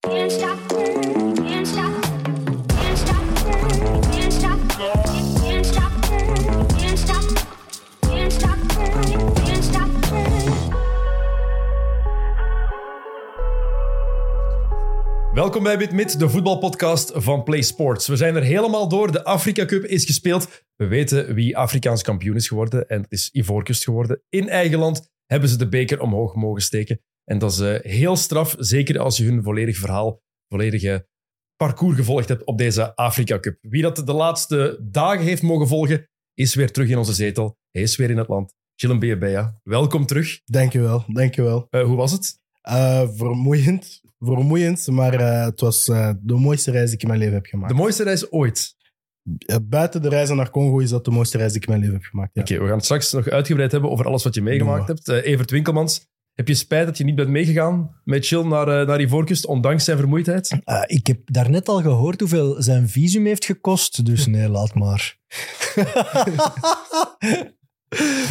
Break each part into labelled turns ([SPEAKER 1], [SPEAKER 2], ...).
[SPEAKER 1] Can't stop, can't stop, can't stop, can't stop, can't stop, can't stop, can't stop, can't stop.
[SPEAKER 2] Welkom bij BitMid, de voetbalpodcast van Play Sports. We zijn er helemaal door. De Afrika Cup is gespeeld. We weten wie Afrikaans kampioen is geworden. En het is Ivoorkust geworden. In eigen land hebben ze de beker omhoog mogen steken. En dat is eh, heel straf, zeker als je hun volledig verhaal, volledige parcours gevolgd hebt op deze Afrika Cup. Wie dat de laatste dagen heeft mogen volgen, is weer terug in onze zetel. Hij is weer in het land. Chillen Beja, welkom terug.
[SPEAKER 3] Dankjewel, dankjewel.
[SPEAKER 2] Eh, hoe was het?
[SPEAKER 3] Eh vermoeiend, vermoeiend, maar eh, het was eh, de mooiste reis die ik in mijn leven heb
[SPEAKER 2] De
[SPEAKER 3] gemaakt.
[SPEAKER 2] mooiste reis ooit.
[SPEAKER 3] Eh, Buiten de reizen naar Congo is dat de mooiste reis die ik in mijn leven heb gemaakt. Ja.
[SPEAKER 2] Oké, we gaan het straks nog uitgebreid hebben over alles wat je meegemaakt
[SPEAKER 3] Doen
[SPEAKER 2] hebt. Eh, Evert Winkelmans, heb je spijt dat je niet bent meegegaan met Chill naar, eh, naar Ivoorkust, ondanks zijn vermoeidheid?
[SPEAKER 4] Eh, ik heb daarnet al gehoord hoeveel zijn visum heeft gekost, dus nee, laat maar.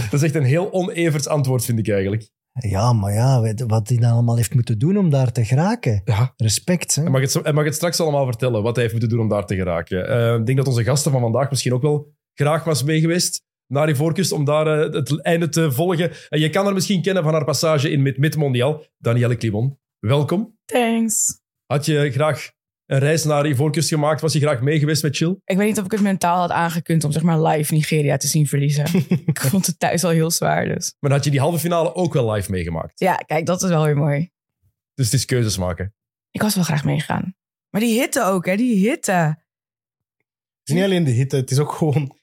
[SPEAKER 2] Dat is echt een heel onevers antwoord, vind ik eigenlijk.
[SPEAKER 4] ja, maar ja, weet- wat hij dan allemaal heeft moeten doen om daar te geraken.
[SPEAKER 2] Ja.
[SPEAKER 4] Respect, hè?
[SPEAKER 2] Hij mag, het, zo- hij mag het straks allemaal vertellen, wat hij heeft moeten doen om daar te geraken. Eh, ik denk dat onze gasten van vandaag misschien ook wel graag was meegeweest naar Ivoorkust om daar eh, het einde te volgen. En je kan haar misschien kennen van haar passage in Mid-Mondiaal. Danielle Climon, welkom.
[SPEAKER 5] Thanks.
[SPEAKER 2] Had je graag een reis naar Ivoorkust gemaakt? Was je graag meegeweest met Chill?
[SPEAKER 5] Ik weet niet of ik het mentaal had aangekund om zeg maar live Nigeria te zien verliezen. ik vond het thuis al heel zwaar dus.
[SPEAKER 2] Maar dan had je die halve finale ook wel live meegemaakt.
[SPEAKER 5] Ja, kijk, dat is wel weer mooi.
[SPEAKER 2] Dus het is keuzes maken.
[SPEAKER 5] Ik was wel graag meegegaan. Maar die hitte ook, hè? Die hitte.
[SPEAKER 3] Het is niet alleen de hitte, het is ook gewoon...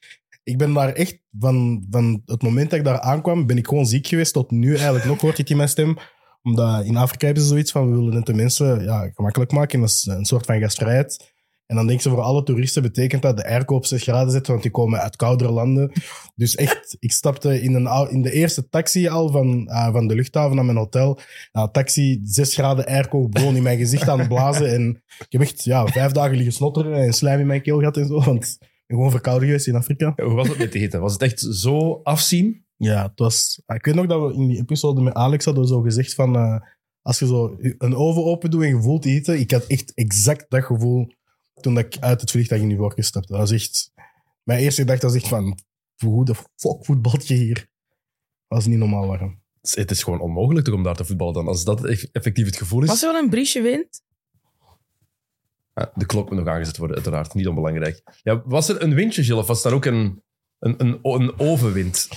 [SPEAKER 3] Ik ben daar echt, van, van het moment dat ik daar aankwam, ben ik gewoon ziek geweest. Tot nu eigenlijk nog hoort je het in mijn stem. Omdat in Afrika hebben ze zoiets van, we willen het de mensen ja, gemakkelijk maken. Dat is een soort van gastvrijheid. En dan denk ze, voor alle toeristen betekent dat de airco op 6 graden zit, want die komen uit koudere landen. Dus echt, ik stapte in, een, ou- in de eerste taxi al van, ah, van de luchthaven naar mijn hotel. Nou, taxi, 6 graden airco, gewoon in mijn gezicht aan het blazen. En ik heb echt ja, vijf dagen liggen snotteren en slijm in mijn keel gehad en zo. Want ik ben gewoon verkouden geweest in Afrika.
[SPEAKER 2] Ja, hoe was het met de hitte? Was het echt zo afzien?
[SPEAKER 3] Ja, het was... ah, Ik weet nog dat we in die episode met Alex hadden we zo gezegd van... eh, als je zo een oven open doet en je voelt die hitte... Ik had echt exact dat gevoel toen dat ik uit het vliegtuig in New York gestapte. Dat was echt... Mijn eerste gedachte was echt van... Hoe de fuck voetbalt je hier? Dat was niet normaal warm.
[SPEAKER 2] Het is gewoon onmogelijk toch om daar te voetballen dan. Als dat eff- effectief het gevoel is.
[SPEAKER 5] Was er wel een briesje wind?
[SPEAKER 2] Ja, Ah, De klok moet nog aangezet worden, uiteraard. Niet onbelangrijk. Ja, was er een windje, Jill, of was daar ook een, een, een, een ovenwind?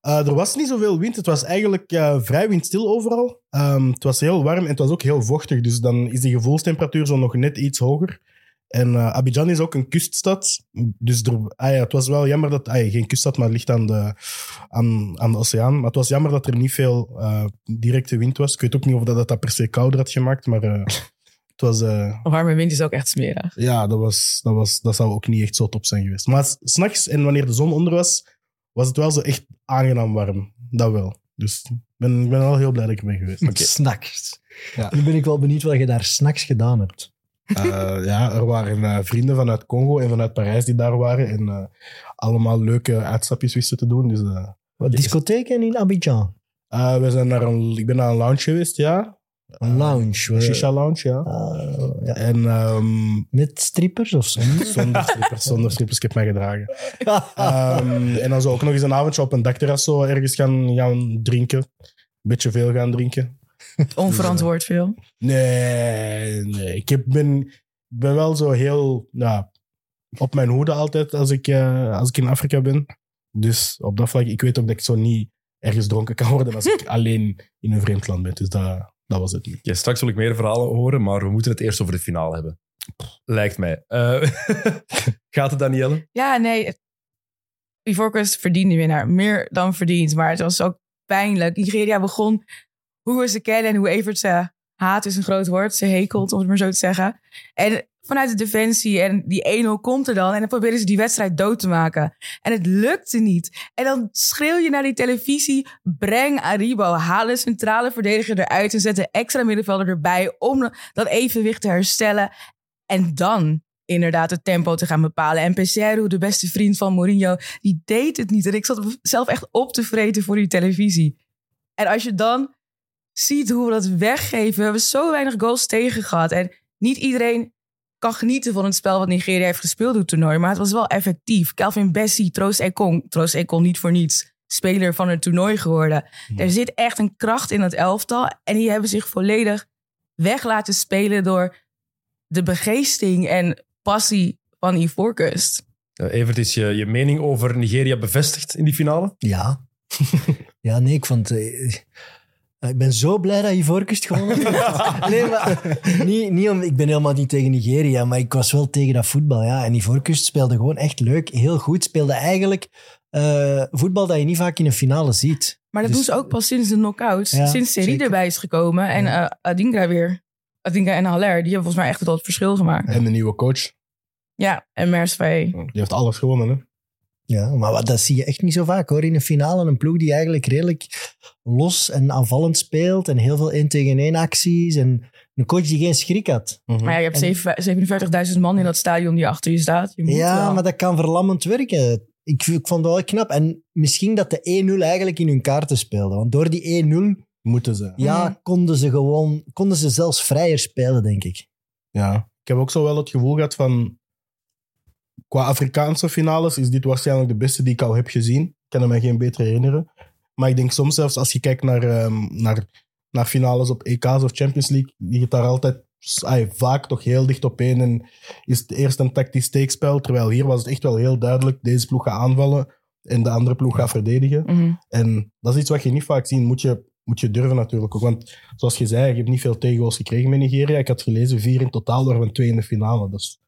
[SPEAKER 3] Eh, er was niet zoveel wind. Het was eigenlijk eh, vrij windstil overal. Ehm, het was heel warm en het was ook heel vochtig. Dus dan is die gevoelstemperatuur zo nog net iets hoger. En eh, Abidjan is ook een kuststad. Dus er, ah ja, het was wel jammer dat... ah ja, geen kuststad, maar het ligt aan de, aan, aan de oceaan. Maar het was jammer dat er niet veel eh, directe wind was. Ik weet ook niet of dat, dat per se kouder had gemaakt. Maar eh, het was... eh,
[SPEAKER 5] Een warme wind is ook echt smerig.
[SPEAKER 3] ja, dat, was, dat, was, dat zou ook niet echt zo top zijn geweest. Maar s- s'nachts en wanneer de zon onder was, was het wel zo echt aangenaam warm. Dat wel. Dus ik ben, ik ben wel heel blij dat ik er ben geweest.
[SPEAKER 2] Oké.
[SPEAKER 4] S'nachts.
[SPEAKER 3] Ja.
[SPEAKER 4] Nu ben ik wel benieuwd wat je daar s'nachts gedaan hebt.
[SPEAKER 3] Eh, ja, er waren eh, vrienden vanuit Congo en vanuit Parijs die daar waren. En eh, allemaal leuke uitstapjes wisten te doen. Dus eh,
[SPEAKER 4] Wat, discotheken in Abidjan?
[SPEAKER 3] eh, we zijn naar een, ik ben naar een lounge geweest, ja.
[SPEAKER 4] Een lounge?
[SPEAKER 3] Een
[SPEAKER 4] we-
[SPEAKER 3] shisha lounge, eh. ja.
[SPEAKER 4] Eh, Ah, ja.
[SPEAKER 3] En ehm,
[SPEAKER 4] Met strippers of zo?
[SPEAKER 3] zonder strippers, zonder strippers, ik heb mij gedragen. Ehm, en dan zou ook nog eens een avondje op een dakterras zo ergens gaan, gaan drinken. Een beetje veel gaan drinken.
[SPEAKER 5] Onverantwoord veel.
[SPEAKER 3] Nee, nee. Ik heb, ben, ik ben wel zo heel ja, op mijn hoede altijd als ik, eh, als ik in Afrika ben. Dus op dat vlak, ik weet ook dat ik zo niet ergens dronken kan worden als ik alleen in een vreemd land ben. Dus dat, dat was het niet.
[SPEAKER 2] Ja, straks wil ik meer verhalen horen, maar we moeten het eerst over de finale hebben. Lijkt mij. Eh, gaat het, Danielle?
[SPEAKER 5] Ja, nee. Ivorcus verdiende winnaar. Meer dan verdiend. Maar het was ook pijnlijk. Nigeria begon hoe we ze kennen en hoe Evert ze haat is een groot woord. Ze hekelt, om het maar zo te zeggen. En vanuit de defensie en die 1-0 komt er dan. En dan proberen ze die wedstrijd dood te maken. En het lukte niet. En dan schreeuw je naar die televisie. Breng Aribo. Haal een centrale verdediger eruit. En zet een extra middenvelder erbij. Om dat evenwicht te herstellen. En dan inderdaad het tempo te gaan bepalen. En Pesero, de beste vriend van Mourinho, die deed het niet. En ik zat zelf echt op te vreten voor die televisie. En als je dan ziet hoe we dat weggeven. We hebben zo weinig goals tegen gehad. En niet iedereen kan genieten van het spel wat Nigeria heeft gespeeld door het toernooi. Maar het was wel effectief. Calvin Bessie, Troost Ekong. Troost Ekong niet voor niets speler van het toernooi geworden.
[SPEAKER 3] Hmm.
[SPEAKER 5] Er zit echt een kracht in dat elftal. En die hebben zich volledig weg laten spelen door de begeesting en passie van Ivoorkust.
[SPEAKER 2] Eh, Evert, is je, je mening over Nigeria bevestigd in die finale?
[SPEAKER 4] Ja. ja, nee, ik vond... eh, eh, ik ben zo blij dat Ivoorkust gewonnen heeft. Nee, maar niet, niet om, ik ben helemaal niet tegen Nigeria, maar ik was wel tegen dat voetbal. Ja. En Ivoorkust speelde gewoon echt leuk, heel goed. Speelde eigenlijk eh, voetbal dat je niet vaak in een finale ziet.
[SPEAKER 5] Maar dat
[SPEAKER 4] Dus-
[SPEAKER 5] doen ze ook pas sinds de knockouts.
[SPEAKER 4] Ja,
[SPEAKER 5] sinds Serie
[SPEAKER 4] zeker.
[SPEAKER 5] erbij is gekomen. En eh Adingra weer. Adingra en Haller. Die hebben volgens mij echt wel het verschil gemaakt.
[SPEAKER 3] En de nieuwe coach.
[SPEAKER 5] Ja, en Mersvee.
[SPEAKER 3] Die heeft alles gewonnen. Hè?
[SPEAKER 4] Ja, maar wat- dat zie je echt niet zo vaak hoor. In een finale een ploeg die eigenlijk redelijk los en aanvallend speelt. En heel veel 1 tegen 1 acties. En een coach die geen schrik had.
[SPEAKER 5] Maar ja, je hebt
[SPEAKER 4] En-
[SPEAKER 5] zeven- 47.000 man in dat stadion die achter je staat. Je moet eh,
[SPEAKER 4] ja,
[SPEAKER 5] wel.
[SPEAKER 4] maar dat kan verlammend werken. Ik, ik vond het wel knap. En misschien dat de 1-0 eigenlijk in hun kaarten speelde. Want door die 1-0
[SPEAKER 3] Moeten ze. Ja.
[SPEAKER 4] Ah, ja,
[SPEAKER 5] Mhm.
[SPEAKER 4] konden ze gewoon konden ze zelfs vrijer spelen, denk ik.
[SPEAKER 3] Ik heb ook zo wel het gevoel gehad van... Qua Afrikaanse finales is dit waarschijnlijk de beste die ik al heb gezien. Ik kan er mij geen beter herinneren. Maar ik denk soms zelfs als je kijkt naar, ehm, naar, naar finales op EK's of Champions League, die het daar altijd ay, vaak toch heel dicht op één. En is het eerst een tactisch steekspel, terwijl hier was het echt wel heel duidelijk. Deze ploeg gaat aanvallen en de andere ploeg gaat verdedigen.
[SPEAKER 5] Mhm.
[SPEAKER 3] En dat is iets wat je niet vaak ziet. Moet je, moet je durven natuurlijk ook. Want zoals je zei, je hebt niet veel tegengoals gekregen met Nigeria. Ik had gelezen vier in totaal, daarvan twee in de finale. Dus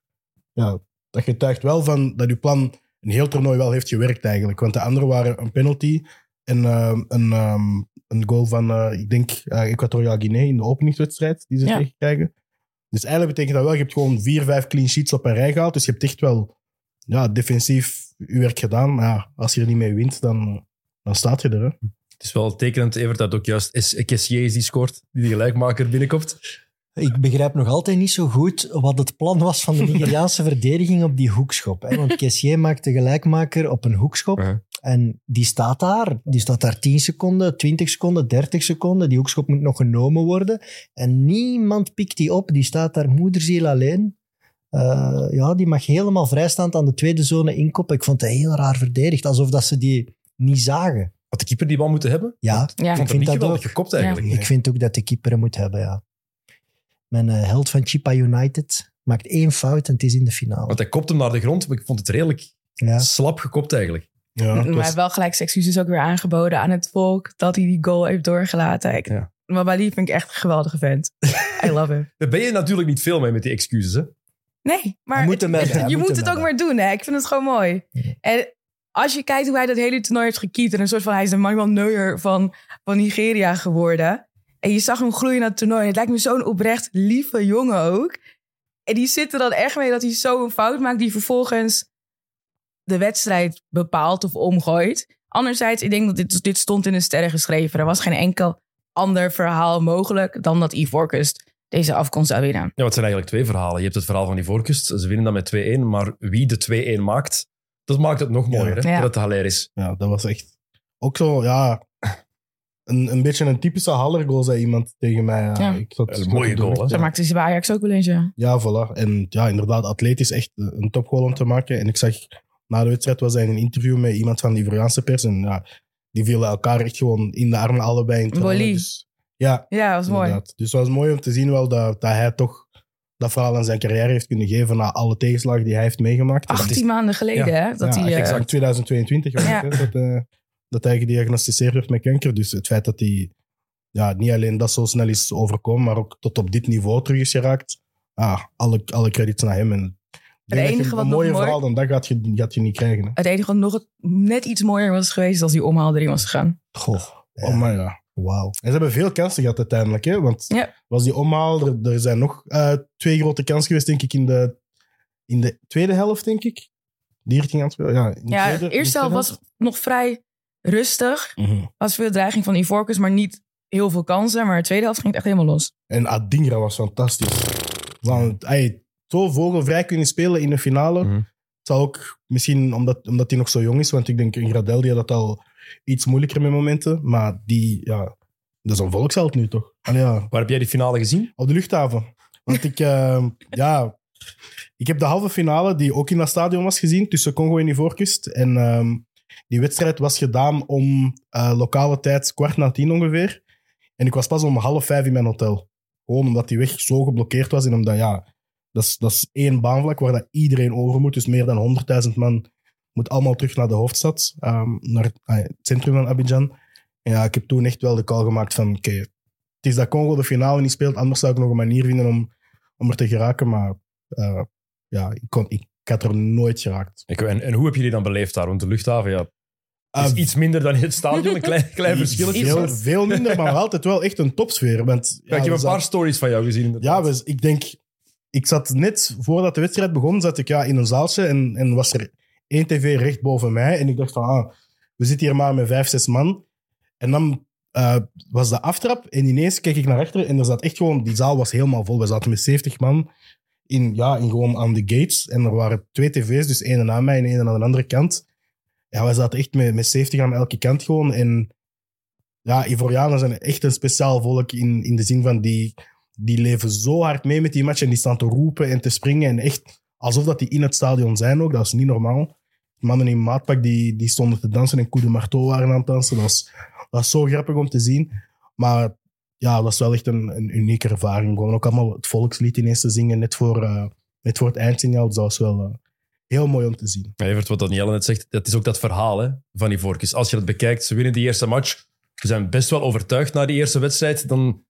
[SPEAKER 3] ja, dat getuigt wel van dat je plan een heel toernooi wel heeft gewerkt eigenlijk. Want de anderen waren een penalty en ehm, een, ehm, een goal van, eh, ik denk, eh, Equatoriaal Guinea in de openingswedstrijd die ze
[SPEAKER 5] Ja.
[SPEAKER 3] tegenkrijgen. Dus eigenlijk betekent dat wel, je hebt gewoon vier, vijf clean sheets op een rij gehaald. Dus je hebt echt wel ja, defensief je werk gedaan. Maar ja, als je er niet mee wint, dan, dan staat je er. Hè?
[SPEAKER 2] Het is wel tekenend, Evert, dat ook juist is- Kessier is die scoort, die de gelijkmaker binnenkomt.
[SPEAKER 4] Ik begrijp nog altijd niet zo goed wat het plan was van de Nigeriaanse verdediging op die hoekschop. Hè? Want Kessier maakt de gelijkmaker op een hoekschop.
[SPEAKER 2] Ja.
[SPEAKER 4] En die staat daar. Die staat daar 10 seconden, 20 seconden, 30 seconden. Die hoekschop moet nog genomen worden. En niemand pikt die op. Die staat daar moederziel alleen. Eh, ja, die mag helemaal vrijstaand aan de tweede zone inkoppen. Ik vond het heel raar verdedigd. Alsof dat ze die niet zagen.
[SPEAKER 2] Had de keeper die bal moeten hebben?
[SPEAKER 4] Ja,
[SPEAKER 5] Ja.
[SPEAKER 2] ik vind
[SPEAKER 4] ik vind
[SPEAKER 2] niet
[SPEAKER 4] dat
[SPEAKER 2] geweldig
[SPEAKER 4] ook.
[SPEAKER 2] gekopt eigenlijk.
[SPEAKER 4] ik vind ook dat de keeper hem moet hebben, ja. Mijn eh, held van Chipa United maakt één fout en het is in de finale.
[SPEAKER 2] Want hij kopt hem naar de grond, maar ik vond het redelijk
[SPEAKER 4] Ja.
[SPEAKER 2] slap gekopt eigenlijk.
[SPEAKER 3] Ja, het
[SPEAKER 5] maar hij
[SPEAKER 3] was-
[SPEAKER 4] dus-
[SPEAKER 5] heeft wel gelijk zijn excuses ook weer aangeboden aan het volk dat hij die goal heeft doorgelaten. Ik,
[SPEAKER 2] Ja.
[SPEAKER 5] Mabali vind ik echt een geweldige vent. I love him.
[SPEAKER 2] Daar ben je natuurlijk niet veel mee met die excuses. Hè?
[SPEAKER 5] Nee, maar
[SPEAKER 4] Hij moet hem hebben, hij
[SPEAKER 5] je
[SPEAKER 4] moet
[SPEAKER 5] moet
[SPEAKER 4] hem
[SPEAKER 5] het ook
[SPEAKER 4] hebben.
[SPEAKER 5] maar doen. Hè? Ik vind het gewoon mooi. En als je kijkt hoe hij dat hele toernooi heeft gekiept... en een soort van, hij is de Manuel Neuer van, van Nigeria geworden. En je zag hem groeien naar het toernooi. Het lijkt me zo'n oprecht lieve jongen ook. En die zit er dan echt mee dat hij zo'n fout maakt... die vervolgens de wedstrijd bepaalt of omgooit. Anderzijds, ik denk dat dit, dit stond in de sterren geschreven. Er was geen enkel ander verhaal mogelijk... dan dat Ivoorkust deze afkomst zou winnen.
[SPEAKER 2] Ja, wat zijn eigenlijk twee verhalen. Je hebt het verhaal van die voorkust, ze winnen dan met 2-1, maar wie de 2-1 maakt, dat maakt het nog
[SPEAKER 3] Ja.
[SPEAKER 2] mooier. Hè?
[SPEAKER 5] Ja.
[SPEAKER 2] Dat het Haller is.
[SPEAKER 3] ja, dat was echt ook zo, ja, een, een beetje een typische hallergoal, zei iemand tegen mij. Ja.
[SPEAKER 5] Ja.
[SPEAKER 3] Ik zat,
[SPEAKER 2] Een mooie goal, hè?
[SPEAKER 5] Daar
[SPEAKER 3] Ja.
[SPEAKER 5] maakte ze bij Ajax ook wel eens, ja.
[SPEAKER 3] Ja, voilà. En ja, inderdaad, atleet is echt eh, een topgoal om te maken. En ik zag, na de wedstrijd was hij in een interview met iemand van de Ivoriaanse pers. En ja, die vielen elkaar echt gewoon in de armen allebei. In tranen.
[SPEAKER 5] Boli.
[SPEAKER 3] Dus, ja,
[SPEAKER 5] Ja, dat was mooi.
[SPEAKER 3] inderdaad. Dus het was mooi om te zien wel dat, dat hij toch dat verhaal aan zijn carrière heeft kunnen geven na alle tegenslagen die hij heeft meegemaakt. En dat is-
[SPEAKER 5] 18 maanden geleden, hè? Dat
[SPEAKER 3] ja,
[SPEAKER 5] hij, eh,
[SPEAKER 3] exact. in 2022 was het,
[SPEAKER 5] Ja.
[SPEAKER 3] hè, dat, eh, dat hij gediagnosticeerd werd met kanker. Dus het feit dat hij ja, niet alleen dat zo snel is overkomen, maar ook tot op dit niveau terug is geraakt. Ah, alle, alle credits naar hem. En ik denk dat je
[SPEAKER 5] enige wat
[SPEAKER 3] een
[SPEAKER 5] nog
[SPEAKER 3] mooier
[SPEAKER 5] mooi-
[SPEAKER 3] verhaal dan dat gaat je, gaat je niet krijgen. Hè?
[SPEAKER 5] het enige wat nog net iets mooier was geweest als die omhaal erin was gegaan.
[SPEAKER 4] Goh, Ja.
[SPEAKER 3] Oh, maar ja.
[SPEAKER 4] wauw.
[SPEAKER 3] En ze hebben veel kansen gehad uiteindelijk. Hè? Want
[SPEAKER 5] Ja.
[SPEAKER 3] was die omhaal, er, er zijn nog eh, twee grote kansen geweest, denk ik, in de, in de tweede helft, denk ik. Die richting aan het spelen. Ja, in de
[SPEAKER 5] Ja,
[SPEAKER 3] tweede-
[SPEAKER 5] de
[SPEAKER 3] in de
[SPEAKER 5] eerste helft
[SPEAKER 3] tweede
[SPEAKER 5] was nog vrij rustig.
[SPEAKER 3] Mhm.
[SPEAKER 5] Was veel dreiging van Ivorcus, maar niet heel veel kansen. Maar de tweede helft ging het echt helemaal los.
[SPEAKER 3] En Adingra was fantastisch. Want hij zo vogelvrij kunnen spelen in de finale.
[SPEAKER 2] Mhm.
[SPEAKER 3] Het zal ook misschien omdat, omdat hij nog zo jong is. Want ik denk, Gradel die had dat al iets moeilijker met momenten. Maar die, ja, Dat is een volksheld nu, toch? Allee, ja.
[SPEAKER 2] Waar heb jij die finale gezien?
[SPEAKER 3] Op de luchthaven. Want ik, eh, ja, ik heb de halve finale, die ook in dat stadion was gezien, tussen Congo en Ivoorkust. En ehm, die wedstrijd was gedaan om eh, lokale tijd kwart na tien ongeveer. En ik was pas om half vijf in mijn hotel. Gewoon omdat die weg zo geblokkeerd was en omdat, ja, dat is, dat is één baanvlak waar dat iedereen over moet. Dus meer dan 100.000 man moet allemaal terug naar de hoofdstad, ehm, naar het, ah ja, het centrum van Abidjan. En ja, ik heb toen echt wel de call gemaakt van, oké, het is dat Congo de finale niet speelt. Anders zou ik nog een manier vinden om, om er te geraken. Maar eh, ja, ik, kon, ik, ik had er nooit geraakt.
[SPEAKER 2] Ik- En, en hoe heb je die dan beleefd daar? Want de luchthaven, ja, is
[SPEAKER 3] Eh,
[SPEAKER 2] iets minder dan in het stadion. Een klein, Ah, klein
[SPEAKER 3] i-
[SPEAKER 2] verschil.
[SPEAKER 3] Veel, veel minder, maar altijd wel echt een topsfeer. Want,
[SPEAKER 2] Ja, ik heb
[SPEAKER 3] we
[SPEAKER 2] een paar
[SPEAKER 3] zaten-
[SPEAKER 2] stories van jou gezien. inderdaad.
[SPEAKER 3] Ja, we- ik denk... Ik zat net voordat de wedstrijd begon, zat ik ja, in een zaaltje en, en was er één tv recht boven mij. En ik dacht van, ah, we zitten hier maar met vijf, zes man. En dan eh, was de aftrap en ineens keek ik naar achter en er zat echt gewoon... Die zaal was helemaal vol. We zaten met 70 man in, ja, in gewoon aan de gates. En er waren twee tv's, dus één na mij en één aan de andere kant. Ja, we zaten echt met, met 70 aan elke kant gewoon. En ja, Ivorianen zijn echt een speciaal volk in, in de zin van die die leven zo hard mee met die match en die staan te roepen en te springen. En echt alsof dat die in het stadion zijn ook. Dat is niet normaal. Mannen in maatpak die, die stonden te dansen en Coup de Marteau waren aan het dansen. Dat was, dat was zo grappig om te zien. Maar ja, dat was wel echt een, een unieke ervaring. Gewoon ook allemaal het volkslied ineens te zingen, net voor, eh, net voor het eindsignaal. Dus dat was wel eh, heel mooi om te zien.
[SPEAKER 2] Ja, Evert, wat Danielle net zegt, dat is ook dat verhaal hè, van die vorkjes. Als je dat bekijkt, ze winnen die eerste match. Ze zijn best wel overtuigd na die eerste wedstrijd. Dan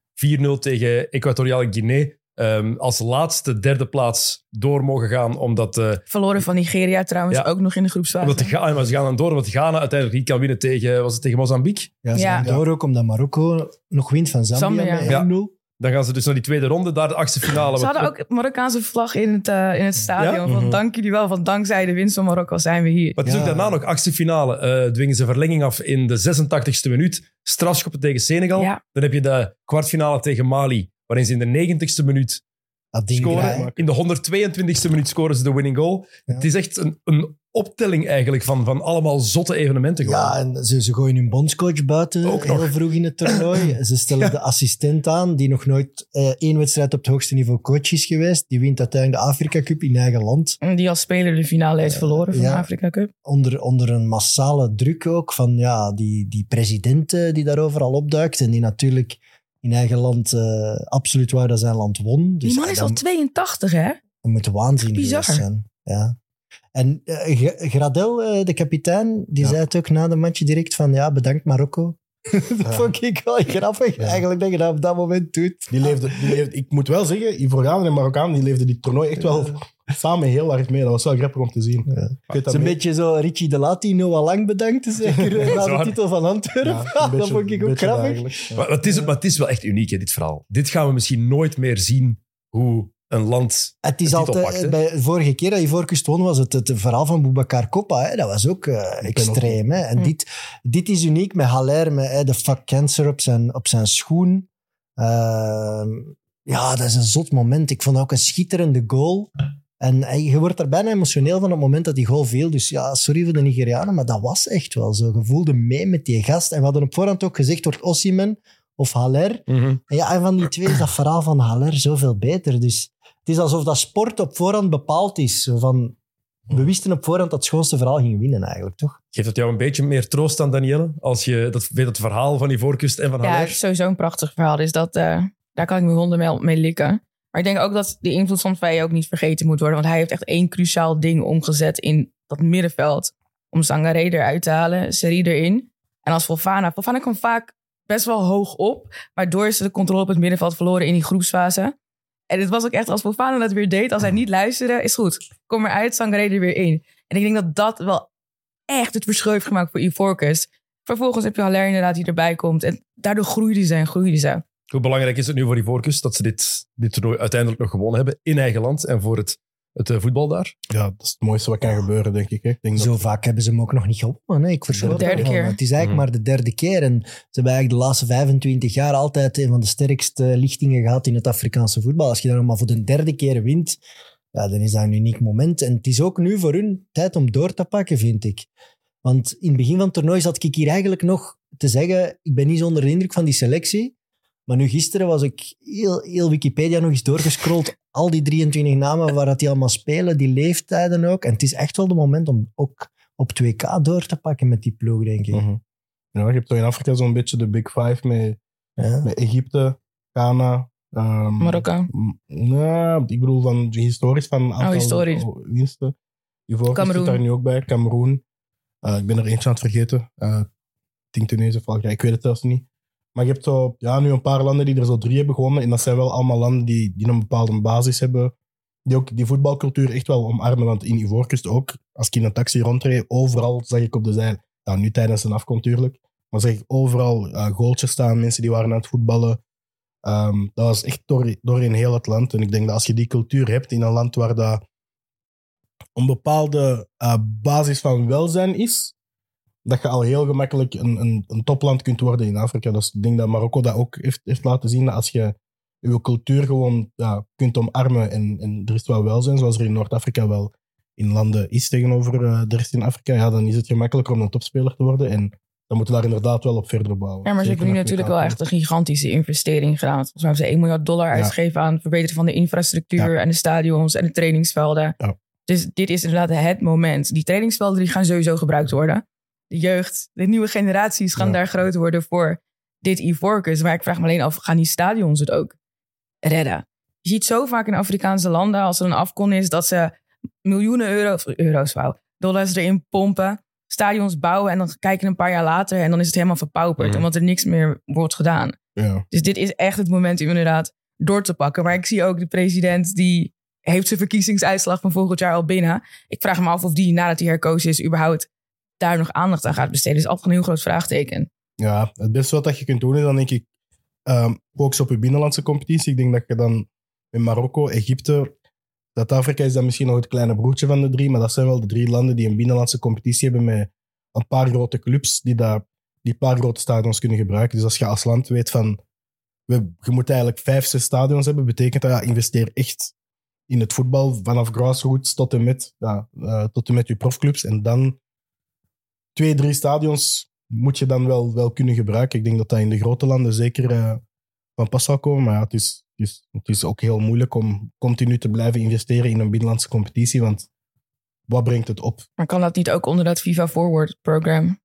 [SPEAKER 2] 4-0 tegen Equatoriale Guinea. Ehm, als laatste derde plaats door mogen gaan, omdat, eh,
[SPEAKER 5] Verloren van Nigeria trouwens,
[SPEAKER 2] Ja.
[SPEAKER 5] ook nog in de groepsfase.
[SPEAKER 2] omdat de Ga- maar ze gaan dan door, omdat Ghana uiteindelijk niet kan winnen tegen, was het tegen Mozambique.
[SPEAKER 4] Ja, ze
[SPEAKER 5] Ja.
[SPEAKER 4] gaan door ook omdat Marokko nog wint van Zambia,
[SPEAKER 5] Zambia.
[SPEAKER 4] met
[SPEAKER 2] Ja.
[SPEAKER 4] 1-0.
[SPEAKER 2] Dan gaan ze dus naar die tweede ronde, daar de achtste finale.
[SPEAKER 5] Ze
[SPEAKER 2] Wat-
[SPEAKER 5] hadden ook Marokkaanse vlag in het, eh, in het stadion. Van
[SPEAKER 3] Mhm.
[SPEAKER 5] dank jullie wel, van dankzij de winst van Marokko zijn we hier.
[SPEAKER 2] Maar het is
[SPEAKER 4] Ja.
[SPEAKER 2] ook daarna nog achtste finale. Eh, dwingen ze verlenging af in de 86e minuut. Strafschoppen tegen Senegal.
[SPEAKER 5] Ja.
[SPEAKER 2] Dan heb je de kwartfinale tegen Mali, waarin ze in de 90ste minuut
[SPEAKER 4] Adingra, hè.
[SPEAKER 2] scoren. In de 122e minuut scoren ze de winning goal.
[SPEAKER 4] Ja.
[SPEAKER 2] Het is echt een, een optelling eigenlijk van, van allemaal zotte evenementen.
[SPEAKER 4] Ja,
[SPEAKER 2] geworden.
[SPEAKER 4] en ze, ze gooien hun bondscoach buiten
[SPEAKER 2] Ook
[SPEAKER 4] heel
[SPEAKER 2] nog.
[SPEAKER 4] vroeg in het toernooi. Ze stellen de assistent aan, die nog nooit eh, één wedstrijd op het hoogste niveau coach is geweest. Die wint uiteindelijk de Afrika Cup in eigen land.
[SPEAKER 5] Die als speler de finale heeft verloren van
[SPEAKER 4] ja.
[SPEAKER 5] de Afrika Cup.
[SPEAKER 4] Onder, onder een massale druk ook van ja, die, die president eh, die daar overal opduikt. En die natuurlijk in eigen land eh, absoluut wou dat zijn land won. Dus
[SPEAKER 5] Die man
[SPEAKER 4] ja,
[SPEAKER 5] is
[SPEAKER 4] dan-
[SPEAKER 5] al 82, hè?
[SPEAKER 4] Dat moet waanzinnig
[SPEAKER 5] Bizar.
[SPEAKER 4] geweest zijn. Ja. En eh, G- Gradel, eh, de kapitein, die
[SPEAKER 3] Ja.
[SPEAKER 4] zei het ook na de match direct van ja, bedankt Marokko. dat
[SPEAKER 3] Ja.
[SPEAKER 4] vond ik wel grappig,
[SPEAKER 3] Ja.
[SPEAKER 4] eigenlijk dat je dat op dat moment doet.
[SPEAKER 3] Die leefde, die leefde, ik moet wel zeggen, Ivorianen en Marokkanen die leefden die toernooi echt wel samen heel hard mee. Dat was wel grappig om te zien.
[SPEAKER 4] Ja.
[SPEAKER 3] Ik weet
[SPEAKER 4] Het
[SPEAKER 3] dat
[SPEAKER 4] is een
[SPEAKER 3] mee-
[SPEAKER 4] beetje zo Richie de Laat die Noah Lang bedankt, is zeker eh, na
[SPEAKER 2] waar.
[SPEAKER 4] de titel van
[SPEAKER 3] Ja,
[SPEAKER 4] Antwerpen.
[SPEAKER 3] een
[SPEAKER 4] dat
[SPEAKER 3] beetje-
[SPEAKER 4] vond ik ook
[SPEAKER 3] beetje
[SPEAKER 4] grappig.
[SPEAKER 3] dagelijks, ja.
[SPEAKER 2] Maar, het is, maar het is wel echt uniek, hè, dit verhaal. Dit gaan we misschien nooit meer zien, hoe een land...
[SPEAKER 4] Het is
[SPEAKER 2] titel
[SPEAKER 4] altijd, eh,
[SPEAKER 2] pakt, hè.
[SPEAKER 4] bij de vorige keer dat je voorkust won, was het het verhaal van Boubacar Coppa. Hè? Dat was ook eh, extreem. Hè? En
[SPEAKER 5] Hm.
[SPEAKER 4] dit, dit is uniek met Haller, met hè, de fuck cancer op zijn, op zijn schoen. Ehm, ja, dat is een zot moment. Ik vond dat ook een schitterende goal. En eh, je wordt er bijna emotioneel van op het moment dat die goal viel. Dus ja, sorry voor de Nigerianen, maar dat was echt wel zo. Je voelde mee met die gast. En we hadden op voorhand ook gezegd, wordt Osimhen of Haller... En Ja, en van die twee is dat verhaal van Haller zoveel beter. Dus het is alsof dat sport op voorhand bepaald is. Zo Van, we wisten op voorhand dat het schoonste verhaal ging winnen, eigenlijk, toch?
[SPEAKER 2] Geeft dat jou een beetje meer troost aan Danielle? Als je dat, weet het verhaal van die voorkust en van
[SPEAKER 5] Ja,
[SPEAKER 2] haar.
[SPEAKER 5] het is sowieso een prachtig verhaal. Dus dat, eh, daar kan ik mijn honden mee, mee likken. Maar ik denk ook dat de invloed van Faye ook niet vergeten moet worden. Want hij heeft echt één cruciaal ding omgezet in dat middenveld. Om Zangaré eruit te halen, Seri erin. En als Volvana. Volvana kwam vaak best wel hoog op. Waardoor ze de controle op het middenveld verloren in die groepsfase. En het was ook echt als Volvana dat weer deed. Als hij niet luisterde, is goed. Kom eruit, Zangaré er weer in. En ik denk dat dat wel echt het verschil heeft gemaakt voor Ivorcus. Vervolgens heb je Haller inderdaad die erbij komt. En daardoor groeide ze en groeide ze.
[SPEAKER 3] Mm.
[SPEAKER 2] Hoe belangrijk is het nu voor die voorkust dat ze dit, dit toernooi uiteindelijk nog gewonnen hebben in eigen land en voor het, het eh, voetbal daar?
[SPEAKER 3] Ja, dat is het mooiste wat kan gebeuren, denk ik. Hè. Ik denk dat-
[SPEAKER 4] Zo vaak hebben ze hem ook nog niet gewonnen. hè. Ik verschoot
[SPEAKER 3] De
[SPEAKER 5] derde
[SPEAKER 4] ervan.
[SPEAKER 5] keer.
[SPEAKER 4] Het is eigenlijk
[SPEAKER 2] Mhm.
[SPEAKER 4] maar de derde keer. En ze hebben eigenlijk de laatste 25 jaar altijd een van de sterkste lichtingen gehad in het Afrikaanse voetbal. Als je dan nog maar voor de derde keer wint, ja, dan is dat een uniek moment. En het is ook nu voor hun tijd om door te pakken, vind ik. Want in het begin van het toernooi zat ik hier eigenlijk nog te zeggen, ik ben niet zo onder de indruk van die selectie. Maar nu gisteren was ik heel, heel Wikipedia nog eens doorgescrolld. Al die 23 namen waar dat die allemaal spelen, die leeftijden ook. En het is echt wel de moment om ook op 2K door te pakken met die ploeg, denk ik.
[SPEAKER 3] Mhm. Ja, je hebt toch in Afrika zo'n beetje de Big Five met,
[SPEAKER 4] Ja.
[SPEAKER 3] met Egypte, Ghana. ehm,
[SPEAKER 5] Marokko.
[SPEAKER 3] m- Nee, ik bedoel van historisch van een aantal
[SPEAKER 5] historisch.
[SPEAKER 3] winsten. Ivoorkust zit
[SPEAKER 5] Kameroen.
[SPEAKER 3] daar nu ook bij. Cameroen. Eh, ik ben er eentje aan het vergeten. Eh, Ik denk Tunesië of Algerije, ik weet het zelfs niet. Maar je hebt zo, ja, nu een paar landen die er zo drie hebben gewonnen. En dat zijn wel allemaal landen die, die een bepaalde basis hebben. Die ook die voetbalcultuur echt wel omarmen. Want in Ivoorkust ook, als ik in een taxi rondreed, overal zag ik op de zij. Nou, nu tijdens een afkomst natuurlijk. Maar zag ik overal eh, goaltjes staan, mensen die waren aan het voetballen. Ehm, dat was echt door, door in heel het land. En ik denk dat als je die cultuur hebt in een land waar dat een bepaalde eh, basis van welzijn is, dat je al heel gemakkelijk een, een, een topland kunt worden in Afrika. Dus ik denk dat Marokko dat ook heeft, heeft laten zien. Dat als je je cultuur gewoon ja, kunt omarmen en, en er is wel welzijn, zoals er in Noord-Afrika wel in landen is tegenover eh, de rest in Afrika, ja, dan is het gemakkelijker om een topspeler te worden. En dan moeten we daar inderdaad wel op verder bouwen.
[SPEAKER 5] Ja, maar ze
[SPEAKER 3] Zeker
[SPEAKER 5] hebben nu
[SPEAKER 3] met
[SPEAKER 5] natuurlijk wel
[SPEAKER 3] WK.
[SPEAKER 5] echt een gigantische investering gedaan. Volgens mij hebben ze 1 miljard dollar
[SPEAKER 3] Ja.
[SPEAKER 5] uitgegeven aan het verbeteren van de infrastructuur en de stadions en de trainingsvelden.
[SPEAKER 3] Ja.
[SPEAKER 5] Dus dit is inderdaad het moment. Die trainingsvelden die gaan sowieso gebruikt worden. De jeugd, de nieuwe generaties gaan
[SPEAKER 3] Ja.
[SPEAKER 5] daar groot worden voor dit Ivorcus. Maar ik vraag me alleen af, gaan die stadions het ook redden? Je ziet zo vaak in Afrikaanse landen, als er een afkon is, dat ze miljoenen euro, of euro's, wauw, dollars erin pompen, stadions bouwen en dan kijken een paar jaar later en dan is het helemaal verpauperd,
[SPEAKER 2] Mhm.
[SPEAKER 5] omdat er niks meer wordt gedaan.
[SPEAKER 3] Ja.
[SPEAKER 5] Dus dit is echt het moment om inderdaad door te pakken. Maar ik zie ook de president, die heeft zijn verkiezingsuitslag van volgend jaar al binnen. Ik vraag me af of die, nadat hij herkozen is, überhaupt daar nog aandacht aan gaat besteden. Dat is altijd een heel groot vraagteken.
[SPEAKER 3] Ja, het beste wat dat je kunt doen is dan denk ik ehm focus op je binnenlandse competitie. Ik denk dat je dan in Marokko, Egypte, Zuid-Afrika is dan misschien nog het kleine broertje van de drie, maar dat zijn wel de drie landen die een binnenlandse competitie hebben met een paar grote clubs die daar die paar grote stadions kunnen gebruiken. Dus als je als land weet van we, je moet eigenlijk vijf, zes stadions hebben, betekent dat ja, investeer echt in het voetbal vanaf grassroots tot en met, ja, eh, tot en met je profclubs. En dan twee, drie stadions moet je dan wel, wel kunnen gebruiken. Ik denk dat dat in de grote landen zeker eh, van pas zal komen. Maar ja, het, is, het, is, het is ook heel moeilijk om continu te blijven investeren in een binnenlandse competitie. Want wat brengt het op?
[SPEAKER 5] Maar kan dat niet ook onder dat FIFA Forward programma?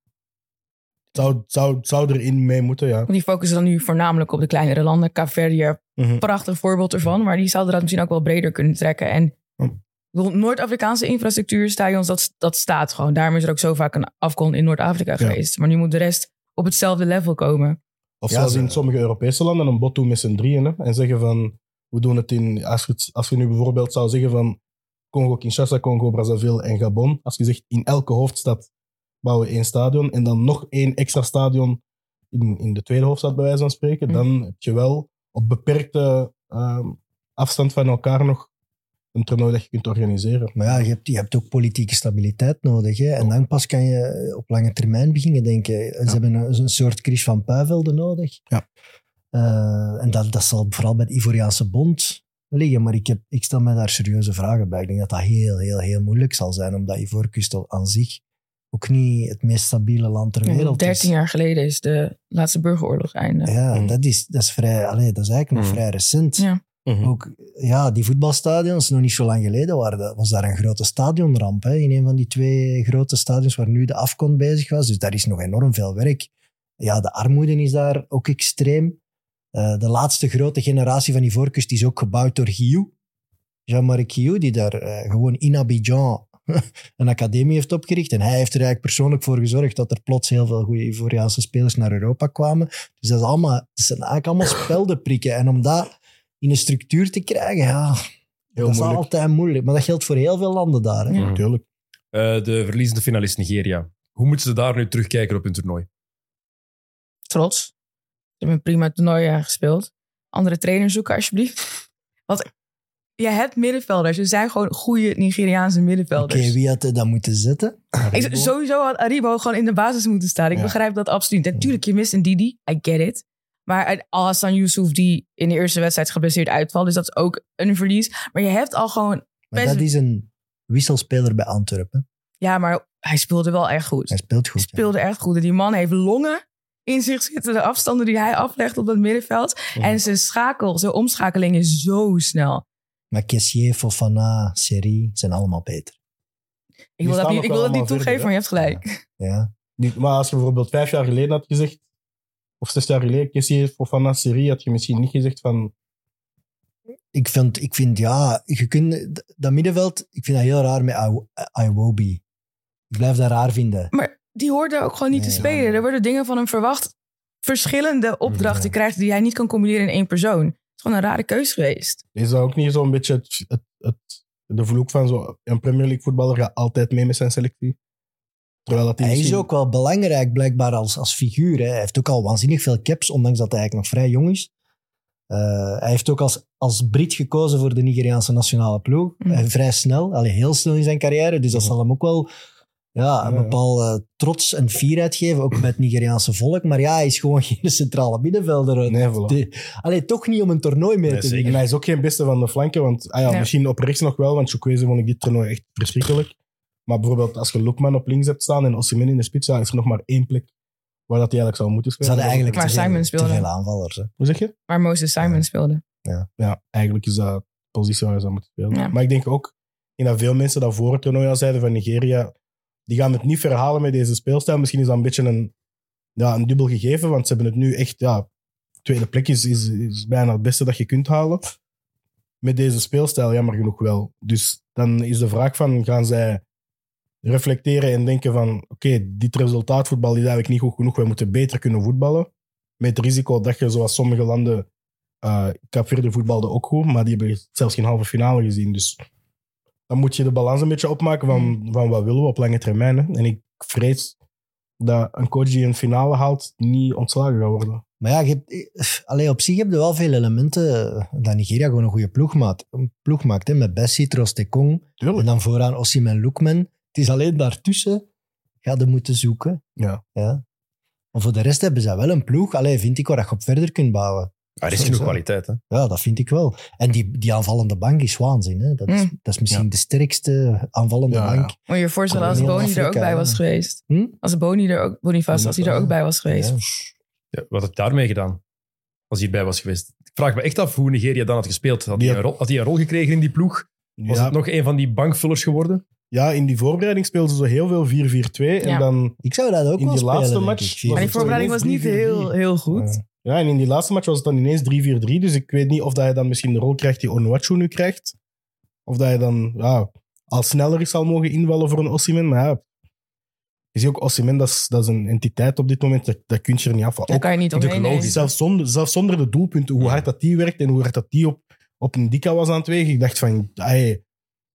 [SPEAKER 3] Zou, zou, zou erin mee moeten, ja.
[SPEAKER 5] Want die focussen dan nu voornamelijk op de kleinere landen. Caverdia,
[SPEAKER 3] Mhm.
[SPEAKER 5] prachtig voorbeeld ervan. Maar die zouden dat misschien ook wel breder kunnen trekken. En
[SPEAKER 4] Oh.
[SPEAKER 3] Hm.
[SPEAKER 5] ik bedoel, Noord-Afrikaanse infrastructuur, stadions, dat, dat staat gewoon. Daarom is er ook zo vaak een afkomst in Noord-Afrika geweest. Maar nu moet de rest op hetzelfde level komen.
[SPEAKER 3] Of
[SPEAKER 4] Ja,
[SPEAKER 3] zoals
[SPEAKER 4] ze-
[SPEAKER 3] in sommige Europese landen een bot doen met z'n drieën. Hè, en zeggen van, we doen het in... Als je, het- als je nu bijvoorbeeld zou zeggen van Congo, Kinshasa, Congo, Brazzaville en Gabon. Als je zegt, in elke hoofdstad bouwen we één stadion. En dan nog één extra stadion in, in de tweede hoofdstad, bij wijze van spreken.
[SPEAKER 4] Mhm.
[SPEAKER 5] Mm.
[SPEAKER 3] Dan heb je wel op beperkte ehm, afstand van elkaar nog een toernooi dat je kunt organiseren.
[SPEAKER 4] Maar ja, je hebt, je hebt ook politieke stabiliteit nodig. Hè? En
[SPEAKER 3] Ja.
[SPEAKER 4] dan pas kan je eh, op lange termijn beginnen denken. Ze
[SPEAKER 3] Ja.
[SPEAKER 4] hebben een, een soort Chris van Puivelde nodig.
[SPEAKER 3] Ja.
[SPEAKER 4] Eh, en dat, dat zal vooral bij de Ivoriaanse Bond liggen. Maar ik, heb, ik stel mij daar serieuze vragen bij. Ik denk dat dat heel, heel, heel moeilijk zal zijn. Omdat Ivoorkust al aan zich ook niet het meest stabiele land ter wereld is.
[SPEAKER 5] 13 jaar geleden is de laatste burgeroorlog einde.
[SPEAKER 4] Ja,
[SPEAKER 3] Mm.
[SPEAKER 4] dat, is, dat, is vrij, allee, dat is eigenlijk nog
[SPEAKER 2] Mm.
[SPEAKER 4] vrij recent.
[SPEAKER 5] Ja.
[SPEAKER 3] Mhm.
[SPEAKER 4] Ook, ja, die voetbalstadions, nog niet zo lang geleden waren, dat- was daar een grote stadionramp. Hè, in een van die twee grote stadions waar nu de afkon bezig was. Dus daar is nog enorm veel werk. Ja, de armoede is daar ook extreem. Eh, de laatste grote generatie van die voorkust is ook gebouwd door Guillou. Jean-Marc Guillou, die daar eh, gewoon in Abidjan een academie heeft opgericht. En hij heeft er eigenlijk persoonlijk voor gezorgd dat er plots heel veel goede Ivoriaanse spelers naar Europa kwamen. Dus dat, is allemaal, dat zijn eigenlijk allemaal speldenprikken. En om dat in een structuur te krijgen, ja,
[SPEAKER 3] Heel
[SPEAKER 4] dat is
[SPEAKER 3] moeilijk.
[SPEAKER 4] altijd moeilijk. Maar dat geldt voor heel veel landen daar. Hè?
[SPEAKER 5] Ja.
[SPEAKER 3] Natuurlijk.
[SPEAKER 2] Eh, de verliezende finalist Nigeria. Hoe moeten ze daar nu terugkijken op hun toernooi?
[SPEAKER 5] Trots. Ze hebben een prima toernooi eh, gespeeld. Andere trainers zoeken alsjeblieft. Want je hebt middenvelders. Ze zijn gewoon goede Nigeriaanse
[SPEAKER 4] Oké,
[SPEAKER 5] middenvelders.
[SPEAKER 4] wie had er dan moeten zitten?
[SPEAKER 5] Ik, zou- sowieso had Aribo gewoon in de basis moeten staan. Ik
[SPEAKER 3] Ja.
[SPEAKER 5] begrijp dat absoluut. Natuurlijk, je mist een Didi. I get it. Maar Al Hassan Yusuf, die in de eerste wedstrijd geblesseerd uitvalt. Dus dat is ook een verlies. Maar je hebt al gewoon...
[SPEAKER 4] Maar
[SPEAKER 5] Best-
[SPEAKER 4] dat is een wisselspeler bij Antwerpen.
[SPEAKER 5] Ja, maar hij speelde wel echt goed.
[SPEAKER 4] Hij speelt goed. ja.
[SPEAKER 5] speelde echt goed. En die man heeft longen in zich zitten. De afstanden die hij aflegt op dat middenveld.
[SPEAKER 3] Ja.
[SPEAKER 5] En zijn schakel, zijn omschakeling is zo snel.
[SPEAKER 4] Maar Kessier, Fofana, Serie zijn allemaal beter.
[SPEAKER 5] Ik wil dat,
[SPEAKER 3] staan
[SPEAKER 5] niet,
[SPEAKER 3] ook
[SPEAKER 5] ik wil dat
[SPEAKER 3] allemaal
[SPEAKER 5] niet toegeven,
[SPEAKER 3] verder, hè?
[SPEAKER 5] maar je hebt gelijk.
[SPEAKER 4] Ja.
[SPEAKER 3] Die- Maar als je bijvoorbeeld vijf jaar geleden had gezegd, of zes jaar geleden, Kessie voor Fofana Serie, had je misschien niet gezegd van,
[SPEAKER 4] Ik vind, ik vind, ja, je kunt, d- dat middenveld, ik vind dat heel raar met Iwo- Iwobi. Ik blijf dat raar vinden.
[SPEAKER 5] Maar die hoorde ook gewoon niet te
[SPEAKER 4] Nee,
[SPEAKER 5] spelen.
[SPEAKER 4] ja.
[SPEAKER 5] Er worden dingen van hem verwacht. Verschillende opdrachten
[SPEAKER 4] Ja.
[SPEAKER 5] krijgt die hij niet kan combineren in één persoon. Het is gewoon een rare keus geweest.
[SPEAKER 3] is dat ook niet zo'n beetje het, het, het- de vloek van zo, een Premier League voetballer gaat altijd mee met zijn selectie? Terwijl dat
[SPEAKER 4] Hij is
[SPEAKER 3] misschien-
[SPEAKER 4] ook wel belangrijk, blijkbaar, als, als figuur. Hè. Hij heeft ook al waanzinnig veel caps, ondanks dat hij eigenlijk nog vrij jong is. Eh, hij heeft ook als, als Brit gekozen voor de Nigeriaanse nationale ploeg.
[SPEAKER 5] Mm.
[SPEAKER 4] Eh, vrij snel, allee, heel snel in zijn carrière. Dus dat zal hem ook wel ja, een
[SPEAKER 3] Ja, ja.
[SPEAKER 4] bepaalde trots en fierheid geven, ook bij het Nigeriaanse volk. Maar ja, hij is gewoon geen centrale middenvelder.
[SPEAKER 3] Nee, voilà.
[SPEAKER 4] De- allee, toch niet om een toernooi mee
[SPEAKER 2] Nee,
[SPEAKER 4] te
[SPEAKER 2] zeker.
[SPEAKER 4] winnen.
[SPEAKER 3] En hij is ook geen beste van de flanken, want ah ja,
[SPEAKER 5] Nee.
[SPEAKER 3] misschien op rechts nog wel, want Chukwueze vond ik dit toernooi echt verschrikkelijk. Maar bijvoorbeeld als je Lokman op links hebt staan en Osimhen in de spits, ja, is er nog maar één plek waar dat hij eigenlijk zou moeten
[SPEAKER 4] Ze
[SPEAKER 3] spelen.
[SPEAKER 4] hadden eigenlijk
[SPEAKER 5] Maar
[SPEAKER 4] te veel,
[SPEAKER 5] Simon
[SPEAKER 4] te
[SPEAKER 5] speelde.
[SPEAKER 4] veel aanvallers. Hè.
[SPEAKER 3] Hoe zeg je?
[SPEAKER 5] Maar Moses Simon
[SPEAKER 4] Ja.
[SPEAKER 5] speelde.
[SPEAKER 3] Ja, eigenlijk is dat de positie waar je zou moeten spelen.
[SPEAKER 5] Ja.
[SPEAKER 3] Maar ik denk ook in dat veel mensen dat voor het toernooi al zeiden van Nigeria, die gaan het niet verhalen met deze speelstijl. Misschien is dat een beetje een, ja, een dubbel gegeven, want ze hebben het nu echt... Ja, tweede plek is, is, is bijna het beste dat je kunt halen. Met deze speelstijl, jammer genoeg wel. Dus dan is de vraag van, gaan zij reflecteren en denken van oké, dit resultaatvoetbal is eigenlijk niet goed genoeg, wij moeten beter kunnen voetballen. Met het risico dat je, zoals sommige landen, eh Capverde voetbalde ook goed, maar die hebben zelfs geen halve finale gezien. Dus dan moet je de balans een beetje opmaken van, van wat willen we op lange termijn. Hè? En ik vrees dat een coach die een finale haalt, niet ontslagen gaat worden.
[SPEAKER 4] Maar ja, je hebt, eh, allee, op zich heb je wel veel elementen eh, dat Nigeria gewoon een goede ploeg maakt. Een ploeg maakt hè, met Bessie, Tekong en
[SPEAKER 3] Tuurlijk.
[SPEAKER 4] dan vooraan Osimhen, Lukman. Het is alleen daartussen ga je moeten zoeken.
[SPEAKER 3] Ja.
[SPEAKER 4] ja. Maar voor de rest hebben ze wel een ploeg, allee, vind ik, waar je op verder kunt
[SPEAKER 3] Ah,
[SPEAKER 4] bouwen.
[SPEAKER 2] Maar er is
[SPEAKER 4] Sowieso.
[SPEAKER 2] genoeg kwaliteit, hè?
[SPEAKER 4] Ja, dat vind ik wel. En die, die aanvallende bank is waanzin. Hè? Dat, is,
[SPEAKER 5] Mm.
[SPEAKER 4] dat is misschien de sterkste aanvallende
[SPEAKER 3] Ja, ja.
[SPEAKER 4] bank.
[SPEAKER 5] Moet je je voorstellen als
[SPEAKER 4] Kolonial
[SPEAKER 5] Boni er ook
[SPEAKER 4] Afrika,
[SPEAKER 5] bij
[SPEAKER 4] ja.
[SPEAKER 5] was geweest.
[SPEAKER 4] Hm?
[SPEAKER 5] Als Boni er ook, Bonifaz, als hij er ook bij was geweest.
[SPEAKER 4] Ja.
[SPEAKER 2] Ja, wat heb je daarmee gedaan? Als hij erbij was geweest. Ik vraag me echt af hoe Nigeria dan had gespeeld. Had hij
[SPEAKER 3] Ja.
[SPEAKER 2] een rol, had hij een rol gekregen in die ploeg? Was
[SPEAKER 3] Ja.
[SPEAKER 2] het nog een van die bankvullers geworden?
[SPEAKER 3] Ja, in die voorbereiding speelden ze zo heel veel 4-4-2. En
[SPEAKER 5] Ja.
[SPEAKER 3] dan,
[SPEAKER 4] Ik zou dat
[SPEAKER 3] In
[SPEAKER 4] ook wel
[SPEAKER 3] die
[SPEAKER 4] spelen,
[SPEAKER 3] laatste
[SPEAKER 4] denk
[SPEAKER 3] match
[SPEAKER 4] ik.
[SPEAKER 3] was
[SPEAKER 5] Maar die
[SPEAKER 3] het zo
[SPEAKER 5] voorbereiding was
[SPEAKER 3] ineens
[SPEAKER 5] niet
[SPEAKER 3] 3-4-3.
[SPEAKER 5] heel, heel goed.
[SPEAKER 3] ja, en in die laatste match was het dan ineens 3-4-3. Dus ik weet niet of dat je dan misschien de rol krijgt die Onuachu nu krijgt. Of dat je dan ja, al sneller zal mogen invallen voor een Osimhen. Maar ja, je ziet ook Osimhen, dat is, dat is een entiteit op dit moment. Dat, dat kun je er niet af.
[SPEAKER 5] Daar
[SPEAKER 3] Ook
[SPEAKER 5] kan je niet
[SPEAKER 2] natuurlijk
[SPEAKER 5] omheen. nee.
[SPEAKER 2] logisch.
[SPEAKER 3] zelfs, zonder, zelfs zonder de doelpunten, hoe hard dat die werkt en hoe hard dat die op, op een dikka was aan het wegen. Ik dacht van, ey,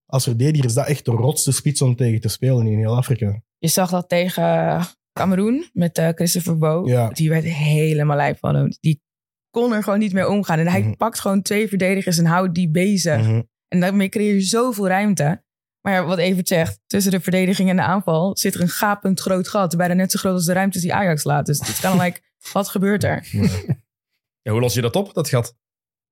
[SPEAKER 3] als verdediger is dat echt de rotste spits om tegen te spelen in heel Afrika.
[SPEAKER 5] Je zag dat tegen Cameroen met eh, Christopher Bo.
[SPEAKER 3] Ja.
[SPEAKER 5] Die werd helemaal lijp van hem. Die kon er gewoon niet meer omgaan. En hij
[SPEAKER 4] Hm.
[SPEAKER 3] Mhm.
[SPEAKER 5] pakt gewoon twee verdedigers en houdt die bezig.
[SPEAKER 3] Mhm.
[SPEAKER 5] En daarmee creëer je zoveel ruimte. Maar ja, wat Evert zegt, tussen de verdediging en de aanval zit er een gapend groot gat. Bijna net zo groot als de ruimtes die Ajax laat. Dus het kan like, wat gebeurt er?
[SPEAKER 2] En hoe los je dat op, dat gat?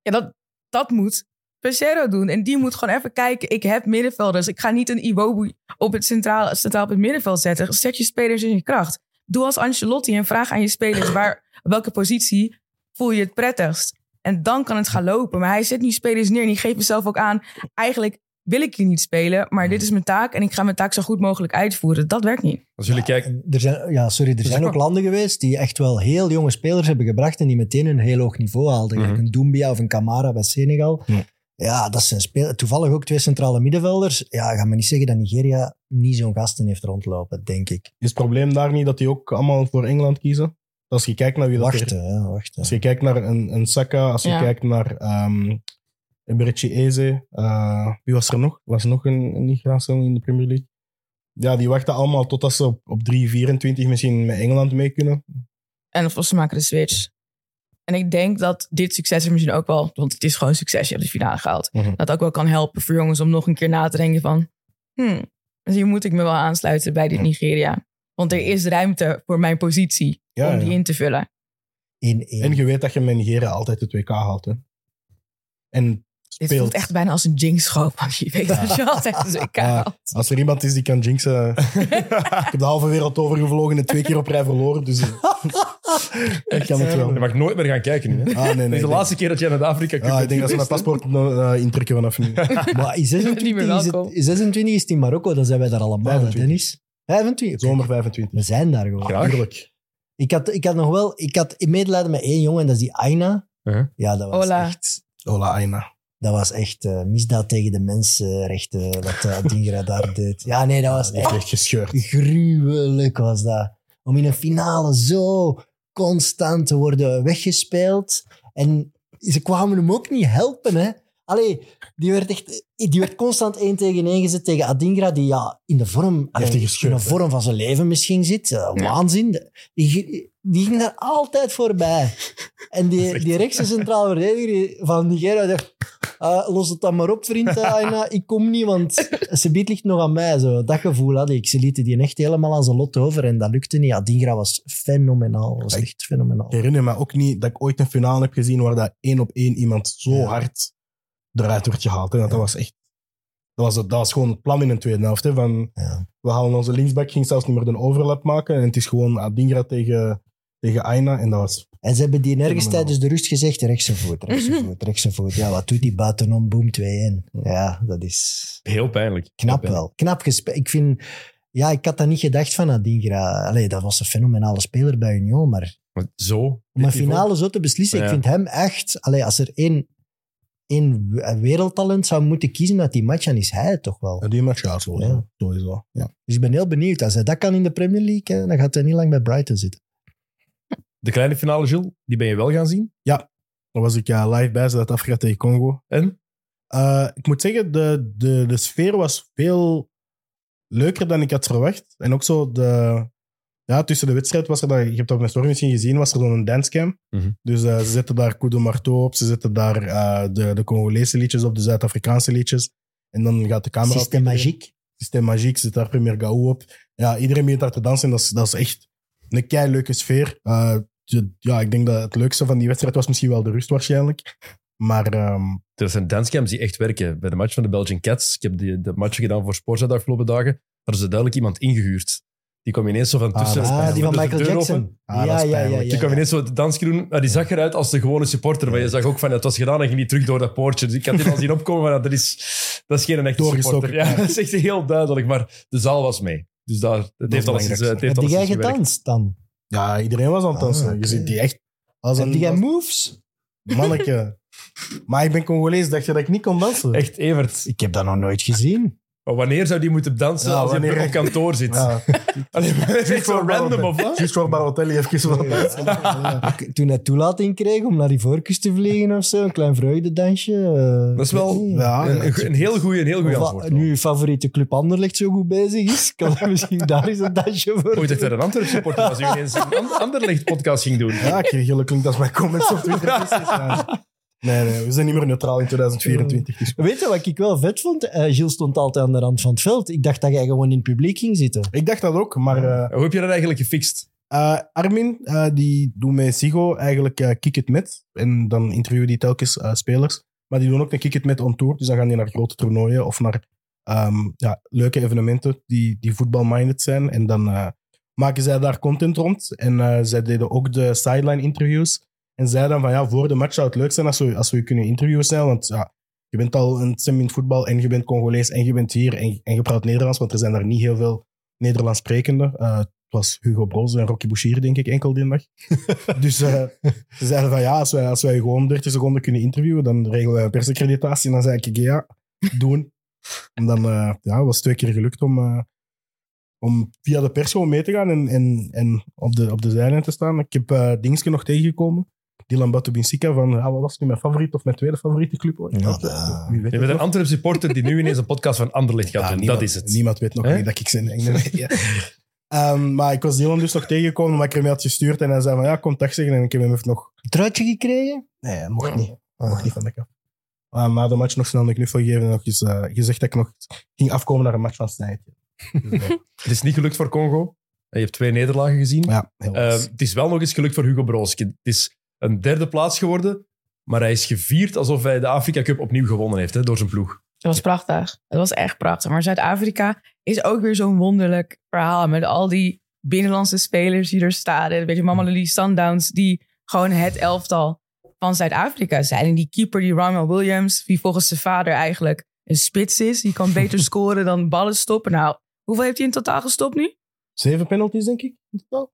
[SPEAKER 5] Ja, dat, dat moet Pesero doen. En die moet gewoon even kijken, ik heb middenvelders. Ik ga niet een Iwobu op het centraal, centraal op het middenveld zetten. Zet je spelers in je kracht. Doe als Ancelotti en vraag aan je spelers waar, welke positie voel je het prettigst. En dan kan het gaan lopen. Maar hij zet nu spelers neer en die geeft mezelf ook aan... eigenlijk wil ik hier niet spelen, maar dit is mijn taak... en ik ga mijn taak zo goed mogelijk uitvoeren. Dat werkt niet.
[SPEAKER 2] Als jullie kijken...
[SPEAKER 4] En Er zijn, ja, sorry, er
[SPEAKER 2] is
[SPEAKER 4] zijn
[SPEAKER 2] ook
[SPEAKER 4] ook landen geweest die echt wel heel jonge spelers hebben gebracht en die meteen een heel hoog niveau haalden. Gelijk Een Doumbia of een Camara bij Senegal.
[SPEAKER 3] Ja.
[SPEAKER 4] Ja, dat zijn spelers. Toevallig ook twee centrale middenvelders. Ja, ga me niet zeggen dat Nigeria niet zo'n gasten heeft rondlopen, denk ik.
[SPEAKER 3] Is het probleem daar niet dat die ook allemaal voor Engeland kiezen? Als je kijkt naar wie dat er-
[SPEAKER 4] Wachten, ja, wachten.
[SPEAKER 3] Als je kijkt naar een, een Saka, als je
[SPEAKER 5] Ja.
[SPEAKER 3] kijkt naar ehm Eberechi Eze, eh, wie was er nog? Was er nog een, een Nigeriaanse in de Premier League? Ja, die wachten allemaal totdat ze op, op 3-24 misschien met Engeland mee kunnen.
[SPEAKER 5] En of ze maken de switch. En ik denk dat dit succes er misschien ook wel... want het is gewoon succes, je hebt de finale gehaald.
[SPEAKER 3] Mhm.
[SPEAKER 5] Dat ook wel kan helpen voor jongens om nog een keer na te denken van... Hmm, dus hier moet ik me wel aansluiten bij dit
[SPEAKER 3] Ja.
[SPEAKER 5] Nigeria. Want er is ruimte voor mijn positie
[SPEAKER 3] Ja,
[SPEAKER 5] om
[SPEAKER 3] ja.
[SPEAKER 5] die in te vullen.
[SPEAKER 4] In, in.
[SPEAKER 3] En je weet dat je met Nigeria altijd het WK haalt. Hè? En
[SPEAKER 5] Dit
[SPEAKER 3] speelt.
[SPEAKER 5] voelt echt bijna als een jinx schoop, want je weet dat je altijd een WK
[SPEAKER 3] Ja.
[SPEAKER 5] haalt.
[SPEAKER 3] Als er iemand is die kan jinxen... ik heb de halve wereld overgevlogen en twee keer op rij verloren, dus... ik kan het wel.
[SPEAKER 2] Je mag nooit meer gaan kijken nu. Hè?
[SPEAKER 3] Ah, nee, nee.
[SPEAKER 2] Dit is
[SPEAKER 3] ik
[SPEAKER 2] de
[SPEAKER 3] denk-
[SPEAKER 2] laatste keer dat jij naar de Afrika Cup
[SPEAKER 3] Ah, ik denk dat
[SPEAKER 2] bent
[SPEAKER 3] ze mijn
[SPEAKER 2] geweest,
[SPEAKER 3] paspoort eh, intrekken vanaf nu.
[SPEAKER 4] Maar in 26,
[SPEAKER 5] Niet meer
[SPEAKER 4] is,
[SPEAKER 5] welkom.
[SPEAKER 4] het, in 26 is het in Marokko, dan zijn wij daar allemaal, hè,
[SPEAKER 3] 25.
[SPEAKER 4] Dennis. 25?
[SPEAKER 3] Zomer 25.
[SPEAKER 4] We zijn daar gewoon.
[SPEAKER 2] hè? Graag.
[SPEAKER 3] Tuurlijk.
[SPEAKER 4] Ik, had, ik had nog wel... Ik had medelijden met één jongen, dat is die Aina.
[SPEAKER 2] Uh-huh.
[SPEAKER 4] Ja, dat was
[SPEAKER 5] Ola.
[SPEAKER 4] echt...
[SPEAKER 3] Hola, Aina.
[SPEAKER 4] Dat was echt eh, misdaad tegen de mensenrechten, wat uh, Dingra daar deed. Ja, nee, dat was
[SPEAKER 3] Die heeft
[SPEAKER 4] echt
[SPEAKER 3] echt gescheurd.
[SPEAKER 4] gruwelijk was dat. Om in een finale zo constant te worden weggespeeld. En ze kwamen hem ook niet helpen, hè. Allee, die werd, echt, die werd constant één tegen één gezet tegen Adingra, die ja, in de vorm, allee,
[SPEAKER 3] heeft die
[SPEAKER 4] in
[SPEAKER 3] gescheurd,
[SPEAKER 4] de
[SPEAKER 3] hè?
[SPEAKER 4] vorm van zijn leven misschien zit. Eh, Waanzin. Die, die ging daar altijd voorbij. En die, die rechtse centrale verdediger van Nigeria dacht... "Ah, los het dan maar op, vriend eh, Aina. Ik kom niet, want ze biedt ligt nog aan mij. Zo. Dat gevoel had ik. Ze lieten die echt helemaal aan zijn lot over. En dat lukte niet. Adingra was fenomenaal. was
[SPEAKER 3] Ik-
[SPEAKER 4] echt fenomenaal.
[SPEAKER 3] Ik herinner me ook niet dat ik ooit een finale heb gezien waar dat één op één iemand zo
[SPEAKER 4] Ja.
[SPEAKER 3] hard eruit werd gehaald. Hè. Want dat was echt... Dat was, dat was gewoon het plan in de tweede helft. Hè, van,
[SPEAKER 4] Ja.
[SPEAKER 3] We halen onze linksback, ging zelfs niet meer de overlap maken. En het is gewoon Adingra tegen, tegen Aina. En dat was...
[SPEAKER 4] En ze hebben die nergens
[SPEAKER 3] Fenomenaal.
[SPEAKER 4] tijdens de rust gezegd: rechtse voet, rechtse voet, rechtse voet. Ja, wat doet die buitenom? Boom 2-1. Ja, dat is
[SPEAKER 2] Heel pijnlijk.
[SPEAKER 4] knap
[SPEAKER 2] Heel pijnlijk.
[SPEAKER 4] wel. Knap gespeeld. Ik vind. Ja, ik had dat niet gedacht van Adingra. Allee, dat was een fenomenale speler bij Union, maar
[SPEAKER 2] Maar Zo.
[SPEAKER 4] om een
[SPEAKER 2] dit niveau.
[SPEAKER 4] finale zo te beslissen, ik
[SPEAKER 2] Ja.
[SPEAKER 4] vind hem echt... Allee, als er één, één we- wereldtalent zou moeten kiezen uit die match, dan is hij het toch wel.
[SPEAKER 3] Ja, die match gaat zo.
[SPEAKER 4] Ja.
[SPEAKER 3] Sowieso. Ja.
[SPEAKER 4] Dus ik ben heel benieuwd. Als hij dat kan in de Premier League, hè, dan gaat hij niet lang bij Brighton zitten.
[SPEAKER 2] De kleine finale, Jules, die ben je wel gaan zien.
[SPEAKER 3] Daar was ik ja, live bij Zuid-Afrika tegen Congo.
[SPEAKER 2] En?
[SPEAKER 3] Eh, ik moet zeggen, de, de, de sfeer was veel leuker dan ik had verwacht. En ook zo, de, ja, tussen de wedstrijd was er, dan, je hebt dat met Story misschien gezien, was er zo'n dancecam.
[SPEAKER 2] Mhm.
[SPEAKER 3] Dus eh, ze zetten daar Coup de Marteau op, ze zetten daar eh, de, de Congolese liedjes op, de Zuid-Afrikaanse liedjes. En dan gaat de camera...
[SPEAKER 4] System Magique.
[SPEAKER 3] System Magique zit daar Premier Gaou op. Ja, iedereen begint daar te dansen. en Dat is, dat is echt een kei leuke sfeer. Eh, je- ja, ik denk dat het leukste van die wedstrijd was misschien wel de rust waarschijnlijk. Maar ehm,
[SPEAKER 2] Er zijn dancecams die echt werken. Bij de match van de Belgian Cats, ik heb die, de match gedaan voor Sporza de afgelopen dagen, daar is duidelijk iemand ingehuurd. Die kwam ineens zo van
[SPEAKER 3] Ah,
[SPEAKER 2] tussen...
[SPEAKER 3] dat is
[SPEAKER 4] Ah, die van
[SPEAKER 2] tussen de
[SPEAKER 4] Michael
[SPEAKER 2] deur
[SPEAKER 4] Jackson.
[SPEAKER 2] open.
[SPEAKER 3] Ah, dat is pijnlijk.
[SPEAKER 2] Die kwam ineens zo het dansje doen, maar die zag eruit als de gewone supporter. Maar je zag ook van, het was gedaan en ging niet terug door dat poortje. Dus ik had dit al zien opkomen, maar dat is, dat is geen echte
[SPEAKER 3] Doorgestoken.
[SPEAKER 2] supporter. Ja, dat is echt heel duidelijk, maar de zaal was mee. Dus daar, het heeft
[SPEAKER 3] het
[SPEAKER 2] alles eens,
[SPEAKER 3] belangrijkste.
[SPEAKER 2] het heeft
[SPEAKER 4] Heb
[SPEAKER 2] alleszins
[SPEAKER 4] jij
[SPEAKER 2] gewerkt.
[SPEAKER 4] gedanst dan?
[SPEAKER 3] ja, iedereen was aan het dansen.
[SPEAKER 4] Ah, oké.
[SPEAKER 3] Je ziet die echt als
[SPEAKER 4] Heb
[SPEAKER 3] een
[SPEAKER 4] jij
[SPEAKER 3] als-
[SPEAKER 4] moves?
[SPEAKER 3] manneke. maar ik ben Congolees, dacht je dat ik niet kon dansen?
[SPEAKER 2] Echt Evert.
[SPEAKER 4] Ik heb dat nog nooit gezien.
[SPEAKER 2] Maar wanneer zou die moeten dansen
[SPEAKER 3] Ja,
[SPEAKER 2] als hij
[SPEAKER 3] wanneer-
[SPEAKER 2] op kantoor zit?
[SPEAKER 3] Ja,
[SPEAKER 2] Allee, maar het is zo random of wat?
[SPEAKER 3] Just voor Barotelli even wat dansen.
[SPEAKER 4] Ik- Toen hij toelating kreeg om naar die voorkust te vliegen of zo, een klein vreugdedansje. eh,
[SPEAKER 2] Dat is wel
[SPEAKER 4] ik weet niet.
[SPEAKER 3] Ja,
[SPEAKER 2] een, een, een heel goede heel goeie
[SPEAKER 4] Of
[SPEAKER 2] antwoord.
[SPEAKER 4] wat nu je favoriete club Anderlecht zo goed bezig is, kan hij misschien daar eens een dansje voor
[SPEAKER 2] Ooit
[SPEAKER 4] doen.
[SPEAKER 2] dat er een Antwerp supporter was die ineens een an- Anderlecht podcast ging doen.
[SPEAKER 3] Ja, Kirgille klinkt als mijn comments op Twitter. Nee, nee, we zijn niet meer neutraal in 2024. dus-
[SPEAKER 4] Weet je wat ik wel vet vond? Eh, Gilles stond altijd aan de rand van het veld. Ik dacht dat jij gewoon in het publiek ging zitten.
[SPEAKER 3] Ik dacht dat ook, maar... eh,
[SPEAKER 2] Hoe heb je dat eigenlijk gefixt?
[SPEAKER 3] Eh, Armin, eh, die doet met Sigo eigenlijk eh, Kick It Met. En dan interviewen die telkens eh, spelers. Maar die doen ook een Kick It Met on tour. Dus dan gaan die naar grote toernooien of naar ehm, ja, leuke evenementen die, die voetbalminded zijn. En dan eh, maken zij daar content rond. En eh, zij deden ook de sideline interviews. En zeiden dan van ja, voor de match zou het leuk zijn als we, als we je kunnen interviewen zijn. Want ja, je bent al een sim in het voetbal en je bent Congolees en je bent hier en, en je praat Nederlands. Want er zijn daar niet heel veel Nederlands sprekenden. Eh, het was Hugo Broz en Rocky Bouchier, denk ik, enkel die dag. dus eh, ze zeiden van ja, als wij, als wij gewoon 30 seconden kunnen interviewen, dan regelen wij een persaccreditatie. En dan zei ik ja, doen. En dan eh, ja, was het twee keer gelukt om, eh, om via de pers gewoon mee te gaan en, en, en op, de, op de zijlijn te staan. Ik heb eh Dingske nog tegengekomen. Dylan Batubinsika van, ja, wat was nu mijn favoriet of mijn tweede favoriete club? ooit?
[SPEAKER 4] Ja,
[SPEAKER 3] Dat,
[SPEAKER 4] eh,
[SPEAKER 3] wie
[SPEAKER 2] Je
[SPEAKER 3] weet het
[SPEAKER 2] bent een
[SPEAKER 3] nog?
[SPEAKER 2] Antwerp supporter die nu ineens een podcast van Anderlecht gaat
[SPEAKER 3] Ja,
[SPEAKER 2] doen.
[SPEAKER 3] niemand-
[SPEAKER 2] dat is het.
[SPEAKER 3] Niemand weet nog
[SPEAKER 2] Hè?
[SPEAKER 3] niet dat ik zijn engel ben. Ja. Ehm, maar ik was Dylan dus nog tegengekomen, maar ik hem had gestuurd en hij zei van ja, contact zeggen. En ik heb hem even nog...
[SPEAKER 4] Het truitje gekregen?
[SPEAKER 3] Nee, hij mocht niet. Hij
[SPEAKER 4] Ah.
[SPEAKER 3] Mocht niet van de kap. Maar na de match nog snel een knuffel gegeven en nog eens eh, gezegd dat ik nog ging afkomen naar een match van Dus, eh, Snijtje.
[SPEAKER 2] Het is niet gelukt voor Congo. Je hebt twee nederlagen gezien. Ehm,
[SPEAKER 3] Maar ja, helaas.
[SPEAKER 2] Eh, het is wel nog eens gelukt voor Hugo Broos. Het is een derde plaats geworden. Maar hij is gevierd alsof hij de Afrika Cup opnieuw gewonnen heeft hè, door zijn ploeg.
[SPEAKER 5] Dat was prachtig. Dat was echt prachtig. Maar Zuid-Afrika is ook weer zo'n wonderlijk verhaal. Met al die binnenlandse spelers die er staan. En weet je, Mama Lily Sundowns, die gewoon het elftal van Zuid-Afrika zijn. En die keeper, die Ronald Williams, die volgens zijn vader eigenlijk een spits is. Die kan beter scoren dan ballen stoppen. Nou, hoeveel heeft hij in totaal gestopt nu?
[SPEAKER 3] Zeven penalties, denk ik. in totaal.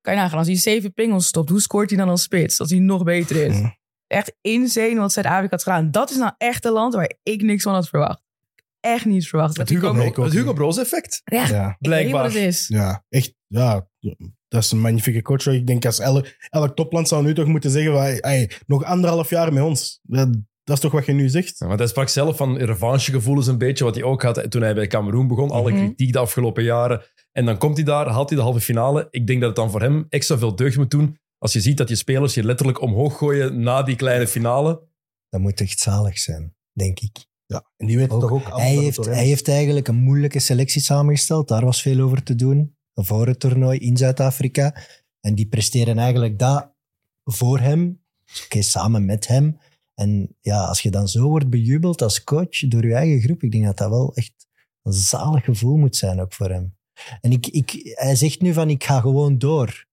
[SPEAKER 5] Kan je nagaan, als hij zeven pingels stopt, hoe scoort hij dan als spits? Als hij nog beter is.
[SPEAKER 3] Ja.
[SPEAKER 5] Echt insane wat Zuid-Afrika had gedaan. Dat is nou echt een land waar ik niks van had verwacht. Echt niet verwacht.
[SPEAKER 2] Het
[SPEAKER 5] Dat die
[SPEAKER 2] Hugo,
[SPEAKER 5] komen-
[SPEAKER 3] nee, ik ook
[SPEAKER 2] het Hugo
[SPEAKER 3] niet.
[SPEAKER 2] Broos effect,
[SPEAKER 5] Ja, ik
[SPEAKER 3] Ja.
[SPEAKER 5] weet
[SPEAKER 2] blijkbaar.
[SPEAKER 5] wat het is.
[SPEAKER 3] ja, echt. Ja, dat is een magnifieke coach. hoor. Ik denk als elk, elk topland zou nu toch moeten zeggen: van, hey, hey, nog anderhalf jaar met ons. Dat, dat is toch wat je nu zegt?
[SPEAKER 2] Ja, want hij sprak zelf van revanchegevoelens een beetje, wat hij ook had toen hij bij Cameroen begon. Alle
[SPEAKER 5] Mhm.
[SPEAKER 2] kritiek de afgelopen jaren. En dan komt hij daar, haalt hij de halve finale. Ik denk dat het dan voor hem extra veel deugd moet doen als je ziet dat je spelers je letterlijk omhoog gooien na die kleine finale.
[SPEAKER 4] Dat moet echt zalig zijn, denk ik.
[SPEAKER 3] Ja, en die weet
[SPEAKER 4] Ook-
[SPEAKER 3] toch ook
[SPEAKER 4] Hij
[SPEAKER 3] dat het
[SPEAKER 4] heeft,
[SPEAKER 3] door hem
[SPEAKER 4] hij
[SPEAKER 3] is.
[SPEAKER 4] heeft eigenlijk een moeilijke selectie samengesteld. Daar was veel over te doen. Voor het toernooi in Zuid-Afrika. En die presteren eigenlijk dat voor hem. Dus oké, samen met hem. En ja, als je dan zo wordt bejubeld als coach door je eigen groep, ik denk dat dat wel echt een zalig gevoel moet zijn ook voor hem. En ik, ik, hij zegt nu van, ik ga gewoon door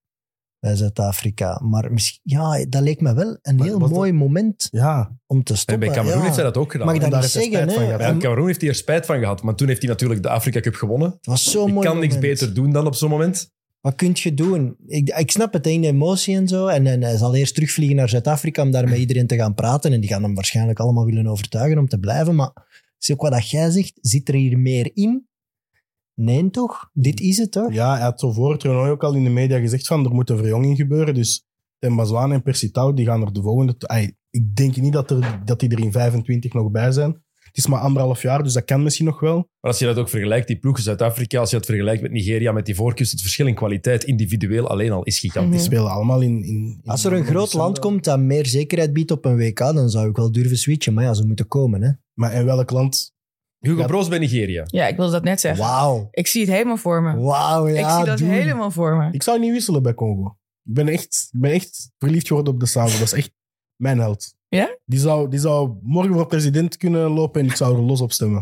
[SPEAKER 4] bij Zuid-Afrika. Maar misschien, ja, dat leek me wel een
[SPEAKER 3] Maar
[SPEAKER 4] heel
[SPEAKER 3] was
[SPEAKER 4] mooi moment
[SPEAKER 3] Ja,
[SPEAKER 4] om te
[SPEAKER 2] En
[SPEAKER 4] stoppen.
[SPEAKER 2] bij Cameroen
[SPEAKER 4] Ja.
[SPEAKER 2] heeft hij dat ook gedaan.
[SPEAKER 4] Mag ik
[SPEAKER 2] hè?
[SPEAKER 4] dat
[SPEAKER 3] daar
[SPEAKER 4] niet
[SPEAKER 3] heeft hij
[SPEAKER 4] zeggen?
[SPEAKER 3] spijt van
[SPEAKER 4] hè?
[SPEAKER 3] gehad.
[SPEAKER 2] Bij Cameroen heeft hij er spijt van gehad, maar toen heeft hij natuurlijk de Afrika Cup gewonnen.
[SPEAKER 4] Het was zo'n
[SPEAKER 2] Ik
[SPEAKER 4] mooi
[SPEAKER 2] kan niks
[SPEAKER 4] moment.
[SPEAKER 2] beter doen dan op zo'n moment.
[SPEAKER 4] Wat kun je doen? Ik, ik snap het, hè, in de emotie en zo. En, en hij zal eerst terugvliegen naar Zuid-Afrika om daar met iedereen te gaan praten. En die gaan hem waarschijnlijk allemaal willen overtuigen om te blijven. Maar is ook wat dat jij zegt. Zit er hier meer in? Nee, toch? Dit is het, toch?
[SPEAKER 3] ja, hij had zo voor het toernooi ook al in de media gezegd: van er moet een verjonging gebeuren. Dus Tim Bazwaan en Percy Tau, die gaan er de volgende. Ay, ik denk niet dat, er, dat die er in 25 nog bij zijn. Het is maar anderhalf jaar, dus dat kan misschien nog wel.
[SPEAKER 2] Maar als je dat ook vergelijkt, die ploegen Zuid-Afrika, als je dat vergelijkt met Nigeria, met die voorkust, het verschil in kwaliteit individueel alleen al is gigantisch.
[SPEAKER 3] Die
[SPEAKER 4] Mhm.
[SPEAKER 3] spelen allemaal in. in, in-
[SPEAKER 4] Als er een
[SPEAKER 3] in
[SPEAKER 4] groot
[SPEAKER 3] december.
[SPEAKER 4] land komt dat meer zekerheid biedt op een WK, dan zou ik wel durven switchen. Maar ja, ze moeten komen, hè?
[SPEAKER 3] Maar in welk land?
[SPEAKER 2] Hugo
[SPEAKER 3] Ja.
[SPEAKER 2] Broos bij Nigeria.
[SPEAKER 5] Ja, ik wilde dat net zeggen.
[SPEAKER 4] Wauw.
[SPEAKER 5] Ik zie het helemaal voor me.
[SPEAKER 4] Wauw, ja.
[SPEAKER 5] ik zie dat
[SPEAKER 4] doen.
[SPEAKER 5] helemaal voor me.
[SPEAKER 3] Ik zou niet wisselen bij Congo. Ik ben echt, ik ben echt verliefd geworden op de Savo. Dat is echt mijn held.
[SPEAKER 5] Ja?
[SPEAKER 3] Die zou, die zou morgen voor president kunnen lopen en ik zou er los op stemmen.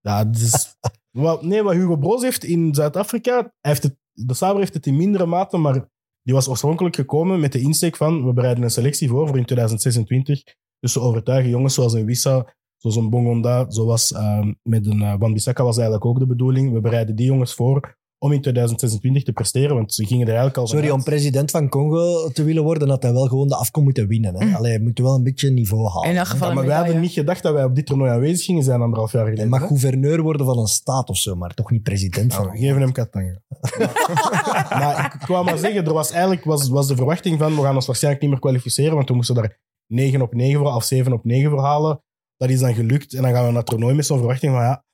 [SPEAKER 3] ja, dus, wat, nee, wat Hugo Broos heeft in Zuid-Afrika, hij heeft het- de Savo heeft het in mindere mate, maar die was oorspronkelijk gekomen met de insteek van we bereiden een selectie voor voor in 2026. Dus ze overtuigen jongens zoals een Wissa, zoals een Bongonda, zoals ehm, met een eh, Wan Bissaka was eigenlijk ook de bedoeling. We bereiden die jongens voor om in 2026 te presteren, want ze gingen er eigenlijk al van
[SPEAKER 4] Sorry,
[SPEAKER 3] uit.
[SPEAKER 4] om president van Congo te willen worden, had hij wel gewoon de afkom moeten winnen. Hè?
[SPEAKER 5] Mm.
[SPEAKER 4] Allee, hij moet wel een beetje niveau halen.
[SPEAKER 5] In dat geval
[SPEAKER 3] Ja, maar
[SPEAKER 5] een
[SPEAKER 3] wij
[SPEAKER 5] medaille.
[SPEAKER 3] hadden niet gedacht dat wij op dit toernooi aanwezig gingen zijn anderhalf jaar
[SPEAKER 4] Hij
[SPEAKER 3] geleden.
[SPEAKER 4] mag
[SPEAKER 3] hè?
[SPEAKER 4] gouverneur worden van een staat of zo, maar toch niet president
[SPEAKER 3] Nou,
[SPEAKER 4] van.
[SPEAKER 5] Oh.
[SPEAKER 3] we geven hem katanga. maar ik wou maar zeggen, er was eigenlijk was, was de verwachting van we gaan ons waarschijnlijk niet meer kwalificeren, want we moesten daar 9 op 9 voor of 7 op 9 voor halen. Dat is dan gelukt en dan gaan we naar het toernooi met zo'n verwachting van ja,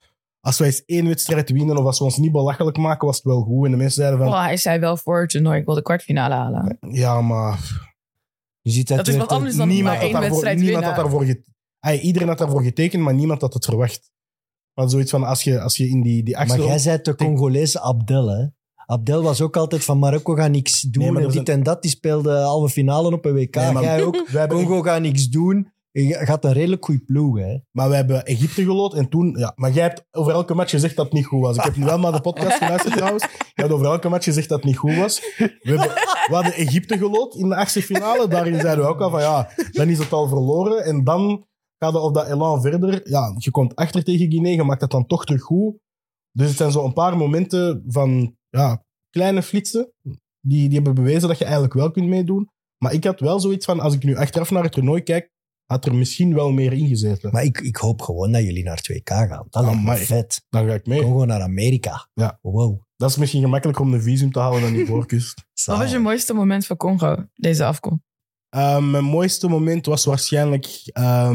[SPEAKER 3] als wij eens één wedstrijd winnen of als we ons niet belachelijk maken, was het wel goed. En de mensen zeiden van
[SPEAKER 5] Oh, hij zei wel voor het toernooi, ik wil de kwartfinale halen.
[SPEAKER 3] ja, maar
[SPEAKER 4] Je ziet
[SPEAKER 5] Dat is
[SPEAKER 4] weer
[SPEAKER 5] wat
[SPEAKER 4] tot-
[SPEAKER 5] anders dan
[SPEAKER 3] niemand,
[SPEAKER 5] maar
[SPEAKER 3] had
[SPEAKER 5] één
[SPEAKER 3] daarvoor,
[SPEAKER 5] wedstrijd
[SPEAKER 3] niemand
[SPEAKER 5] winnen.
[SPEAKER 3] had daarvoor get- Ay, Iedereen had daarvoor getekend, maar niemand had het verwacht. Maar zoiets van als je, als je in die, die
[SPEAKER 4] Maar
[SPEAKER 3] achtste
[SPEAKER 4] jij zei de Congolese Abdel, hè? Abdel was ook altijd van Marokko gaat niks doen,
[SPEAKER 3] Nee, maar
[SPEAKER 4] en
[SPEAKER 3] dat is
[SPEAKER 4] dit en dat. Die speelde halve finale op een WK.
[SPEAKER 3] Nee, maar-
[SPEAKER 4] jij ook.
[SPEAKER 3] wij hebben
[SPEAKER 4] Congo gaat niks doen. Je gaat een redelijk goede ploeg, hè?
[SPEAKER 3] Maar we hebben Egypte gelood en toen... Ja, maar jij hebt over elke match gezegd dat het niet goed was. Ik heb nu wel naar de podcast geluisterd trouwens. Je hebt over elke match gezegd dat het niet goed was. We, hebben, we hadden Egypte gelood in de achtste finale. Daarin zeiden we ook al van ja, dan is het al verloren. En dan gaat het op dat elan verder. Ja, je komt achter tegen Guinea, je maakt dat dan toch terug goed. Dus het zijn zo een paar momenten van ja, kleine flitsen. Die, die hebben bewezen dat je eigenlijk wel kunt meedoen. Maar ik had wel zoiets van, als ik nu achteraf naar het toernooi kijk, had er misschien wel meer ingezeten.
[SPEAKER 4] Maar ik, ik hoop gewoon dat jullie naar 2K gaan. Dat lijkt
[SPEAKER 3] Oh,
[SPEAKER 4] me
[SPEAKER 3] Amai.
[SPEAKER 4] vet.
[SPEAKER 3] Dan ga ik mee.
[SPEAKER 4] Congo naar Amerika.
[SPEAKER 3] Ja.
[SPEAKER 4] Wow.
[SPEAKER 3] Dat is misschien gemakkelijker om een visum te halen dan die voorkust.
[SPEAKER 5] Wat was je mooiste moment van Congo, deze afkomst?
[SPEAKER 3] Ehm, mijn mooiste moment was waarschijnlijk ehm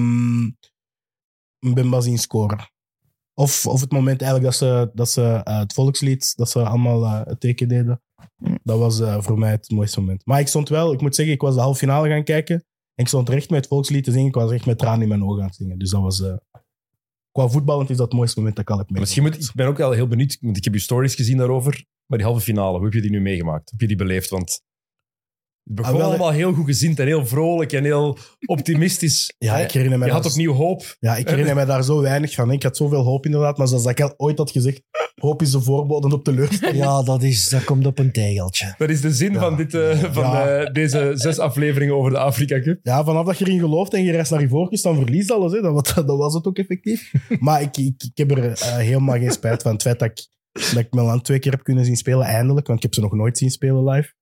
[SPEAKER 3] Mbemba zien scoren. Of, of het moment eigenlijk dat ze, dat ze eh, het volkslied, dat ze allemaal eh, het teken deden. Dat was eh, voor mij het mooiste moment. Maar ik stond wel, ik moet zeggen, ik was de halve finale gaan kijken. En ik stond recht met het volkslied te zingen. Ik was echt met tranen in mijn ogen aan het zingen. Dus dat was... eh, qua voetballend is dat het mooiste moment dat ik al heb
[SPEAKER 2] Misschien moet, ik ben ook wel heel benieuwd, want ik heb je stories gezien daarover. Maar die halve finale, hoe heb je die nu meegemaakt? Hoe heb je die beleefd? Want Het begon
[SPEAKER 3] Ah, wel,
[SPEAKER 2] allemaal heel goed gezind en heel vrolijk en heel optimistisch.
[SPEAKER 3] Ja, ik herinner me
[SPEAKER 2] je
[SPEAKER 3] dat-
[SPEAKER 2] had opnieuw hoop.
[SPEAKER 3] Ja, ik herinner me daar zo weinig van. Ik had zoveel hoop inderdaad, maar zoals ik al ooit had gezegd, hoop is de voorbode op teleurstelling.
[SPEAKER 4] Ja, dat, is, dat komt op een tegeltje.
[SPEAKER 2] Dat is de zin
[SPEAKER 3] Ja.
[SPEAKER 2] van, dit, eh, van
[SPEAKER 3] Ja.
[SPEAKER 2] eh, deze zes afleveringen over de Afrika Cup.
[SPEAKER 3] Ja, vanaf dat je erin gelooft en je reist naar Ivoorkust, dan verliest alles. Hè. Dat, wa- dat was het ook effectief. Maar ik, ik, ik heb er eh, helemaal geen spijt van. Het feit dat ik, dat ik Milan twee keer heb kunnen zien spelen, eindelijk. Want ik heb ze nog nooit zien spelen live.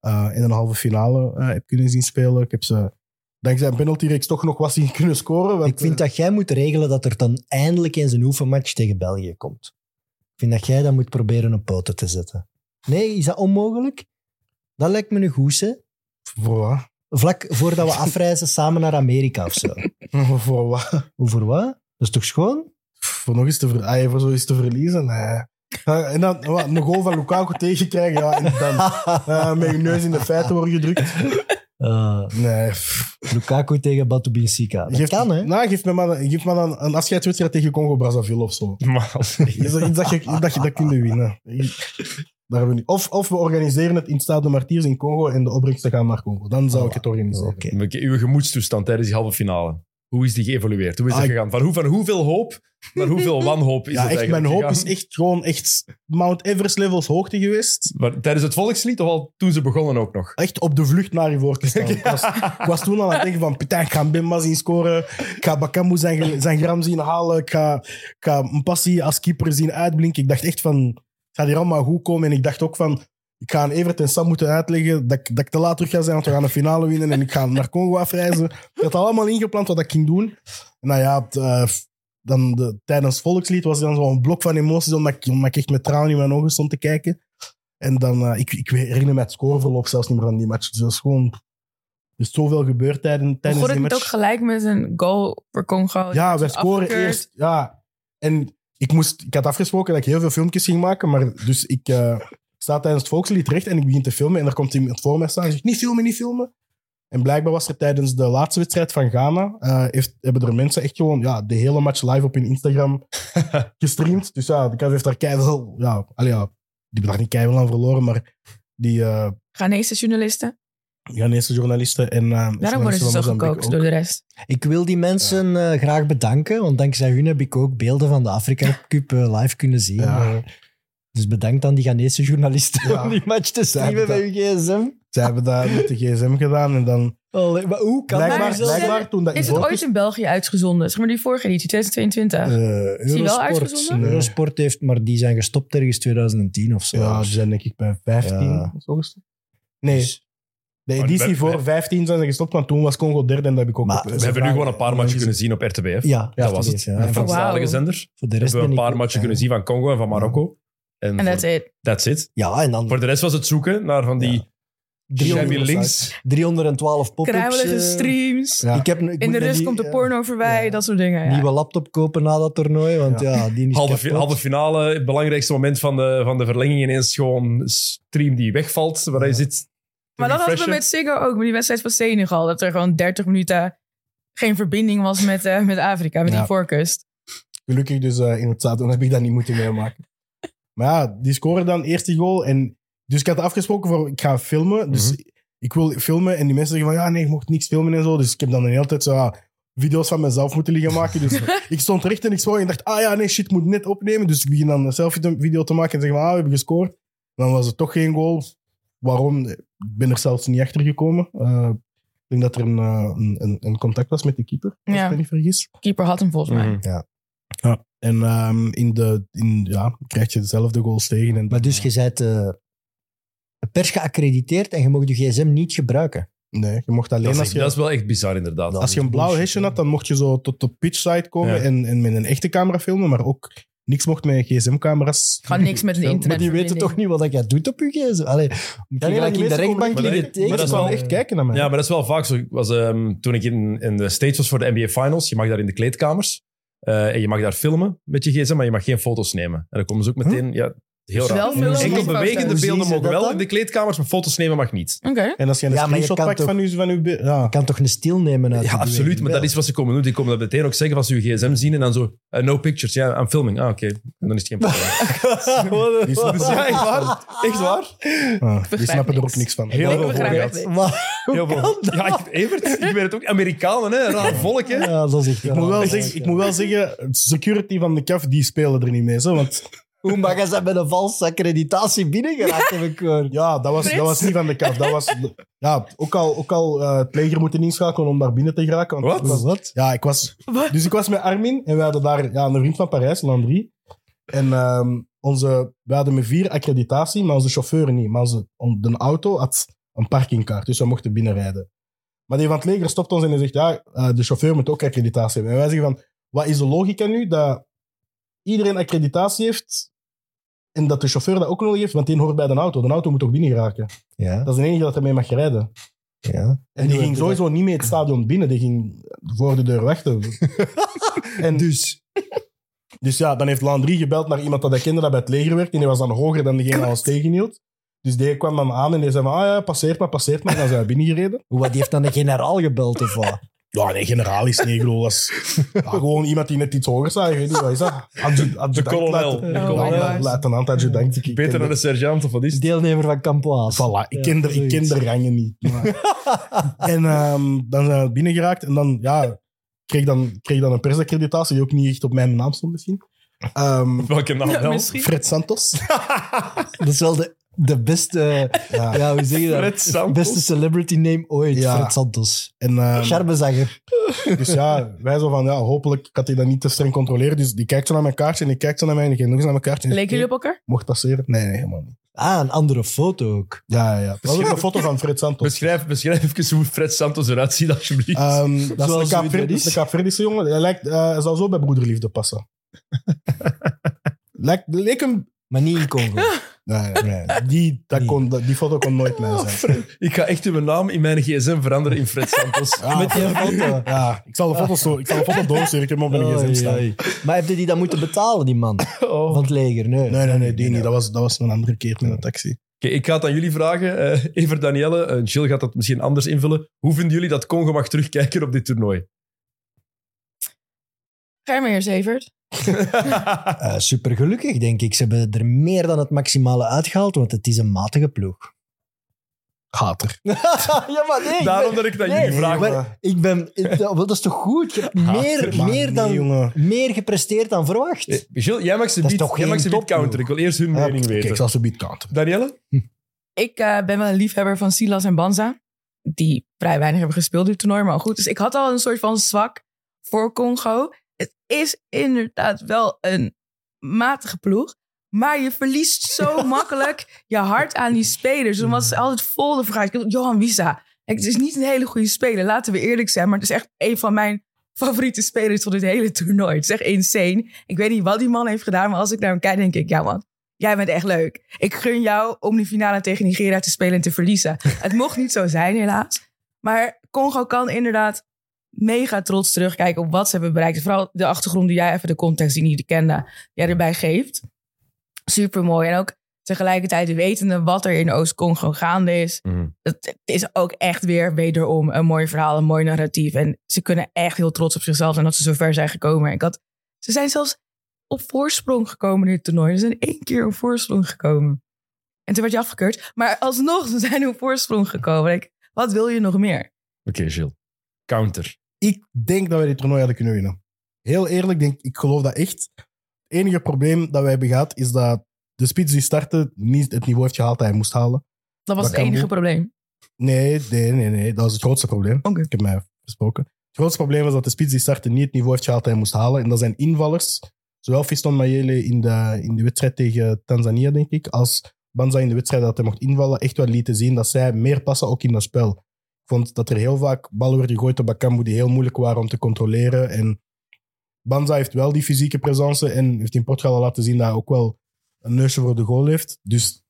[SPEAKER 3] Eh, in een halve finale eh, heb kunnen zien spelen. Ik heb ze dankzij een penaltyreeks toch nog wat zien kunnen scoren. Want, eh,
[SPEAKER 4] Ik vind dat jij moet regelen dat er dan eindelijk eens een oefenmatch tegen België komt. Ik vind dat jij dat moet proberen op poten te zetten. Nee, is dat onmogelijk? Dat lijkt me een goes, hè?
[SPEAKER 3] eh, Voor wat?
[SPEAKER 4] Vlak voordat we afreizen samen naar Amerika of zo.
[SPEAKER 3] Voor wat?
[SPEAKER 4] Hoe voor wat? Dat is toch schoon?
[SPEAKER 3] voor nog eens te, ver, ah, ja, voor zoiets te verliezen. nee. Ja, En dan wat, een goal van Lukaku tegenkrijgen. Ja, en dan eh, met je neus in de feiten worden gedrukt.
[SPEAKER 4] Eh,
[SPEAKER 3] Nee. pff.
[SPEAKER 4] Lukaku tegen Batubinsika. Dat
[SPEAKER 3] Geef-
[SPEAKER 4] kan, hè?
[SPEAKER 3] Nou, geef me maar, geef me dan een afscheidswedstrijd tegen Congo-Brazzaville of zo. Is dat iets dat je dat, je, dat kunt winnen? Daar hebben we niet. Of, of we organiseren het in Stade de Martiers in Congo en de opbrengsten gaan naar Congo. Dan zou ik het organiseren.
[SPEAKER 4] Oh, Oké.
[SPEAKER 2] Oké, Uw gemoedstoestand tijdens die halve finale. Hoe is die geëvolueerd? Hoe is dat
[SPEAKER 3] Ah, ik-
[SPEAKER 2] gegaan? Van, hoe, van hoeveel hoop naar hoeveel wanhoop is
[SPEAKER 3] Ja,
[SPEAKER 2] dat
[SPEAKER 3] echt,
[SPEAKER 2] eigenlijk
[SPEAKER 3] mijn hoop is
[SPEAKER 2] gegaan?
[SPEAKER 3] echt gewoon echt Mount Everest levels hoogte geweest.
[SPEAKER 2] Maar tijdens het volkslied of al toen ze begonnen ook nog?
[SPEAKER 3] echt op de vlucht naar Ivoorkust staan. Ik, was, ik was toen al aan het denken van, putain, ik ga Mbemba zien scoren. Ik ga Bakambu zijn, gel- zijn gram zien halen. Ik ga, ik ga Mpassi als keeper zien uitblinken. Ik dacht echt van, het gaat hier allemaal goed komen. En ik dacht ook van, ik ga aan Evert en Sam moeten uitleggen dat, ik- dat ik te laat terug ga zijn, want we gaan de finale winnen en ik ga naar Congo afreizen. Ik had allemaal ingepland wat ik ging doen. En nou ja, het, eh, dan de, tijdens volkslied was er dan zo'n blok van emoties, omdat ik, omdat ik echt met tranen in mijn ogen stond te kijken. En dan, eh, ik, ik herinner me het scoreverloop zelfs niet meer van die match. Dus dat is gewoon, er is zoveel gebeurd tijdens, tijdens
[SPEAKER 5] Begon
[SPEAKER 3] die
[SPEAKER 5] het niet ook
[SPEAKER 3] match.
[SPEAKER 5] gelijk met een goal voor Congo?
[SPEAKER 3] Ja, wij
[SPEAKER 5] Oh, Is
[SPEAKER 3] scoren
[SPEAKER 5] afgekeurd.
[SPEAKER 3] eerst. Ja. En ik, moest, ik had afgesproken dat ik heel veel filmpjes ging maken, maar dus ik eh, sta tijdens het volkslied recht en ik begin te filmen en er komt iemand voor mij staan en zegt, niet filmen, niet filmen. En blijkbaar was er tijdens de laatste wedstrijd van Ghana, eh, heeft, hebben er mensen echt gewoon ja, de hele match live op hun Instagram gestreamd. Dus ja, de KV heeft daar keihard, ja, allee, ja, die hebben daar niet keihard aan verloren, maar die eh
[SPEAKER 5] Ghanese journalisten.
[SPEAKER 3] Ghanese journalisten en... eh,
[SPEAKER 5] Daarom
[SPEAKER 3] journalisten
[SPEAKER 5] worden ze
[SPEAKER 3] van
[SPEAKER 5] zo
[SPEAKER 3] Mozambique
[SPEAKER 5] gekookt dus.
[SPEAKER 3] ook.
[SPEAKER 5] door de rest.
[SPEAKER 4] Ik wil die mensen eh, graag bedanken, want dankzij hun heb ik ook beelden van de Afrika Cup eh, live kunnen zien.
[SPEAKER 3] Ja.
[SPEAKER 4] Eh, dus bedankt aan die Ghanese journalisten
[SPEAKER 3] Ja.
[SPEAKER 4] om die match te streamen bij
[SPEAKER 3] hebben
[SPEAKER 4] uw gsm.
[SPEAKER 3] Zij hebben dat met de gsm gedaan en dan...
[SPEAKER 4] Allee, maar hoe kan
[SPEAKER 5] Maar
[SPEAKER 3] Blijkbaar,
[SPEAKER 5] is
[SPEAKER 4] dat?
[SPEAKER 5] het-
[SPEAKER 3] blijkbaar toen dat
[SPEAKER 5] Is het
[SPEAKER 3] Ivoorkust-
[SPEAKER 5] ooit in België uitgezonden? Zeg maar die vorige editie, 2022.
[SPEAKER 3] Eh,
[SPEAKER 5] die wel
[SPEAKER 3] Eurosport.
[SPEAKER 5] uitgezonden?
[SPEAKER 3] Nee.
[SPEAKER 4] Eurosport heeft, maar die zijn gestopt ergens 2010 of zo.
[SPEAKER 3] Ja, ze zijn denk ik bij 15
[SPEAKER 4] Ja.
[SPEAKER 3] of zo gestopt. Nee,
[SPEAKER 4] Dus-
[SPEAKER 3] de
[SPEAKER 2] Maar
[SPEAKER 3] editie
[SPEAKER 2] we-
[SPEAKER 3] voor 15 zijn ze gestopt, want toen was Congo derde en dat heb ik ook
[SPEAKER 4] Maar
[SPEAKER 3] op-
[SPEAKER 2] We hebben nu gewoon een paar matchen
[SPEAKER 3] Ja.
[SPEAKER 2] kunnen zien op RTBF.
[SPEAKER 4] ja,
[SPEAKER 2] dat was het.
[SPEAKER 4] RTBF, ja. En
[SPEAKER 2] Een
[SPEAKER 4] voor,
[SPEAKER 2] Franstalige
[SPEAKER 5] Wauw.
[SPEAKER 2] zender.
[SPEAKER 4] voor de rest
[SPEAKER 2] Hebben we een
[SPEAKER 4] ben ik
[SPEAKER 2] paar
[SPEAKER 4] ook,
[SPEAKER 2] matchen
[SPEAKER 4] eh,
[SPEAKER 2] kunnen zien van Congo en van Marokko. En
[SPEAKER 5] En
[SPEAKER 2] voor-
[SPEAKER 5] dat it.
[SPEAKER 2] that's it.
[SPEAKER 4] Ja, en dan
[SPEAKER 2] Voor de rest was het zoeken naar van die shabby
[SPEAKER 3] Driehonderd-
[SPEAKER 2] links.
[SPEAKER 4] 312 pop-ups.
[SPEAKER 5] Kruimelige
[SPEAKER 4] eh,
[SPEAKER 5] streams.
[SPEAKER 3] Ja.
[SPEAKER 4] Ik heb, ik
[SPEAKER 5] In
[SPEAKER 4] moet
[SPEAKER 5] de
[SPEAKER 4] een
[SPEAKER 5] rust
[SPEAKER 4] nie-
[SPEAKER 5] komt
[SPEAKER 3] eh,
[SPEAKER 5] de
[SPEAKER 4] ja,
[SPEAKER 5] porno voorbij,
[SPEAKER 4] ja.
[SPEAKER 5] dat soort dingen. Ja.
[SPEAKER 4] Nieuwe laptop kopen na dat toernooi, want ja, die is
[SPEAKER 2] Halve, fi-
[SPEAKER 4] kapot.
[SPEAKER 2] halve finale, het belangrijkste moment van de, van de verlenging. Ineens gewoon stream die wegvalt, waar hij zit. te
[SPEAKER 5] Maar dat hadden we
[SPEAKER 2] refreshen.
[SPEAKER 5] met Ziggo ook, met die wedstrijd van Senegal. Dat er gewoon 30 minuten geen verbinding was met, eh, met Afrika, met
[SPEAKER 3] Ja.
[SPEAKER 5] die voorkust.
[SPEAKER 3] Gelukkig dus eh, in het zadel heb ik dat niet moeten meemaken. maar ja, die scoren dan eerst die goal. En, dus ik had afgesproken voor ik ga filmen. Dus ik wil filmen en die mensen zeggen van ja, nee, je mocht niks filmen en zo. Dus ik heb dan de hele tijd zo ja, video's van mezelf moeten liggen maken. Dus ik stond recht en ik zwoer en dacht, ah ja, nee, shit, ik moet net opnemen. Dus ik begin dan een selfie-video te maken en zeg maar, ah, we hebben gescoord. Dan was het toch geen goal. Waarom? Ik ben er zelfs niet achter gekomen. Eh, ik denk dat er een, eh, een, een, een contact was met de keeper, als
[SPEAKER 5] Ja.
[SPEAKER 3] ik me niet vergis.
[SPEAKER 5] Keeper had hem
[SPEAKER 3] Mm.
[SPEAKER 5] volgens mij.
[SPEAKER 2] Mhm.
[SPEAKER 3] En ehm, in de, in, ja, krijg je dezelfde goals tegen. En,
[SPEAKER 4] Maar dus je bent eh, pers geaccrediteerd en je mag je gsm niet gebruiken.
[SPEAKER 3] nee, je mocht alleen
[SPEAKER 2] Dat
[SPEAKER 3] als
[SPEAKER 2] is,
[SPEAKER 3] je,
[SPEAKER 2] dat is wel echt bizar, inderdaad.
[SPEAKER 4] Dat-
[SPEAKER 3] als je een blauw
[SPEAKER 4] bullshit,
[SPEAKER 3] hesje
[SPEAKER 4] hè.
[SPEAKER 3] had, dan mocht je zo tot de pitchside komen
[SPEAKER 2] Ja.
[SPEAKER 3] en, en met een echte camera filmen, maar ook niks mocht met gsm-camera's.
[SPEAKER 5] Gewoon niks met een
[SPEAKER 4] Maar
[SPEAKER 5] internet.
[SPEAKER 4] die weten toch niet wat jij doet op je gsm? Allee, moet
[SPEAKER 3] Ja, nee,
[SPEAKER 4] je
[SPEAKER 3] maar
[SPEAKER 4] gelijk
[SPEAKER 3] die
[SPEAKER 4] in de
[SPEAKER 3] mensen
[SPEAKER 4] rechtbank
[SPEAKER 2] niet-
[SPEAKER 3] komen
[SPEAKER 4] liggen
[SPEAKER 2] Maar
[SPEAKER 4] tekenen?
[SPEAKER 2] dat
[SPEAKER 3] dat
[SPEAKER 2] is
[SPEAKER 3] is
[SPEAKER 2] wel-
[SPEAKER 3] echt kijken naar mij.
[SPEAKER 2] Ja, maar dat is wel vaak zo. Ik was, ehm, toen ik in, in de States was voor de NBA Finals, je mag daar in de kleedkamers. eh, en je mag daar filmen met je gsm, maar je mag geen foto's nemen. En dan komen ze ook meteen... Ja, Heel raar.
[SPEAKER 5] Dus Wel veel
[SPEAKER 2] Enkel
[SPEAKER 5] foto's.
[SPEAKER 2] bewegende
[SPEAKER 5] Hoe
[SPEAKER 4] zien
[SPEAKER 2] beelden
[SPEAKER 4] ze
[SPEAKER 2] mogen
[SPEAKER 4] dat
[SPEAKER 2] wel
[SPEAKER 4] dan?
[SPEAKER 2] in de kleedkamers, maar foto's nemen mag niet.
[SPEAKER 5] Oké.
[SPEAKER 3] En als je een
[SPEAKER 4] Ja, maar je
[SPEAKER 3] screenshot
[SPEAKER 4] kan
[SPEAKER 3] pakt
[SPEAKER 4] toch-
[SPEAKER 3] van, uw, van uw be- Ja.
[SPEAKER 4] kan toch een stil nemen uit
[SPEAKER 2] Ja,
[SPEAKER 4] de
[SPEAKER 2] absoluut.
[SPEAKER 4] beweging?
[SPEAKER 2] Maar dat
[SPEAKER 4] Wel.
[SPEAKER 2] is wat ze komen doen. Die komen dat meteen ook zeggen als ze je gsm zien en dan zo... eh, no pictures. Ja, I'm filming. Ah, oké. Dan is het geen probleem.
[SPEAKER 3] Die is-
[SPEAKER 2] eh, ja, echt waar. Echt waar.
[SPEAKER 3] Ah, die
[SPEAKER 5] begrijp
[SPEAKER 3] snappen er ook
[SPEAKER 5] niks.
[SPEAKER 3] niks van.
[SPEAKER 2] Heel
[SPEAKER 5] Ik
[SPEAKER 2] veel
[SPEAKER 5] begrijp
[SPEAKER 2] voorbeeld.
[SPEAKER 5] het niet.
[SPEAKER 4] Maar-
[SPEAKER 2] Heel veel. Ja, ik, Evert, ik weet het ook. Amerikanen, hè. Raar volk, hè.
[SPEAKER 4] ja, dat is echt
[SPEAKER 3] Ik moet, wel zeggen, ik moet wel zeggen, security van de CAF, die spelen er niet mee. Zo, want
[SPEAKER 4] Hoe mag je dat met een valse accreditatie binnengeraakt, heb ik gehoord.
[SPEAKER 3] ja, dat was, dat
[SPEAKER 5] Frits.
[SPEAKER 3] was niet van de CAF. Dat was, ja, ook al, ook al eh, het leger moeten inschakelen om daar binnen te geraken. want ik was-
[SPEAKER 4] Wat?
[SPEAKER 3] ja, ik was, dus ik was met Armin en we hadden daar ja, een vriend van Parijs, Landry. En ehm, onze, we hadden met vier accreditatie, maar onze chauffeur niet. Maar onze, on- de auto had een parkingkaart, dus we mochten binnenrijden. Maar die van het leger stopt ons en die zegt, ja, eh, de chauffeur moet ook accreditatie hebben. En wij zeggen van, wat is de logica nu dat iedereen accreditatie heeft en dat de chauffeur dat ook nodig heeft, want die hoort bij de auto. De auto moet ook binnen geraken.
[SPEAKER 4] Ja,
[SPEAKER 3] Dat is de enige dat ermee mag rijden.
[SPEAKER 4] ja.
[SPEAKER 3] En die ging sowieso niet mee het stadion binnen. Die ging voor de deur weg. en dus. Dus ja, dan heeft Landry gebeld naar iemand dat hij kende dat bij het leger werkte. En die was dan hoger dan degene die ons tegenhield. Dus die kwam dan aan en die zei van, ah ja, passeert maar, passeert maar. En dan zijn we binnengereden.
[SPEAKER 4] Hoe, Wat, die heeft dan een generaal gebeld of wat?
[SPEAKER 3] Ja, nee, generaal is niet, ik bedoel, dat is- ja, gewoon iemand die net iets hoger staat. Ik weet niet, wat is dat? Adju- adjudant,
[SPEAKER 2] De kolonel.
[SPEAKER 3] luiten-
[SPEAKER 2] De
[SPEAKER 3] ja,
[SPEAKER 5] kolonel.
[SPEAKER 3] ja, Luitenant, adjudant. ik- ik
[SPEAKER 2] Beter
[SPEAKER 3] ken
[SPEAKER 2] dan de
[SPEAKER 3] de-
[SPEAKER 2] sergeant of wat is het?
[SPEAKER 4] Deelnemer van Campo Aas.
[SPEAKER 3] Voilà, ik
[SPEAKER 4] Ja,
[SPEAKER 3] ken, de, ik
[SPEAKER 4] zoiets.
[SPEAKER 3] ken de rangen niet. maar- en ehm, dan zijn we binnengeraakt en dan, ja, kreeg dan, kreeg dan een persaccreditatie die ook niet echt op mijn naam stond misschien. Ehm,
[SPEAKER 2] Welke naam wel?
[SPEAKER 5] Misschien.
[SPEAKER 3] Fred Santos.
[SPEAKER 4] Dat is wel de, de beste,
[SPEAKER 3] ja.
[SPEAKER 4] ja, hoe zeg je dat?
[SPEAKER 2] Fred Santos.
[SPEAKER 4] Beste celebrity name ooit,
[SPEAKER 3] Ja.
[SPEAKER 4] Fred Santos.
[SPEAKER 3] En, ehm,
[SPEAKER 4] Schermenzagger.
[SPEAKER 3] dus ja, wij zo van, ja, hopelijk gaat hij dat niet te streng controleren. Dus die kijkt zo naar mijn kaartje en die kijkt zo naar mij en die kijkt nog eens naar mijn kaartje. en die
[SPEAKER 5] Leken jullie op elkaar?
[SPEAKER 3] Mocht passeren? Nee, nee, helemaal niet.
[SPEAKER 4] Ah, een andere foto ook.
[SPEAKER 3] Ja, ja. ja. Dat is ook een foto van Fred Santos.
[SPEAKER 2] Beschrijf, beschrijf even hoe Fred Santos eruit ziet, alsjeblieft.
[SPEAKER 3] Ehm, dat is
[SPEAKER 4] Zoals
[SPEAKER 3] de
[SPEAKER 4] u dat
[SPEAKER 3] Kaapverd-
[SPEAKER 4] is.
[SPEAKER 3] dat is de Kaapverdische jongen. Hij, lijkt, eh, hij zou zo bij Broederliefde passen. lijkt, leek hem...
[SPEAKER 4] Maar niet in Congo.
[SPEAKER 3] Nee, nee, nee. Die, dat
[SPEAKER 4] Nee.
[SPEAKER 3] kon, dat- die foto kon nooit mij
[SPEAKER 2] Oh,
[SPEAKER 3] zijn.
[SPEAKER 2] Fred. Ik ga echt uw naam in mijn gsm veranderen in Fred Santos.
[SPEAKER 3] Ja,
[SPEAKER 4] Met die foto.
[SPEAKER 3] Ah. ja, ik zal de foto, zo, ik zal de foto doorsturen. Ik heb hem op mijn gsm
[SPEAKER 4] Oei,
[SPEAKER 3] staan.
[SPEAKER 4] oei. Maar heb je die dan moeten betalen, die man?
[SPEAKER 2] Oh.
[SPEAKER 4] Van het leger, nee.
[SPEAKER 3] Nee, nee, nee, die niet. Dat was, dat was een andere keer met een taxi.
[SPEAKER 2] Oké, ik ga het aan jullie vragen. eh Ever Danielle, eh, Jill gaat dat misschien anders invullen. Hoe vinden jullie dat Congo mag terugkijken op dit toernooi?
[SPEAKER 5] Ga je maar eerst, Evert.
[SPEAKER 4] Eh, supergelukkig, denk ik. Ze hebben er meer dan het maximale uitgehaald, want het is een matige ploeg.
[SPEAKER 3] Gater.
[SPEAKER 4] ja, maar nee. ik
[SPEAKER 2] Daarom
[SPEAKER 4] ben-
[SPEAKER 2] dat ik dat
[SPEAKER 4] Nee,
[SPEAKER 2] jullie vraag.
[SPEAKER 4] maar ik ben... ik- ja, wel, dat is toch goed? Je hebt meer,
[SPEAKER 3] Maar
[SPEAKER 4] meer,
[SPEAKER 3] nee,
[SPEAKER 4] dan,
[SPEAKER 3] jongen.
[SPEAKER 4] meer gepresteerd dan verwacht.
[SPEAKER 2] Eh, Jill, jij mag ze
[SPEAKER 4] Dat is
[SPEAKER 2] niet,
[SPEAKER 4] toch
[SPEAKER 2] jij mag
[SPEAKER 4] geen
[SPEAKER 2] ze niet
[SPEAKER 4] topploeg?
[SPEAKER 2] counteren. Ik wil eerst hun
[SPEAKER 3] Ja,
[SPEAKER 2] mening
[SPEAKER 3] oké,
[SPEAKER 2] weten.
[SPEAKER 3] ik zal ze beat counteren.
[SPEAKER 2] Danielle?
[SPEAKER 5] Ik eh, ben wel een liefhebber van Silas en Banza. Die vrij weinig hebben gespeeld dit toernooi, maar goed. Dus ik had al een soort van zwak voor Congo. Het is inderdaad wel een matige ploeg. Maar je verliest zo makkelijk je hart aan die spelers. Omdat ze altijd vol de vraag. Ik bedoel, Johan Wisa. Kijk, Het is niet een hele goede speler, laten we eerlijk zijn. Maar het is echt een van mijn favoriete spelers van dit hele toernooi. Het is echt insane. Ik weet niet wat die man heeft gedaan. Maar als ik naar hem kijk, denk ik, ja man, jij bent echt leuk. Ik gun jou om die finale tegen Nigeria te spelen en te verliezen. Het mocht niet zo zijn, helaas. Maar Congo kan inderdaad mega trots terugkijken op wat ze hebben bereikt. Vooral de achtergrond die jij even, de context die je niet kende, jij erbij geeft. Super mooi. En ook tegelijkertijd wetende wat er in Oost-Congo gaande is. Het, het is ook echt weer wederom een mooi verhaal, een mooi narratief. En ze kunnen echt heel trots op zichzelf zijn dat ze zo ver zijn gekomen. Ik had, ze zijn zelfs op voorsprong gekomen in het toernooi. Ze zijn één keer op voorsprong gekomen. En toen werd je afgekeurd. Maar alsnog, ze zijn op voorsprong gekomen. Ik, wat wil je nog meer?
[SPEAKER 2] Oké, Jill. Counter.
[SPEAKER 3] Ik denk dat wij dit toernooi hadden kunnen winnen. Heel eerlijk, denk, ik geloof dat echt. Het enige probleem dat wij hebben gehad is dat de spits die startte niet het niveau heeft gehaald dat hij moest halen.
[SPEAKER 5] Dat
[SPEAKER 3] Dat
[SPEAKER 5] was het
[SPEAKER 3] kan
[SPEAKER 5] enige
[SPEAKER 3] niet.
[SPEAKER 5] probleem.
[SPEAKER 3] Nee, nee, nee, nee. Dat was het grootste probleem.
[SPEAKER 5] Oké.
[SPEAKER 3] Ik heb mij besproken. Het grootste probleem was dat de spits die startte niet het niveau heeft gehaald dat hij moest halen. En dat zijn invallers, zowel Fiston Mayele in de, in de wedstrijd tegen Tanzania, denk ik, als Banza in de wedstrijd dat hij mocht invallen, echt wel lieten zien dat zij meer passen ook in dat spel. Ik vond dat er heel vaak ballen werden gegooid op Bakambu die heel moeilijk waren om te controleren. En Banza heeft wel die fysieke presence en heeft in Portugal al laten zien dat hij ook wel een neusje voor de goal heeft. Dus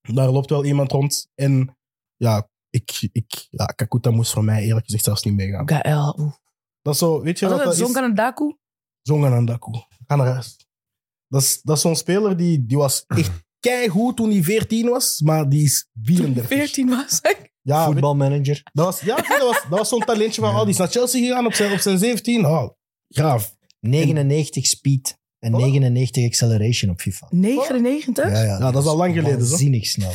[SPEAKER 3] daar loopt wel iemand rond. En ja, ik, ik, ja Kakuta moest voor mij eerlijk gezegd zelfs niet meegaan.
[SPEAKER 5] Gael. oeh.
[SPEAKER 3] Dat is zo, weet je
[SPEAKER 5] Was
[SPEAKER 3] wat
[SPEAKER 5] dat
[SPEAKER 3] dat is?
[SPEAKER 5] Zonk aan Daku?
[SPEAKER 3] Zongan aan Daku. Ga naar huis. Dat is, dat is zo'n speler die, die was echt keigoed toen hij 14 was, maar die is 34.
[SPEAKER 5] 14 was ik.
[SPEAKER 3] Ja, weet-
[SPEAKER 4] Voetbalmanager.
[SPEAKER 3] dat was, ja, zie, dat was, dat was zo'n talentje van, oh, die is naar Chelsea gegaan op zijn, op zijn 17. Oh, graaf.
[SPEAKER 4] 99 speed en
[SPEAKER 3] Oh.
[SPEAKER 4] 99 acceleration op FIFA.
[SPEAKER 5] 99?
[SPEAKER 3] Ja, dat is al lang geleden, zo.
[SPEAKER 4] Waanzinnig snel.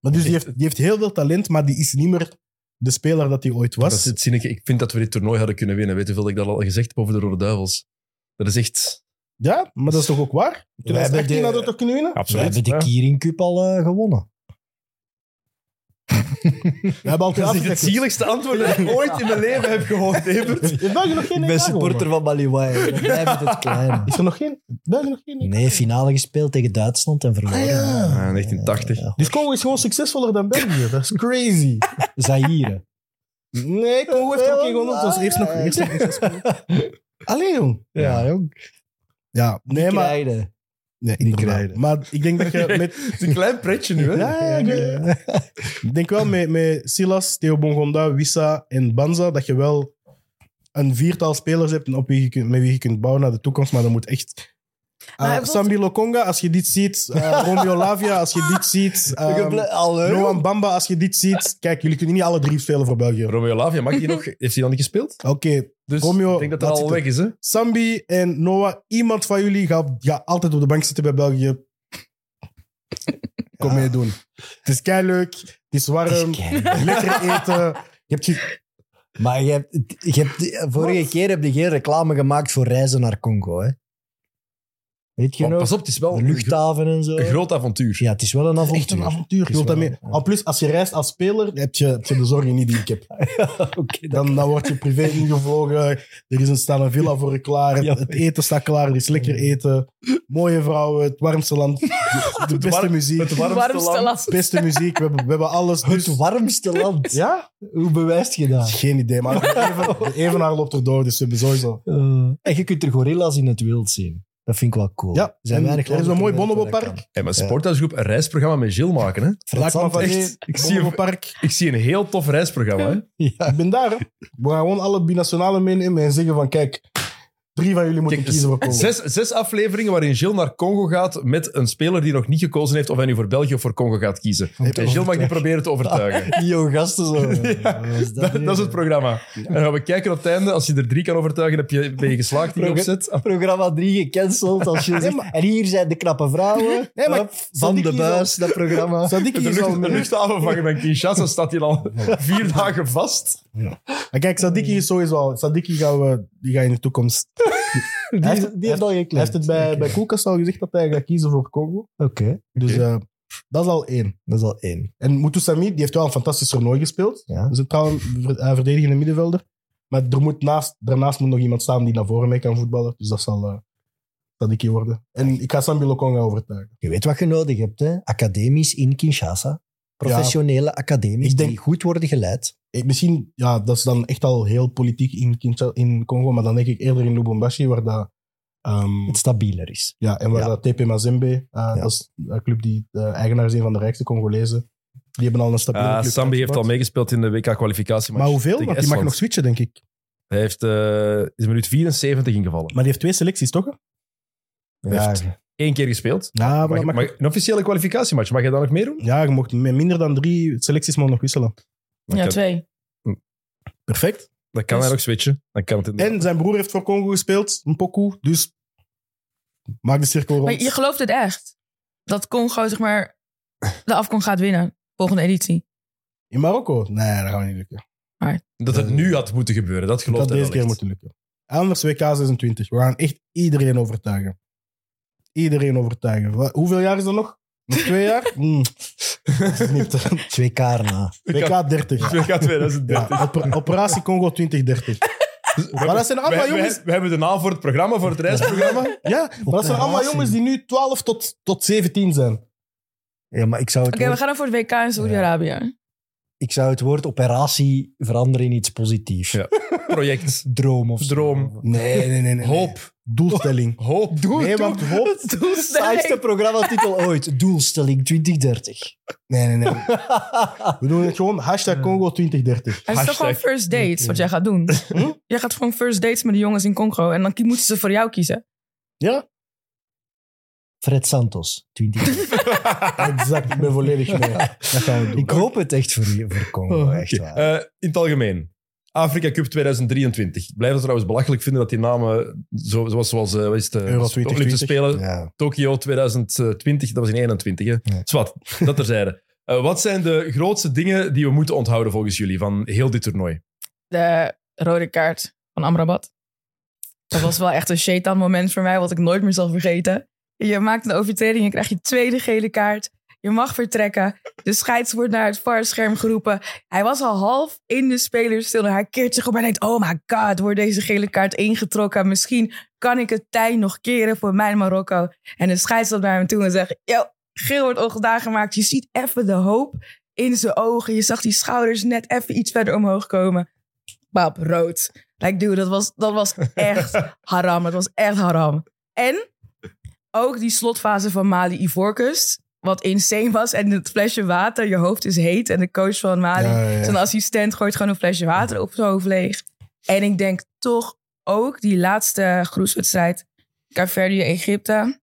[SPEAKER 3] Maar dus die heeft, die heeft heel veel talent, maar die is niet meer de speler dat hij ooit
[SPEAKER 2] Dat
[SPEAKER 3] was.
[SPEAKER 2] is het zinnige. Ik vind dat we dit toernooi hadden kunnen winnen. Weet je hoeveel ik dat al gezegd heb over de Rode Duivels? Dat is echt...
[SPEAKER 3] Ja, maar dat is toch ook waar? Toen
[SPEAKER 4] We
[SPEAKER 3] hij
[SPEAKER 4] hebben
[SPEAKER 3] 18
[SPEAKER 4] de-
[SPEAKER 3] had, had hij toch kunnen winnen?
[SPEAKER 4] We hebben de
[SPEAKER 2] Ja.
[SPEAKER 4] Kiering Cup al eh, gewonnen.
[SPEAKER 3] We hebben altijd
[SPEAKER 2] Dat is echt het
[SPEAKER 3] Afrika-cups.
[SPEAKER 2] zieligste antwoord dat ik ooit in mijn leven heb gehoord, Evert.
[SPEAKER 3] Heeft België nog geen
[SPEAKER 4] Ik
[SPEAKER 3] EK
[SPEAKER 4] ben supporter
[SPEAKER 3] gewonnen?
[SPEAKER 4] van Maliwai. We blijven het kleine.
[SPEAKER 3] Is er nog geen? België nog geen? EK?
[SPEAKER 4] Nee, finale gespeeld tegen Duitsland en verloren.
[SPEAKER 3] Ah, ja.
[SPEAKER 2] Ah, 1980.
[SPEAKER 4] Ja.
[SPEAKER 3] Dus Congo is gewoon succesvoller dan België. Dat is crazy.
[SPEAKER 4] Zaire.
[SPEAKER 3] Nee, Congo heeft ook geen gewonnen. Het was eerst nog...
[SPEAKER 4] Ah,
[SPEAKER 3] Eerst nog een succesvol. Allee, jong.
[SPEAKER 4] Ja, jong.
[SPEAKER 3] Ja, nee, maar...
[SPEAKER 4] Krijden.
[SPEAKER 3] Nee, inderdaad. Maar ik denk dat je met...
[SPEAKER 2] Het is een klein pretje nu, hè?
[SPEAKER 3] Ja, ja, ik weet- Ik denk wel met, met Silas, Theo Bongonda, Wissa en Banza dat je wel een viertal spelers hebt en op wie je kunt, met wie je kunt bouwen naar de toekomst. Maar dat moet echt...
[SPEAKER 5] Maar hij
[SPEAKER 3] Eh
[SPEAKER 5] voelt-
[SPEAKER 3] Sambi Lokonga, als je dit ziet. eh, Romeo Lavia, als je dit ziet.
[SPEAKER 4] Ik
[SPEAKER 3] ehm
[SPEAKER 4] ble- Hallo.
[SPEAKER 3] Noam Bamba, als je dit ziet. Kijk, jullie kunnen niet alle drie spelen voor België. Oké,
[SPEAKER 2] Romeo Lavia, mag die nog? Heeft hij al niet gespeeld? Dus
[SPEAKER 3] Romeo,
[SPEAKER 2] ik denk dat dat
[SPEAKER 3] laat
[SPEAKER 2] al
[SPEAKER 3] zitten.
[SPEAKER 2] weg is, hè?
[SPEAKER 3] Sambi en Noah, iemand van jullie gaat, gaat altijd op de bank zitten bij België. Kom mee doen. Het is kei leuk, het is
[SPEAKER 4] Het is
[SPEAKER 3] warm,
[SPEAKER 4] kei-
[SPEAKER 3] lekker eten. Je hebt ge-
[SPEAKER 4] Maar je hebt, je hebt, vorige keer heb je geen reclame gemaakt voor reizen naar Congo. Hè? Weet je
[SPEAKER 2] Maar
[SPEAKER 4] nog?
[SPEAKER 2] pas op, het is wel
[SPEAKER 3] Oh,
[SPEAKER 4] De
[SPEAKER 2] een, gro-
[SPEAKER 4] luchthaven en zo.
[SPEAKER 2] een groot avontuur.
[SPEAKER 4] Ja, het is wel een avontuur.
[SPEAKER 3] echt een avontuur. Je wilt dat
[SPEAKER 4] wel-
[SPEAKER 3] mee. Al plus, als je reist als speler, heb je, heb je de zorgen niet die ik heb.
[SPEAKER 4] Oké, dat-
[SPEAKER 3] Dan, dan word je privé ingevlogen. Er is een, staat een villa voor je klaar.
[SPEAKER 4] Ja.
[SPEAKER 3] Het eten staat klaar. Er is lekker eten. Mooie vrouwen. Het warmste land. De, de beste
[SPEAKER 2] warm-
[SPEAKER 3] muziek.
[SPEAKER 2] het warmste land.
[SPEAKER 5] last.
[SPEAKER 3] Beste muziek. We hebben, we hebben alles.
[SPEAKER 4] Het
[SPEAKER 3] dus-
[SPEAKER 4] warmste land.
[SPEAKER 3] ja?
[SPEAKER 4] Hoe bewijst je dat?
[SPEAKER 3] Geen idee, maar de even- de evenaar loopt erdoor, dus we hebben sowieso...
[SPEAKER 4] Eh, en je kunt er gorilla's in het wild zien. Dat vind ik wel cool.
[SPEAKER 3] Ja,
[SPEAKER 4] zijn
[SPEAKER 3] en
[SPEAKER 4] weinig
[SPEAKER 3] er is
[SPEAKER 4] landen
[SPEAKER 3] een mooi
[SPEAKER 4] ter wereld waar dat
[SPEAKER 3] Bonobo-park.
[SPEAKER 4] kan.
[SPEAKER 2] Hey, maar Sporthuisgroep een reisprogramma met Gilles maken, hè?
[SPEAKER 3] Laat maar
[SPEAKER 4] Fransant,
[SPEAKER 3] van
[SPEAKER 4] echt.
[SPEAKER 3] nee,
[SPEAKER 2] Ik
[SPEAKER 3] ik
[SPEAKER 2] zie
[SPEAKER 3] zie
[SPEAKER 2] hem.
[SPEAKER 3] een park.
[SPEAKER 2] Ik zie een heel tof reisprogramma, hè?
[SPEAKER 4] Ja.
[SPEAKER 3] Ik ben daar. hè. We gaan gewoon alle binationalen meenemen en zeggen van, kijk, drie van jullie moeten
[SPEAKER 2] Kijk, dus-
[SPEAKER 3] kiezen voor Congo.
[SPEAKER 2] Zes, zes afleveringen waarin Gilles naar Congo gaat met een speler die nog niet gekozen heeft of hij nu voor België of voor Congo gaat kiezen.
[SPEAKER 4] Om te
[SPEAKER 2] En Gilles mag die
[SPEAKER 4] overtuigen.
[SPEAKER 2] proberen te overtuigen.
[SPEAKER 4] Die jonge gasten zo.
[SPEAKER 2] Ja,
[SPEAKER 4] Wat is
[SPEAKER 2] Dat,
[SPEAKER 4] nu?
[SPEAKER 2] dat is het programma. En dan gaan we kijken op het einde. Als je er drie kan overtuigen, heb je, ben je geslaagd in je
[SPEAKER 4] Proge-
[SPEAKER 2] opzet.
[SPEAKER 4] Programma 3 gecanceld. Als je zegt, en hier zijn de knappe vrouwen.
[SPEAKER 3] Nee, maar
[SPEAKER 4] Hup,
[SPEAKER 3] zal
[SPEAKER 4] van
[SPEAKER 3] die
[SPEAKER 4] de
[SPEAKER 3] kiezen?
[SPEAKER 4] buis, dat programma.
[SPEAKER 3] Zou die
[SPEAKER 2] De,
[SPEAKER 3] kiezen al
[SPEAKER 2] lucht, de
[SPEAKER 3] mee?
[SPEAKER 2] luchthaven van mijn Kinshasa staat hier al vier dagen vast.
[SPEAKER 3] Maar kijk, Sadiki is sowieso al... Sadiki gaan we, die gaat in de toekomst...
[SPEAKER 4] Die,
[SPEAKER 3] Hij
[SPEAKER 4] heeft- die heeft al
[SPEAKER 3] Hij
[SPEAKER 4] geklemd.
[SPEAKER 3] heeft het bij,
[SPEAKER 4] Oké.
[SPEAKER 3] bij Koelkast al gezegd dat hij gaat kiezen voor Congo.
[SPEAKER 4] Oké,
[SPEAKER 3] Dus
[SPEAKER 2] Oké.
[SPEAKER 3] eh, dat is al één.
[SPEAKER 4] dat is al één.
[SPEAKER 3] En Moutou Sami, die heeft wel een fantastisch toernooi gespeeld.
[SPEAKER 4] Ja.
[SPEAKER 3] Dus een trouwens eh, verdedigende middenvelder. Maar er moet naast, daarnaast moet nog iemand staan die naar voren mee kan voetballen. Dus dat zal eh Sadiki worden. En ik ga Sambi Lokonga overtuigen.
[SPEAKER 4] Je weet wat je nodig hebt, hè? Academies in Kinshasa. Professionele academies
[SPEAKER 3] Ik denk-
[SPEAKER 4] die goed worden geleid.
[SPEAKER 3] Ik, misschien, ja, dat is dan echt al heel politiek in, Kinsha- in Congo. Maar dan denk ik eerder in Lubumbashi, waar dat... ehm,
[SPEAKER 4] Het stabieler is.
[SPEAKER 3] ja, en waar
[SPEAKER 4] Ja.
[SPEAKER 3] dat TP Mazembe, eh, dat is een club die eh, eigenaar is een van de rijkste Congolezen. Die hebben al een stabiele
[SPEAKER 2] Ah,
[SPEAKER 3] club.
[SPEAKER 2] Sambi heeft al
[SPEAKER 3] uitgebouwd.
[SPEAKER 2] meegespeeld in de WK-kwalificatiematch.
[SPEAKER 3] Maar hoeveel?
[SPEAKER 2] tegen
[SPEAKER 3] Want die mag
[SPEAKER 2] Estland.
[SPEAKER 3] nog switchen, denk ik.
[SPEAKER 2] Hij heeft, eh, is in minuut 74 ingevallen.
[SPEAKER 3] Maar die heeft twee selecties, toch?
[SPEAKER 2] Hij heeft
[SPEAKER 3] ja,
[SPEAKER 2] één keer gespeeld.
[SPEAKER 3] maar
[SPEAKER 2] Mag,
[SPEAKER 3] dat mag-
[SPEAKER 2] mag- een officiële kwalificatiematch, mag je daar nog meer doen?
[SPEAKER 3] Ja, je mocht met minder dan drie selecties maar nog wisselen.
[SPEAKER 2] Dan
[SPEAKER 5] Ja,
[SPEAKER 2] kan,
[SPEAKER 5] twee.
[SPEAKER 3] Perfect.
[SPEAKER 2] dan kan hij
[SPEAKER 5] Dus-
[SPEAKER 2] nog switchen. Dan kan het inderdaad.
[SPEAKER 3] En zijn broer heeft voor Congo gespeeld, een pokoe. Dus maak de cirkel
[SPEAKER 5] Maar
[SPEAKER 3] rond.
[SPEAKER 5] je gelooft het echt? Dat Congo, zeg maar, de afkom gaat winnen. Volgende editie.
[SPEAKER 3] In Marokko? Nee, dat gaat niet lukken.
[SPEAKER 2] dat het nu had moeten gebeuren, dat
[SPEAKER 3] Dat
[SPEAKER 2] gelooft hij
[SPEAKER 3] deze
[SPEAKER 2] wel
[SPEAKER 3] keer
[SPEAKER 2] echt.
[SPEAKER 3] moeten lukken. Anders WK 26. We gaan echt iedereen overtuigen. Iedereen overtuigen. Wa- Hoeveel jaar is dat nog? Nog twee jaar? Mm. Dat is niet te-
[SPEAKER 4] Twee kaar na.
[SPEAKER 3] WK 30.
[SPEAKER 2] Het gaat 2030.
[SPEAKER 3] Ja, op- Operatie Congo 2030. Maar dat zijn allemaal
[SPEAKER 2] Wij- wij-
[SPEAKER 3] jongens.
[SPEAKER 2] We hebben de naam voor het programma, voor het reisprogramma.
[SPEAKER 3] Ja, maar dat zijn allemaal
[SPEAKER 4] Operatie.
[SPEAKER 3] jongens die nu 12 tot, tot 17 zijn.
[SPEAKER 4] Ja, maar ik zou het,
[SPEAKER 5] Oké, we
[SPEAKER 4] woord,
[SPEAKER 5] gaan dan voor het WK in Saudi-Arabië.
[SPEAKER 4] ik zou het woord operatie veranderen in iets positiefs.
[SPEAKER 2] Ja. Project.
[SPEAKER 4] Droom of zo.
[SPEAKER 2] Droom.
[SPEAKER 3] Nee, nee, nee. nee
[SPEAKER 2] Hoop.
[SPEAKER 3] Doelstelling.
[SPEAKER 2] Hoop.
[SPEAKER 3] Nee, want hoop...
[SPEAKER 4] Saaiste programmatitel ooit. Doelstelling 2030.
[SPEAKER 3] Nee, nee, nee. We doen het gewoon. Hashtag Congo 2030.
[SPEAKER 5] Het is toch gewoon
[SPEAKER 2] Hashtag.
[SPEAKER 5] first dates wat jij gaat doen? Jij gaat gewoon first dates met de jongens in Congo. En dan kie- moeten ze voor jou kiezen.
[SPEAKER 3] Ja?
[SPEAKER 4] Fred Santos, 20.
[SPEAKER 3] Exact, Dus ik ben volledig mee. Dat gaan we doen.
[SPEAKER 4] ik hoop het echt voor, je- voor Congo, echt
[SPEAKER 2] Oké,
[SPEAKER 4] waar.
[SPEAKER 2] eh, in het algemeen. Afrika Cup 2023. Ik blijf het trouwens belachelijk vinden dat die namen, zo, zoals, zoals eh, wat is het, eh,
[SPEAKER 3] Euro
[SPEAKER 2] de Olympische
[SPEAKER 3] 2020.
[SPEAKER 2] Spelen,
[SPEAKER 4] ja.
[SPEAKER 2] Tokio 2020, dat was in 21. Hè?
[SPEAKER 4] Ja.
[SPEAKER 2] Zwat, dat terzijde. Eh, wat zijn de grootste dingen die we moeten onthouden volgens jullie van heel dit toernooi?
[SPEAKER 5] De rode kaart van Amrabat. Dat was wel echt een shaitan moment voor mij, wat ik nooit meer zal vergeten. Je maakt een overtreding en krijg je tweede gele kaart. Je mag vertrekken. De scheids wordt naar het varscherm geroepen. Hij was al half in de spelerstunnel. Hij keert zich op en denkt, oh my god, wordt deze gele kaart ingetrokken? Misschien kan ik het tij nog keren voor mijn Marokko. En de scheids stapt naar hem toe en zegt, yo, geel wordt ongedaan gemaakt. Je ziet even de hoop in zijn ogen. Je zag die schouders net even iets verder omhoog komen. Bab, rood. Like, dude, dat was, dat was echt haram. Het was echt haram. En ook die slotfase van Mali Ivoorkust. Wat insane was. En het flesje water, je hoofd is heet. En de coach van Mali,
[SPEAKER 3] Ja, ja, ja.
[SPEAKER 5] zijn assistent, gooit gewoon een flesje water op zijn hoofd leeg. En ik denk toch ook die laatste groepswedstrijd. Caverdië, Egypte.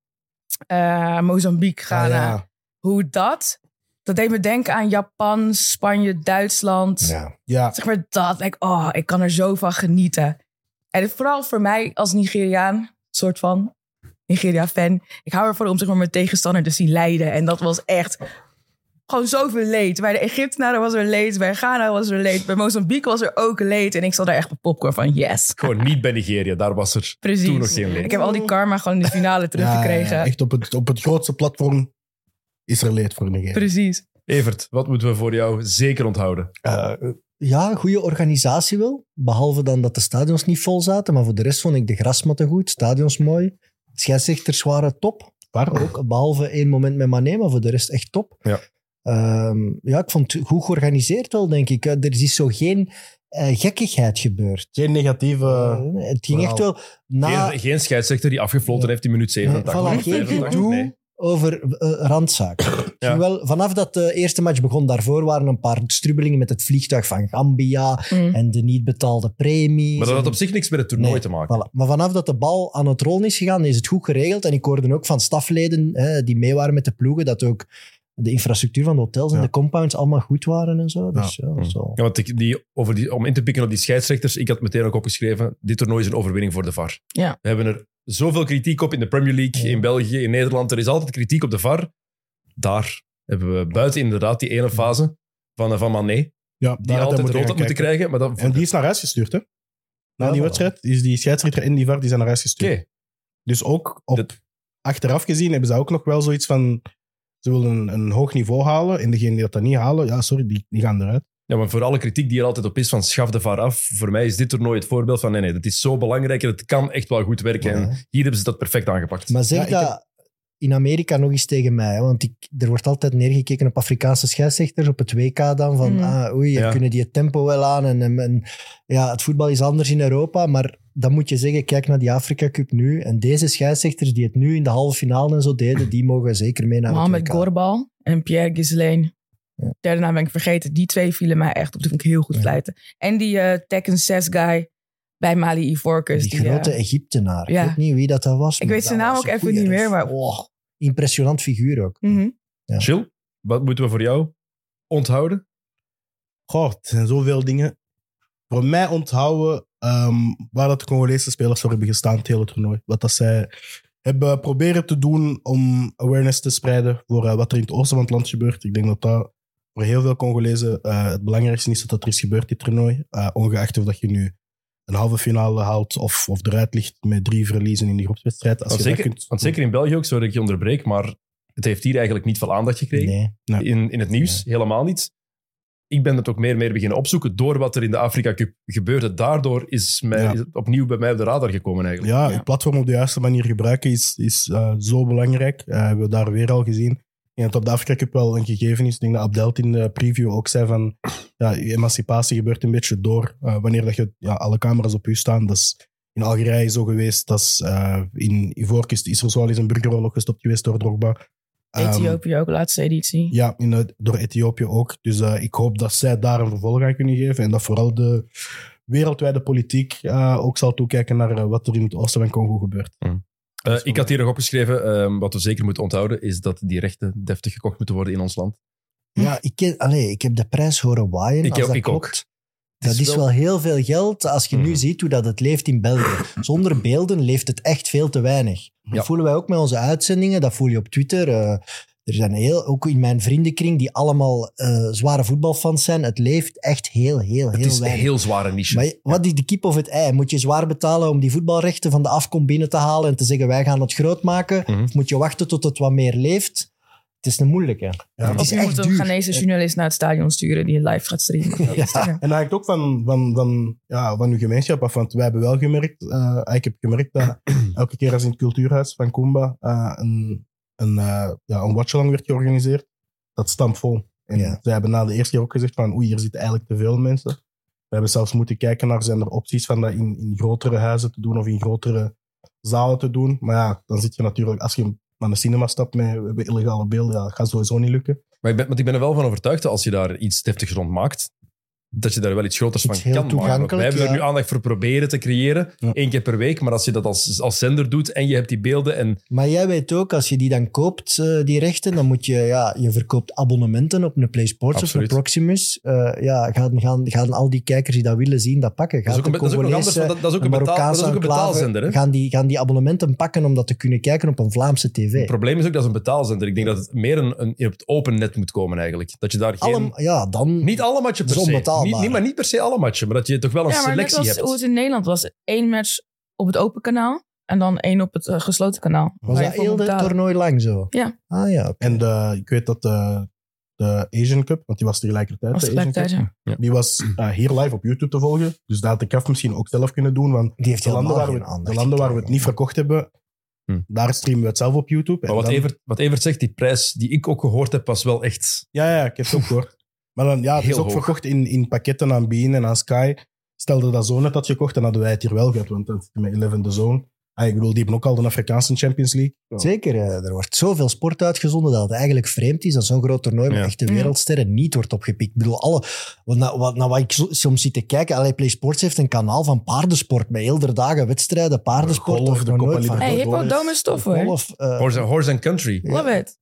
[SPEAKER 5] eh, Mozambique,
[SPEAKER 3] Ah,
[SPEAKER 5] Ghana.
[SPEAKER 3] ja.
[SPEAKER 5] Hoe dat... Dat deed me denken aan Japan, Spanje, Duitsland.
[SPEAKER 4] Ja.
[SPEAKER 3] Ja,
[SPEAKER 5] Zeg maar dat. Like, oh, ik kan er zo van genieten. En vooral voor mij als Nigeriaan, soort van Nigeria-fan. Ik hou ervan om zeg maar, mijn tegenstander dus te zien lijden. En dat was echt gewoon zoveel leed. Bij de Egyptenaren was er leed, bij Ghana was er leed, bij Mozambique was er ook leed. En ik zat daar echt met popcorn van, yes.
[SPEAKER 2] Gewoon niet bij Nigeria, daar was er
[SPEAKER 5] Precies.
[SPEAKER 2] toen nog geen leed.
[SPEAKER 5] Ik heb al die karma gewoon in de finale teruggekregen.
[SPEAKER 3] ja, ja, echt op het, op het grootste platform is er leed voor Nigeria.
[SPEAKER 5] Precies.
[SPEAKER 2] Evert, wat moeten we voor jou zeker onthouden?
[SPEAKER 4] Eh, ja, goede organisatie wel. Behalve dan dat de stadions niet vol zaten. Maar voor de rest vond ik de grasmatten goed, stadions mooi. Scheidsrechters waren top.
[SPEAKER 3] Waar ook.
[SPEAKER 4] ook. Behalve één moment met Mané, maar voor de rest echt top.
[SPEAKER 2] Ja.
[SPEAKER 4] Ehm, ja, ik vond het goed georganiseerd wel, denk ik. Eh, Er is zo geen eh, gekkigheid gebeurd.
[SPEAKER 3] Geen negatieve...
[SPEAKER 4] Eh, het ging echt
[SPEAKER 3] verhaal.
[SPEAKER 4] wel na...
[SPEAKER 2] geen, geen scheidsrechter die afgefloten
[SPEAKER 4] Nou, Ja.
[SPEAKER 2] heeft in minuut
[SPEAKER 4] Nee,
[SPEAKER 2] 87.
[SPEAKER 4] voilà,
[SPEAKER 2] minuut
[SPEAKER 4] geen
[SPEAKER 2] 85,
[SPEAKER 4] gedoe
[SPEAKER 2] nee.
[SPEAKER 4] over eh, randzaken. Het
[SPEAKER 2] Ja.
[SPEAKER 4] ging Wel, vanaf dat de eerste match begon, daarvoor waren een paar strubbelingen met het vliegtuig van Gambia
[SPEAKER 5] Mm.
[SPEAKER 4] en de niet betaalde premies.
[SPEAKER 2] Maar dat had
[SPEAKER 4] En-
[SPEAKER 2] op zich niks met het toernooi
[SPEAKER 4] Nee,
[SPEAKER 2] te maken.
[SPEAKER 4] Voilà. Maar vanaf dat de bal aan het rollen is gegaan, is het goed geregeld. En ik hoorde ook van stafleden hè, die mee waren met de ploegen, dat ook de infrastructuur van de hotels en
[SPEAKER 3] Ja.
[SPEAKER 4] de compounds allemaal goed waren en zo. Dus ja,
[SPEAKER 2] Hm.
[SPEAKER 4] zo.
[SPEAKER 2] Ja, want ik, die, over die, om in te pikken op die scheidsrechters, ik had meteen ook opgeschreven, dit toernooi is een overwinning voor de VAR.
[SPEAKER 5] Ja.
[SPEAKER 2] We hebben er zoveel kritiek op in de Premier League,
[SPEAKER 4] Ja.
[SPEAKER 2] in België, in Nederland. Er is altijd kritiek op de VAR. Daar hebben we buiten inderdaad die ene fase van, eh, van Mané, die
[SPEAKER 3] Ja, daar had hij
[SPEAKER 2] altijd rood
[SPEAKER 3] moeten
[SPEAKER 2] had moeten
[SPEAKER 3] gaan kijken.
[SPEAKER 2] krijgen. Maar dat,
[SPEAKER 3] En die is naar huis gestuurd, hè? Na
[SPEAKER 4] Ja,
[SPEAKER 3] die
[SPEAKER 4] voilà.
[SPEAKER 3] wedstrijd is die scheidsrechter en die VAR die zijn naar huis gestuurd.
[SPEAKER 2] Oké.
[SPEAKER 3] Dus ook op,
[SPEAKER 2] Dat-
[SPEAKER 3] achteraf gezien hebben ze ook nog wel zoiets van... Ze willen een, een hoog niveau halen en degene die dat dan niet halen, ja, sorry, die, die gaan eruit.
[SPEAKER 2] Ja, maar voor alle kritiek die er altijd op is van schaf de VAR af, voor mij is dit toernooi het voorbeeld van nee, nee, dat is zo belangrijk en het kan echt wel goed werken. En
[SPEAKER 4] Ja.
[SPEAKER 2] hier hebben ze dat perfect aangepakt.
[SPEAKER 4] Maar zeg
[SPEAKER 3] Ja, ik
[SPEAKER 4] dat in Amerika nog eens tegen mij, hè, want ik, er wordt altijd neergekeken op Afrikaanse scheidsrechters, op het WK dan, van
[SPEAKER 5] Mm.
[SPEAKER 4] ah, oei,
[SPEAKER 2] Ja.
[SPEAKER 4] kunnen die het tempo wel aan en, en, en- ja, het voetbal is anders in Europa, maar dan moet je zeggen, kijk naar die Afrika Cup nu en deze scheidsrechters die het nu in de halve finale en zo deden, die mogen zeker mee naar
[SPEAKER 5] Mohamed
[SPEAKER 4] het WK.
[SPEAKER 5] Gorbal en Pierre Gisleen. Derde naam ben ik vergeten. Die twee vielen mij echt op. Die vond ik heel goed fluiten. En die eh Tekken 6 guy bij Mali Ivorcus.
[SPEAKER 4] Die, grote
[SPEAKER 5] eh,
[SPEAKER 4] Egyptenaar.
[SPEAKER 5] Ja.
[SPEAKER 4] Ik weet niet wie dat, dat was.
[SPEAKER 5] Ik
[SPEAKER 4] maar
[SPEAKER 5] weet zijn
[SPEAKER 4] dat
[SPEAKER 5] naam
[SPEAKER 4] was
[SPEAKER 5] ook
[SPEAKER 4] een
[SPEAKER 5] even
[SPEAKER 4] goeie
[SPEAKER 5] niet meer,
[SPEAKER 4] ref.
[SPEAKER 5] maar-
[SPEAKER 4] Oh, impressionant figuur ook.
[SPEAKER 5] mhm.
[SPEAKER 4] Ja.
[SPEAKER 2] Chill, wat moeten we voor jou onthouden?
[SPEAKER 3] Goh, het zijn zoveel dingen. Voor mij onthouden ehm, waar dat de Congolese spelers voor hebben gestaan het hele toernooi. Wat dat zij hebben proberen te doen om awareness te spreiden voor eh, wat er in het oosten van het land gebeurt. Ik denk dat dat voor heel veel Congolezen eh, het belangrijkste is dat er is gebeurd dit toernooi. Eh, ongeacht of dat je nu een halve finale haalt of, of eruit ligt met drie verliezen in die groepswedstrijd. Als
[SPEAKER 2] Want
[SPEAKER 4] Oh,
[SPEAKER 3] je dat
[SPEAKER 2] zeker,
[SPEAKER 3] kunt-
[SPEAKER 2] want zeker in België ook, sorry dat ik je onderbreek, maar het heeft hier eigenlijk niet veel aandacht gekregen.
[SPEAKER 4] Nee.
[SPEAKER 2] in, in het nieuws, helemaal niet. Ik ben het ook meer en meer beginnen opzoeken door wat er in de Afrika Cup gebeurde. Daardoor is, mij,
[SPEAKER 3] Ja.
[SPEAKER 2] is het opnieuw bij mij op de radar gekomen eigenlijk.
[SPEAKER 3] Ja, het platform op de juiste manier gebruiken is, is eh, zo belangrijk. Eh, we hebben daar weer al gezien. En dat op de Afrika Cup wel een gegeven is. Ik denk dat Abdelt in de preview ook zei van... Ja, je emancipatie gebeurt een beetje door eh, wanneer dat je, ja, alle camera's op u staan. Dat is in Algerije zo geweest. Dat is eh, in Ivoorkust, Israël is een burgeroorlog gestopt geweest door Drogba. Ehm,
[SPEAKER 5] Ethiopië ook, laatste editie.
[SPEAKER 3] ja, in, eh, door Ethiopië ook. Dus eh, ik hoop dat zij daar een vervolg aan kunnen geven. En dat vooral de wereldwijde politiek eh, ook zal toekijken naar eh, wat er in het oosten van Congo gebeurt.
[SPEAKER 2] Eh, ik had hier nog opgeschreven, ehm, wat we zeker moeten onthouden, is dat die rechten deftig gekocht moeten worden in ons land.
[SPEAKER 4] Ja, ik, ken, allee, ik heb de prijs horen waaien.
[SPEAKER 2] Ik
[SPEAKER 4] als
[SPEAKER 2] ook-
[SPEAKER 4] dat
[SPEAKER 2] ik ook.
[SPEAKER 4] klopt.
[SPEAKER 2] Het
[SPEAKER 4] Dat
[SPEAKER 2] is
[SPEAKER 4] is
[SPEAKER 2] wel-
[SPEAKER 4] wel... heel veel geld als je
[SPEAKER 2] Mhm.
[SPEAKER 4] nu ziet hoe dat het leeft in België. Zonder beelden leeft het echt veel te weinig. Dat
[SPEAKER 2] Ja.
[SPEAKER 4] voelen wij ook met onze uitzendingen, dat voel je op Twitter. eh, er zijn heel, ook in mijn vriendenkring, die allemaal eh, zware voetbalfans zijn. Het leeft echt heel, heel,
[SPEAKER 2] Het
[SPEAKER 4] heel
[SPEAKER 2] is een
[SPEAKER 4] weinig.
[SPEAKER 2] heel zware niche.
[SPEAKER 4] Maar je- wat is de kip of het ei? Moet je zwaar betalen om die voetbalrechten van de afkom binnen te halen en te zeggen wij gaan het groot maken?
[SPEAKER 2] Mhm.
[SPEAKER 4] Of moet je wachten tot het wat meer leeft? Het is een moeilijke.
[SPEAKER 3] Ja,
[SPEAKER 4] het
[SPEAKER 5] Of
[SPEAKER 4] is
[SPEAKER 5] je moet
[SPEAKER 4] echt
[SPEAKER 5] een
[SPEAKER 4] duur.
[SPEAKER 5] Ghanese journalist naar het stadion sturen die het live gaat streamen.
[SPEAKER 4] Ja.
[SPEAKER 5] Ja.
[SPEAKER 3] En dat hangt ook van, van, van, ja, van uw gemeenschap af. Want wij hebben wel gemerkt, eh, ik heb gemerkt dat elke keer als in het cultuurhuis van Kumba eh, een, een, eh, ja, een watchalong werd georganiseerd, dat stamp vol. En
[SPEAKER 4] Ja.
[SPEAKER 3] zij hebben na de eerste keer ook gezegd van oei, hier zitten eigenlijk te veel mensen. We hebben zelfs moeten kijken naar zijn er opties van dat in, in grotere huizen te doen of in grotere zalen te doen. Maar ja, dan zit je natuurlijk, als je naar de cinema stapt met we hebben illegale beelden, ja, dat gaat sowieso niet lukken.
[SPEAKER 2] Maar ik ben, want ik ben er wel van overtuigd dat als je daar iets deftigs rond maakt, dat je daar wel iets groters
[SPEAKER 4] Iets
[SPEAKER 2] van
[SPEAKER 4] heel
[SPEAKER 2] kan maken. Want Wij
[SPEAKER 4] toegankelijk,
[SPEAKER 2] hebben er
[SPEAKER 4] ja.
[SPEAKER 2] nu aandacht voor proberen te creëren,
[SPEAKER 3] Ja.
[SPEAKER 2] één keer per week. Maar als je dat als, als zender doet en je hebt die beelden en
[SPEAKER 4] Maar jij weet ook, als je die dan koopt, eh, die rechten, dan moet je, ja, je verkoopt abonnementen op een Play Sports
[SPEAKER 2] Absoluut.
[SPEAKER 4] of een Proximus. Eh, ja, gaan, gaan, gaan al die kijkers die dat willen zien, dat pakken.
[SPEAKER 2] dat
[SPEAKER 4] Gaat
[SPEAKER 2] is ook een,
[SPEAKER 4] de
[SPEAKER 2] be- dat is ook nog anders,
[SPEAKER 4] Congolese,
[SPEAKER 2] want dat, dat is ook
[SPEAKER 4] een
[SPEAKER 2] een, betaal, dat is
[SPEAKER 4] Marokkaanse
[SPEAKER 2] ook een
[SPEAKER 4] enclave,
[SPEAKER 2] betaalzender. Hè?
[SPEAKER 4] gaan die, gaan die abonnementen pakken om dat te kunnen kijken op een Vlaamse tv.
[SPEAKER 2] Het probleem is ook dat is een betaalzender. Ik denk dat het meer een, een, op het open net moet komen eigenlijk. Dat je daar geen...
[SPEAKER 4] Allem, ja, dan...
[SPEAKER 2] niet alle matchen per
[SPEAKER 4] Dat is
[SPEAKER 2] se.
[SPEAKER 4] onbetaalbaar.
[SPEAKER 2] Niet, niet, maar niet per se alle matchen, maar dat je toch wel een
[SPEAKER 5] Ja, maar net
[SPEAKER 2] selectie
[SPEAKER 5] als
[SPEAKER 2] hebt.
[SPEAKER 5] hoe het in Nederland was. Eén match op het open kanaal en dan één op het eh, gesloten kanaal.
[SPEAKER 4] was
[SPEAKER 5] Waar je
[SPEAKER 4] dat
[SPEAKER 5] voor
[SPEAKER 4] heel
[SPEAKER 5] moet
[SPEAKER 4] het
[SPEAKER 5] betalen.
[SPEAKER 4] toernooi lang zo?
[SPEAKER 5] Ja.
[SPEAKER 4] Ah ja, oké.
[SPEAKER 3] En de, ik weet dat de, de Asian Cup, want die was tegelijkertijd.
[SPEAKER 5] Was
[SPEAKER 3] de Asian
[SPEAKER 5] tegelijkertijd,
[SPEAKER 3] Cup,
[SPEAKER 5] ja.
[SPEAKER 3] Die was eh, hier live op YouTube te volgen. Dus dat had ik af misschien ook zelf kunnen doen. Want
[SPEAKER 4] Die heeft
[SPEAKER 3] de landen,
[SPEAKER 4] helemaal
[SPEAKER 3] waar
[SPEAKER 4] geen
[SPEAKER 3] we,
[SPEAKER 4] aandacht.
[SPEAKER 3] de landen waar we het niet verkocht hebben,
[SPEAKER 2] Hm.
[SPEAKER 3] daar streamen we het zelf op YouTube. En
[SPEAKER 2] Maar wat
[SPEAKER 3] dan-
[SPEAKER 2] Evert, wat Evert zegt, die prijs die ik ook gehoord heb, was wel echt...
[SPEAKER 3] Ja, ja, ik heb het ook gehoord. Maar dan, ja, het is
[SPEAKER 2] Heel
[SPEAKER 3] ook
[SPEAKER 2] hoog.
[SPEAKER 3] verkocht in, in pakketten aan Bean en aan Sky. Stelde dat zo net had gekocht, dan hadden wij het hier wel gehad. Want dan zit je met 11 de Zone. Ah, ik bedoel, die hebben ook al de Afrikaanse Champions League.
[SPEAKER 4] Zeker, eh, er wordt zoveel sport uitgezonden dat het eigenlijk vreemd is dat zo'n groot toernooi met
[SPEAKER 2] Ja.
[SPEAKER 4] echte
[SPEAKER 5] Ja.
[SPEAKER 4] wereldsterren niet wordt opgepikt. Ik bedoel, alle, wat, na, wat, na wat ik zo- soms zit te kijken, Allee, Play Sports heeft een kanaal van paardensport met heel de dagen wedstrijden, paardensport.
[SPEAKER 3] Golf,
[SPEAKER 4] daar heb ik
[SPEAKER 3] de
[SPEAKER 4] nog
[SPEAKER 3] Copa
[SPEAKER 4] nooit van
[SPEAKER 5] Hey,
[SPEAKER 3] Libertadores.
[SPEAKER 5] hippodome stof
[SPEAKER 4] gehoord.
[SPEAKER 5] hoor.
[SPEAKER 4] Golf, eh,
[SPEAKER 2] Horse, horse and Country.
[SPEAKER 5] Love it.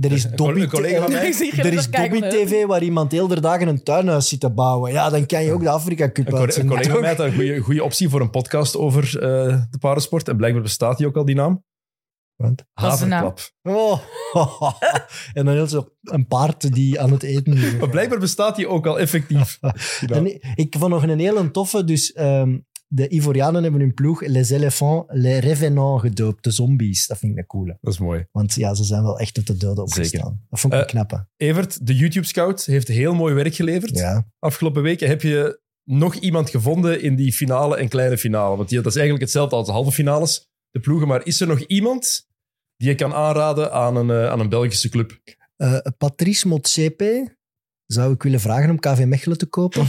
[SPEAKER 4] er is
[SPEAKER 2] Een
[SPEAKER 4] Dobby,
[SPEAKER 2] collega van mij-
[SPEAKER 5] Ik zie
[SPEAKER 4] er
[SPEAKER 5] dat
[SPEAKER 4] is
[SPEAKER 5] kijken,
[SPEAKER 4] Dobby
[SPEAKER 5] leuk.
[SPEAKER 4] TV waar iemand heel de dagen een tuinhuis zit te bouwen. Ja, dan kan je ook de Afrika Cup
[SPEAKER 2] Een, co- een
[SPEAKER 4] uitzenden.
[SPEAKER 2] collega van mij had een goede, goede optie voor een podcast over eh, de paardensport. En blijkbaar bestaat die ook al, die naam.
[SPEAKER 4] Wat?
[SPEAKER 5] Wat is de naam?
[SPEAKER 2] Haverklap.
[SPEAKER 4] Oh, en dan heel zo een paard die aan het eten is.
[SPEAKER 2] Maar blijkbaar bestaat die ook al effectief. Die naam.
[SPEAKER 4] En ik vond nog een hele toffe. Dus ehm, de Ivorianen hebben hun ploeg Les Elephants, Les Revenants gedoopt. De zombies. Dat vind ik een coole.
[SPEAKER 2] Dat is mooi.
[SPEAKER 4] Want ja, ze zijn wel echt tot de doden opgestaan. Dat vond ik een
[SPEAKER 2] Eh,
[SPEAKER 4] knappe.
[SPEAKER 2] Evert, de YouTube Scout, heeft heel mooi werk geleverd.
[SPEAKER 4] Ja.
[SPEAKER 2] Afgelopen weken heb je nog iemand gevonden in die finale en kleine finale. Want die, dat is eigenlijk hetzelfde als de halve finales, de ploegen. Maar is er nog iemand die je kan aanraden aan een, eh, aan een Belgische club?
[SPEAKER 4] Eh, Patrice Motsepe zou ik willen vragen om KV Mechelen te kopen.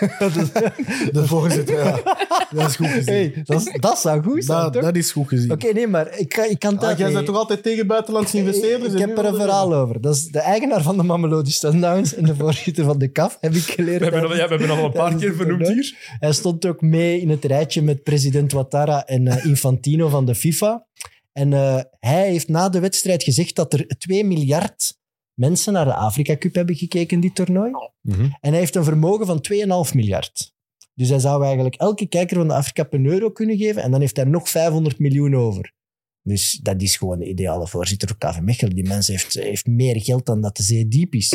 [SPEAKER 3] De voorzitter, ja. Dat is goed gezien.
[SPEAKER 4] hey, dat, is- dat zou goed zijn,
[SPEAKER 3] Nou, dat,
[SPEAKER 4] toch?
[SPEAKER 3] dat is goed gezien.
[SPEAKER 4] Oké, nee, maar ik, kan- ik kan
[SPEAKER 3] Ah,
[SPEAKER 4] dat...
[SPEAKER 3] jij bent
[SPEAKER 4] nee.
[SPEAKER 3] toch altijd tegen buitenlandse investeerders?
[SPEAKER 4] Ik
[SPEAKER 3] en
[SPEAKER 4] heb
[SPEAKER 3] nu
[SPEAKER 4] er een
[SPEAKER 3] wilde-
[SPEAKER 4] verhaal over. Dat is de eigenaar van de Mamelodi Sundowns en de voorzitter van de KAF, heb ik geleerd.
[SPEAKER 2] We hebben, al,
[SPEAKER 4] tijdens-
[SPEAKER 2] ja, we hebben al een paar keer vernoemd hier.
[SPEAKER 4] Hij stond ook mee in het rijtje met president Ouattara en eh, Infantino van de FIFA. En eh, hij heeft na de wedstrijd gezegd dat er 2 miljard mensen naar de Afrika Cup hebben gekeken in dit toernooi.
[SPEAKER 2] Mhm.
[SPEAKER 4] En hij heeft een vermogen van 2,5 miljard. Dus hij zou eigenlijk elke kijker van de Afrika Cup een euro kunnen geven en dan heeft hij nog 500 miljoen over. Dus dat is gewoon de ideale voorzitter voor KV Mechelen. Die mens heeft, heeft meer geld dan dat de zee diep is.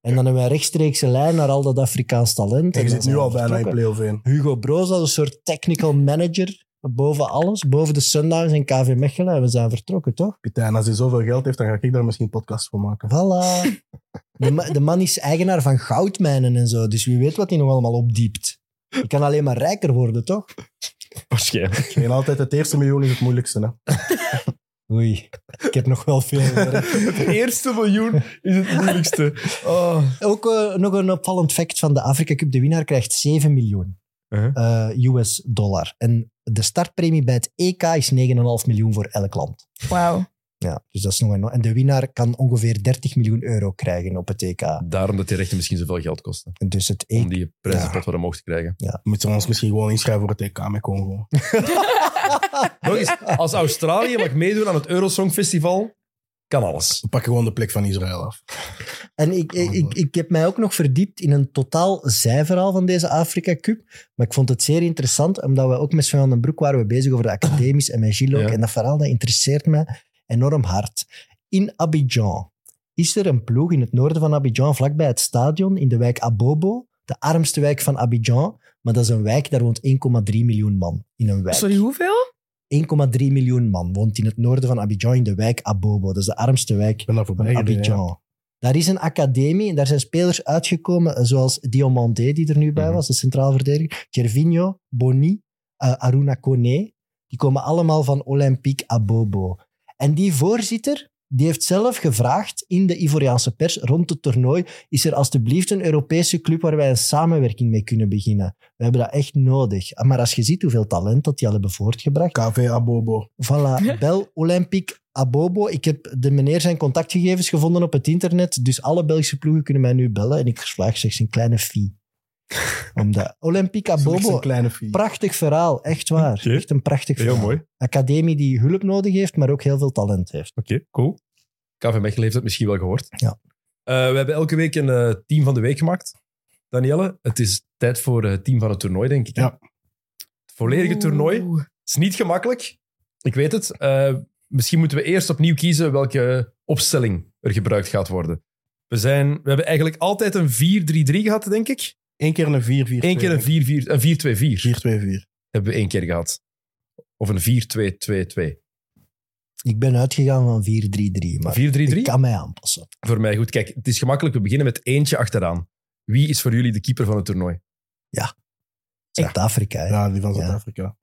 [SPEAKER 4] En dan hebben wij rechtstreekse lijn naar al dat Afrikaans talent.
[SPEAKER 3] Kijk,
[SPEAKER 4] En
[SPEAKER 3] je
[SPEAKER 4] dan
[SPEAKER 3] zit
[SPEAKER 4] zijn
[SPEAKER 3] nu
[SPEAKER 4] we
[SPEAKER 3] al bijna in
[SPEAKER 4] vertrokken.
[SPEAKER 3] play-off 1.
[SPEAKER 4] Hugo Broos als een soort technical manager boven alles, boven de Sundowns en KV Mechelen. En we zijn vertrokken, toch?
[SPEAKER 3] Pitijn, als hij zoveel geld heeft, dan ga ik daar misschien een podcast voor maken.
[SPEAKER 4] Voilà. De, ma- de man is eigenaar van goudmijnen en zo, dus wie weet wat hij nog allemaal opdiept. Je kan alleen maar rijker worden, toch?
[SPEAKER 2] Waarschijnlijk.
[SPEAKER 3] En altijd het eerste miljoen is het moeilijkste. Hè?
[SPEAKER 4] Oei, ik heb nog wel veel werk.
[SPEAKER 2] Het eerste miljoen is het moeilijkste. Oh.
[SPEAKER 4] Ook eh, nog een opvallend fact van de Afrika Cup. De winnaar krijgt 7 miljoen
[SPEAKER 2] Uh-huh.
[SPEAKER 4] eh, US dollar. En de startpremie bij het EK is 9,5 miljoen voor elk land.
[SPEAKER 5] Wauw.
[SPEAKER 4] Ja, dus dat is nog een... En de winnaar kan ongeveer 30 miljoen euro krijgen op het EK.
[SPEAKER 2] Daarom dat die rechten misschien zoveel geld kosten.
[SPEAKER 4] En Dus het
[SPEAKER 2] Om
[SPEAKER 4] EK...
[SPEAKER 2] die prijzenpot wat omhoog te krijgen.
[SPEAKER 3] E Moeten we ons misschien gewoon inschrijven voor het EK met Congo.
[SPEAKER 2] Nog eens, als Australië mag meedoen aan het Eurosong Festival, kan alles.
[SPEAKER 3] We pakken gewoon de plek van Israël af.
[SPEAKER 4] En ik, ik, ik, ik heb mij ook nog verdiept in een totaal zijverhaal van deze Afrika Cup. Maar ik vond het zeer interessant, omdat we ook met Sven van den Broek waren we bezig over de academisch en met Gilles ook.
[SPEAKER 2] Ja.
[SPEAKER 4] En dat verhaal dat interesseert me enorm hard. In Abidjan is er een ploeg in het noorden van Abidjan, vlakbij het stadion, in de wijk Abobo, de armste wijk van Abidjan. Maar dat is een wijk, daar woont 1,3 miljoen man in een wijk.
[SPEAKER 5] Sorry, hoeveel?
[SPEAKER 4] 1,3 miljoen man woont in het noorden van Abidjan, in de wijk Abobo. Dat is de armste wijk
[SPEAKER 3] Ik ben daar
[SPEAKER 4] van
[SPEAKER 3] voorbij gereden,
[SPEAKER 4] Abidjan. Daar is een academie en daar zijn spelers uitgekomen, eh, zoals Diomandé, die er nu bij
[SPEAKER 2] Mhm.
[SPEAKER 4] was, de centraal verdediger, Gervinho, Boni, eh, Aruna Kone. Die komen allemaal van Olympique Abobo. En die voorzitter, die heeft zelf gevraagd in de Ivoriaanse pers rond het toernooi, is er alstublieft een Europese club waar wij een samenwerking mee kunnen beginnen. We hebben dat echt nodig. Ah, Maar als je ziet hoeveel talent dat die al hebben voortgebracht,
[SPEAKER 3] ja. KV Abobo.
[SPEAKER 4] Voilà, Bel Olympic Abobo. Ik heb de meneer zijn contactgegevens gevonden op het internet. Dus alle Belgische ploegen kunnen mij nu bellen. En ik verslaag slechts een kleine fee. Omdat Olympic
[SPEAKER 3] Slechts een
[SPEAKER 4] Abobo,
[SPEAKER 3] kleine fee.
[SPEAKER 4] prachtig verhaal. Echt waar.
[SPEAKER 2] Oké.
[SPEAKER 4] Echt een prachtig verhaal. Academie die hulp nodig heeft, maar ook heel veel talent heeft.
[SPEAKER 2] Oké, cool. KV Mechelen heeft het misschien wel gehoord.
[SPEAKER 4] Ja.
[SPEAKER 2] Eh, we hebben elke week een eh, team van de week gemaakt. Danielle, het is tijd voor eh, het team van het toernooi, denk ik. hè?
[SPEAKER 3] Ja.
[SPEAKER 2] Het volledige toernooi.
[SPEAKER 5] Oeh.
[SPEAKER 2] Het is niet gemakkelijk. Ik weet het. Eh, misschien moeten we eerst opnieuw kiezen welke opstelling er gebruikt gaat worden. We, zijn, we hebben eigenlijk altijd een 4-3-3 gehad, denk ik.
[SPEAKER 3] Eén keer een 4 4
[SPEAKER 2] Eén keer een 4-4 een 4-2-4
[SPEAKER 3] 4-2-4.
[SPEAKER 2] hebben we één keer gehad. Of een 4-2-2-2.
[SPEAKER 4] Ik ben uitgegaan van 4-3-3, maar ik
[SPEAKER 2] 4-3-3?
[SPEAKER 4] kan mij aanpassen.
[SPEAKER 2] Voor mij goed. Kijk, het is gemakkelijk. We beginnen met eentje achteraan. Wie is voor jullie de keeper van het toernooi?
[SPEAKER 4] Zuid-Afrika. hè.
[SPEAKER 3] Ja, die van
[SPEAKER 4] Ja.
[SPEAKER 3] Zuid-Afrika.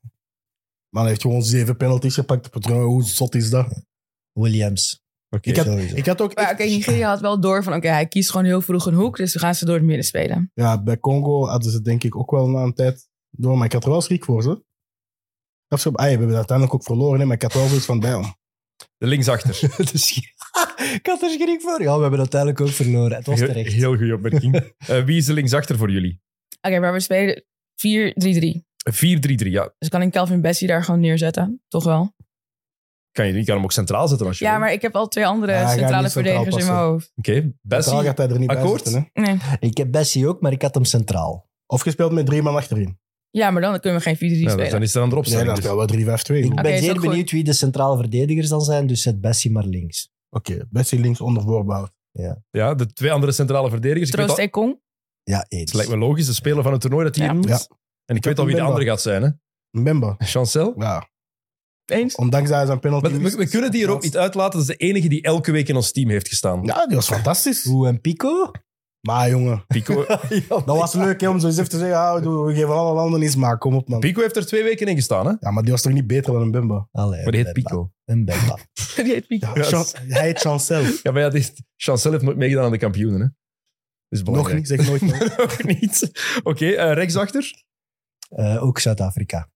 [SPEAKER 3] Maar hij heeft gewoon zeven penalties gepakt. op het toernooi. Hoe zot is dat?
[SPEAKER 4] Williams.
[SPEAKER 2] Oké.
[SPEAKER 3] Ik heb-
[SPEAKER 4] Sowieso.
[SPEAKER 3] Ik had ook...
[SPEAKER 5] Maar oké, Nigeria had wel door van oké, hij kiest gewoon heel vroeg een hoek, dus we gaan ze door het midden spelen.
[SPEAKER 3] Ja, bij Congo hadden ze het denk ik ook wel na een tijd door. Maar ik had er wel schrik voor, ze. Ah, ja, we hebben dat uiteindelijk ook verloren, hè, maar ik had wel zoiets van bij
[SPEAKER 2] Ah,
[SPEAKER 3] hem.
[SPEAKER 2] De linksachter.
[SPEAKER 4] Het is- Dus- ik had er schrik voor. Ja, we hebben uiteindelijk ook verloren. Het was
[SPEAKER 2] Heel-
[SPEAKER 4] terecht.
[SPEAKER 2] Heel goede opmerking. Eh, wie is de linksachter voor jullie?
[SPEAKER 5] Oké, maar we spelen
[SPEAKER 2] 4-3-3,
[SPEAKER 5] 4-3-3.
[SPEAKER 2] ja.
[SPEAKER 5] Dus kan ik Calvin Bessie daar gewoon neerzetten, toch wel?
[SPEAKER 2] Kan je, je kan hem ook centraal zetten als je
[SPEAKER 5] Ja,
[SPEAKER 2] wil.
[SPEAKER 5] maar ik heb al twee andere
[SPEAKER 3] Ja, hij gaat
[SPEAKER 5] centrale
[SPEAKER 3] niet centraal
[SPEAKER 5] verdedigers in mijn
[SPEAKER 3] passen.
[SPEAKER 5] hoofd.
[SPEAKER 2] Oké, Bessie.
[SPEAKER 3] Centraal gaat hij er niet
[SPEAKER 2] akkoord?
[SPEAKER 3] bij zitten, hè.
[SPEAKER 5] Nee.
[SPEAKER 4] Ik heb Bessie ook, maar ik had hem centraal.
[SPEAKER 3] Of gespeeld met drie man achterin.
[SPEAKER 5] Ja, maar dan kunnen we geen 4-3
[SPEAKER 2] Ja,
[SPEAKER 5] spelen.
[SPEAKER 2] dan is er een andere
[SPEAKER 3] Nee,
[SPEAKER 2] opstelling.
[SPEAKER 3] dan
[SPEAKER 2] dus.
[SPEAKER 3] spelen we 3-5-2.
[SPEAKER 4] Ik
[SPEAKER 3] gewoon.
[SPEAKER 5] Oké,
[SPEAKER 4] ben
[SPEAKER 5] is
[SPEAKER 4] zeer
[SPEAKER 5] ook goed.
[SPEAKER 4] benieuwd wie de centrale verdedigers dan zijn, dus zet Bessie maar links.
[SPEAKER 3] Oké, Bessie links onder voorbouw.
[SPEAKER 2] ja, de twee andere centrale verdedigers. Ik weet
[SPEAKER 3] Oh.
[SPEAKER 5] Troost
[SPEAKER 2] al-
[SPEAKER 5] Ekong.
[SPEAKER 4] Ja,
[SPEAKER 2] het
[SPEAKER 4] eens.
[SPEAKER 2] lijkt me logisch, de speler van het toernooi dat hij
[SPEAKER 5] Ja.
[SPEAKER 2] hier noemt.
[SPEAKER 3] Ja.
[SPEAKER 2] En ik weet al wie de andere gaat zijn, hè?
[SPEAKER 3] Mbemba.
[SPEAKER 2] Chancel?
[SPEAKER 3] Ja,
[SPEAKER 5] Eens.
[SPEAKER 3] ondanks dat hij zijn penalty...
[SPEAKER 2] Maar we, we kunnen die er ook niet uitlaten. Dat is de enige die elke week in ons team heeft gestaan.
[SPEAKER 3] Ja, die was fantastisch.
[SPEAKER 4] Hoe en Pico?
[SPEAKER 3] Maar jongen,
[SPEAKER 2] Pico,
[SPEAKER 3] dat was leuk hè, om zo eens even te zeggen, ah, we doen- we geven alle landen iets, maar kom op man.
[SPEAKER 2] Pico heeft er twee weken in gestaan, hè?
[SPEAKER 3] Ja, maar die was toch niet beter dan een Bimba?
[SPEAKER 4] Allee,
[SPEAKER 2] Maar die heet
[SPEAKER 4] Mbemba.
[SPEAKER 2] Pico.
[SPEAKER 4] Mbemba.
[SPEAKER 5] Die heet Pico.
[SPEAKER 3] Oh. Ja,
[SPEAKER 2] Ja,
[SPEAKER 3] Chan- hij heet Chancel.
[SPEAKER 2] Ja, maar ja, die is- Chancel heeft nooit meegedaan aan de kampioenen, hè? Dus
[SPEAKER 3] Nog niet, zeg nooit. nooit.
[SPEAKER 2] Nog niet. Oké, eh, rechtsachter.
[SPEAKER 4] Eh, ook Zuid-Afrika.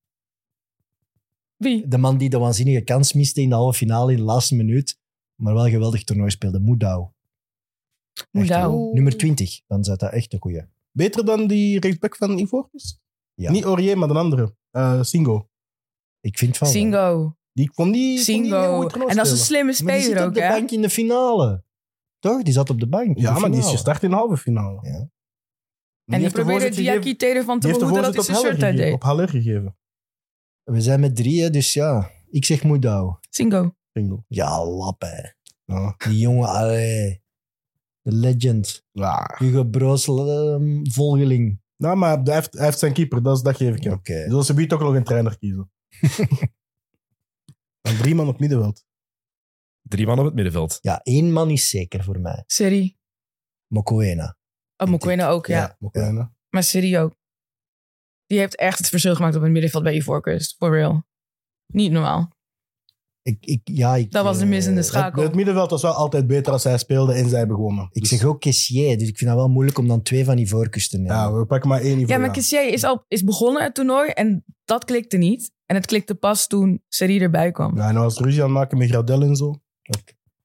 [SPEAKER 5] Wie?
[SPEAKER 4] De man die de waanzinnige kans miste in de halve finale in de laatste minuut, maar wel een geweldig toernooi speelde, Moedau.
[SPEAKER 5] Moedau.
[SPEAKER 4] Nummer 20, dan zat dat echt een goeie.
[SPEAKER 3] Beter dan die rechtsback van Ivoorkust?
[SPEAKER 4] Ja.
[SPEAKER 3] Niet Aurier, maar de andere. Eh, Singo.
[SPEAKER 4] Ik vind van... wel.
[SPEAKER 5] Singo.
[SPEAKER 3] Die ik vond die... vond die een
[SPEAKER 5] Singo.
[SPEAKER 3] goeie toernooi
[SPEAKER 5] En dat is een
[SPEAKER 3] speler.
[SPEAKER 5] slimme
[SPEAKER 4] Maar die zit
[SPEAKER 5] speler
[SPEAKER 4] op
[SPEAKER 5] ook,
[SPEAKER 4] de
[SPEAKER 5] hè?
[SPEAKER 4] bank in de finale. Toch? Die zat op de bank. in
[SPEAKER 3] Ja,
[SPEAKER 4] de
[SPEAKER 3] maar die is
[SPEAKER 4] finale.
[SPEAKER 3] gestart in de halve finale. Maar
[SPEAKER 4] Ja.
[SPEAKER 5] En die
[SPEAKER 3] heeft de
[SPEAKER 5] probeerde
[SPEAKER 3] voorzet gegeven-
[SPEAKER 5] Diakite ervan
[SPEAKER 3] die
[SPEAKER 5] te
[SPEAKER 3] heeft de
[SPEAKER 5] behoeden dat
[SPEAKER 3] voorzet op
[SPEAKER 5] hij
[SPEAKER 3] Haller
[SPEAKER 5] zijn shirt uit
[SPEAKER 3] gegeven.
[SPEAKER 5] deed.
[SPEAKER 3] Op Haller gegeven.
[SPEAKER 4] We zijn met drieën, dus ja. Ik zeg Moedau.
[SPEAKER 5] Singo.
[SPEAKER 3] Singo.
[SPEAKER 4] Ja, lap, hè.
[SPEAKER 3] Ja.
[SPEAKER 4] Die jongen, allee. De legend.
[SPEAKER 3] Ja.
[SPEAKER 4] Hugo Broos, ehm, volgeling.
[SPEAKER 3] Nou, maar hij heeft, hij heeft zijn keeper, dat, is, dat geef ik hem.
[SPEAKER 4] Oké.
[SPEAKER 3] Dus ze biedt ook nog een trainer kiezen. en drie man op middenveld.
[SPEAKER 2] Drie man op het middenveld.
[SPEAKER 4] Ja, één man is zeker voor mij.
[SPEAKER 5] Siri.
[SPEAKER 4] Mokoena.
[SPEAKER 5] Oh, Mokwena ook, ja.
[SPEAKER 3] Mokwena.
[SPEAKER 5] Maar Siri ook. Die heeft echt het verschil gemaakt op het middenveld bij Ivoorkust. For real. Niet normaal.
[SPEAKER 4] Ik, ik, ja, ik,
[SPEAKER 5] Dat was de
[SPEAKER 4] eh,
[SPEAKER 5] missende
[SPEAKER 3] Het,
[SPEAKER 5] schakel.
[SPEAKER 3] het middenveld was wel altijd beter als hij speelde en zij begonnen.
[SPEAKER 4] Ik
[SPEAKER 3] Dus-
[SPEAKER 4] zeg ook Kessier, dus ik vind dat wel moeilijk om dan twee van die voorkeurs te nemen.
[SPEAKER 3] Ja, we pakken maar één niveau.
[SPEAKER 5] Ja, maar Kessier is, al, is begonnen het toernooi en dat klikte niet. En het klikte pas toen Seri erbij kwam.
[SPEAKER 3] Ja, en hij was ruzie aan het maken met Gradel en zo.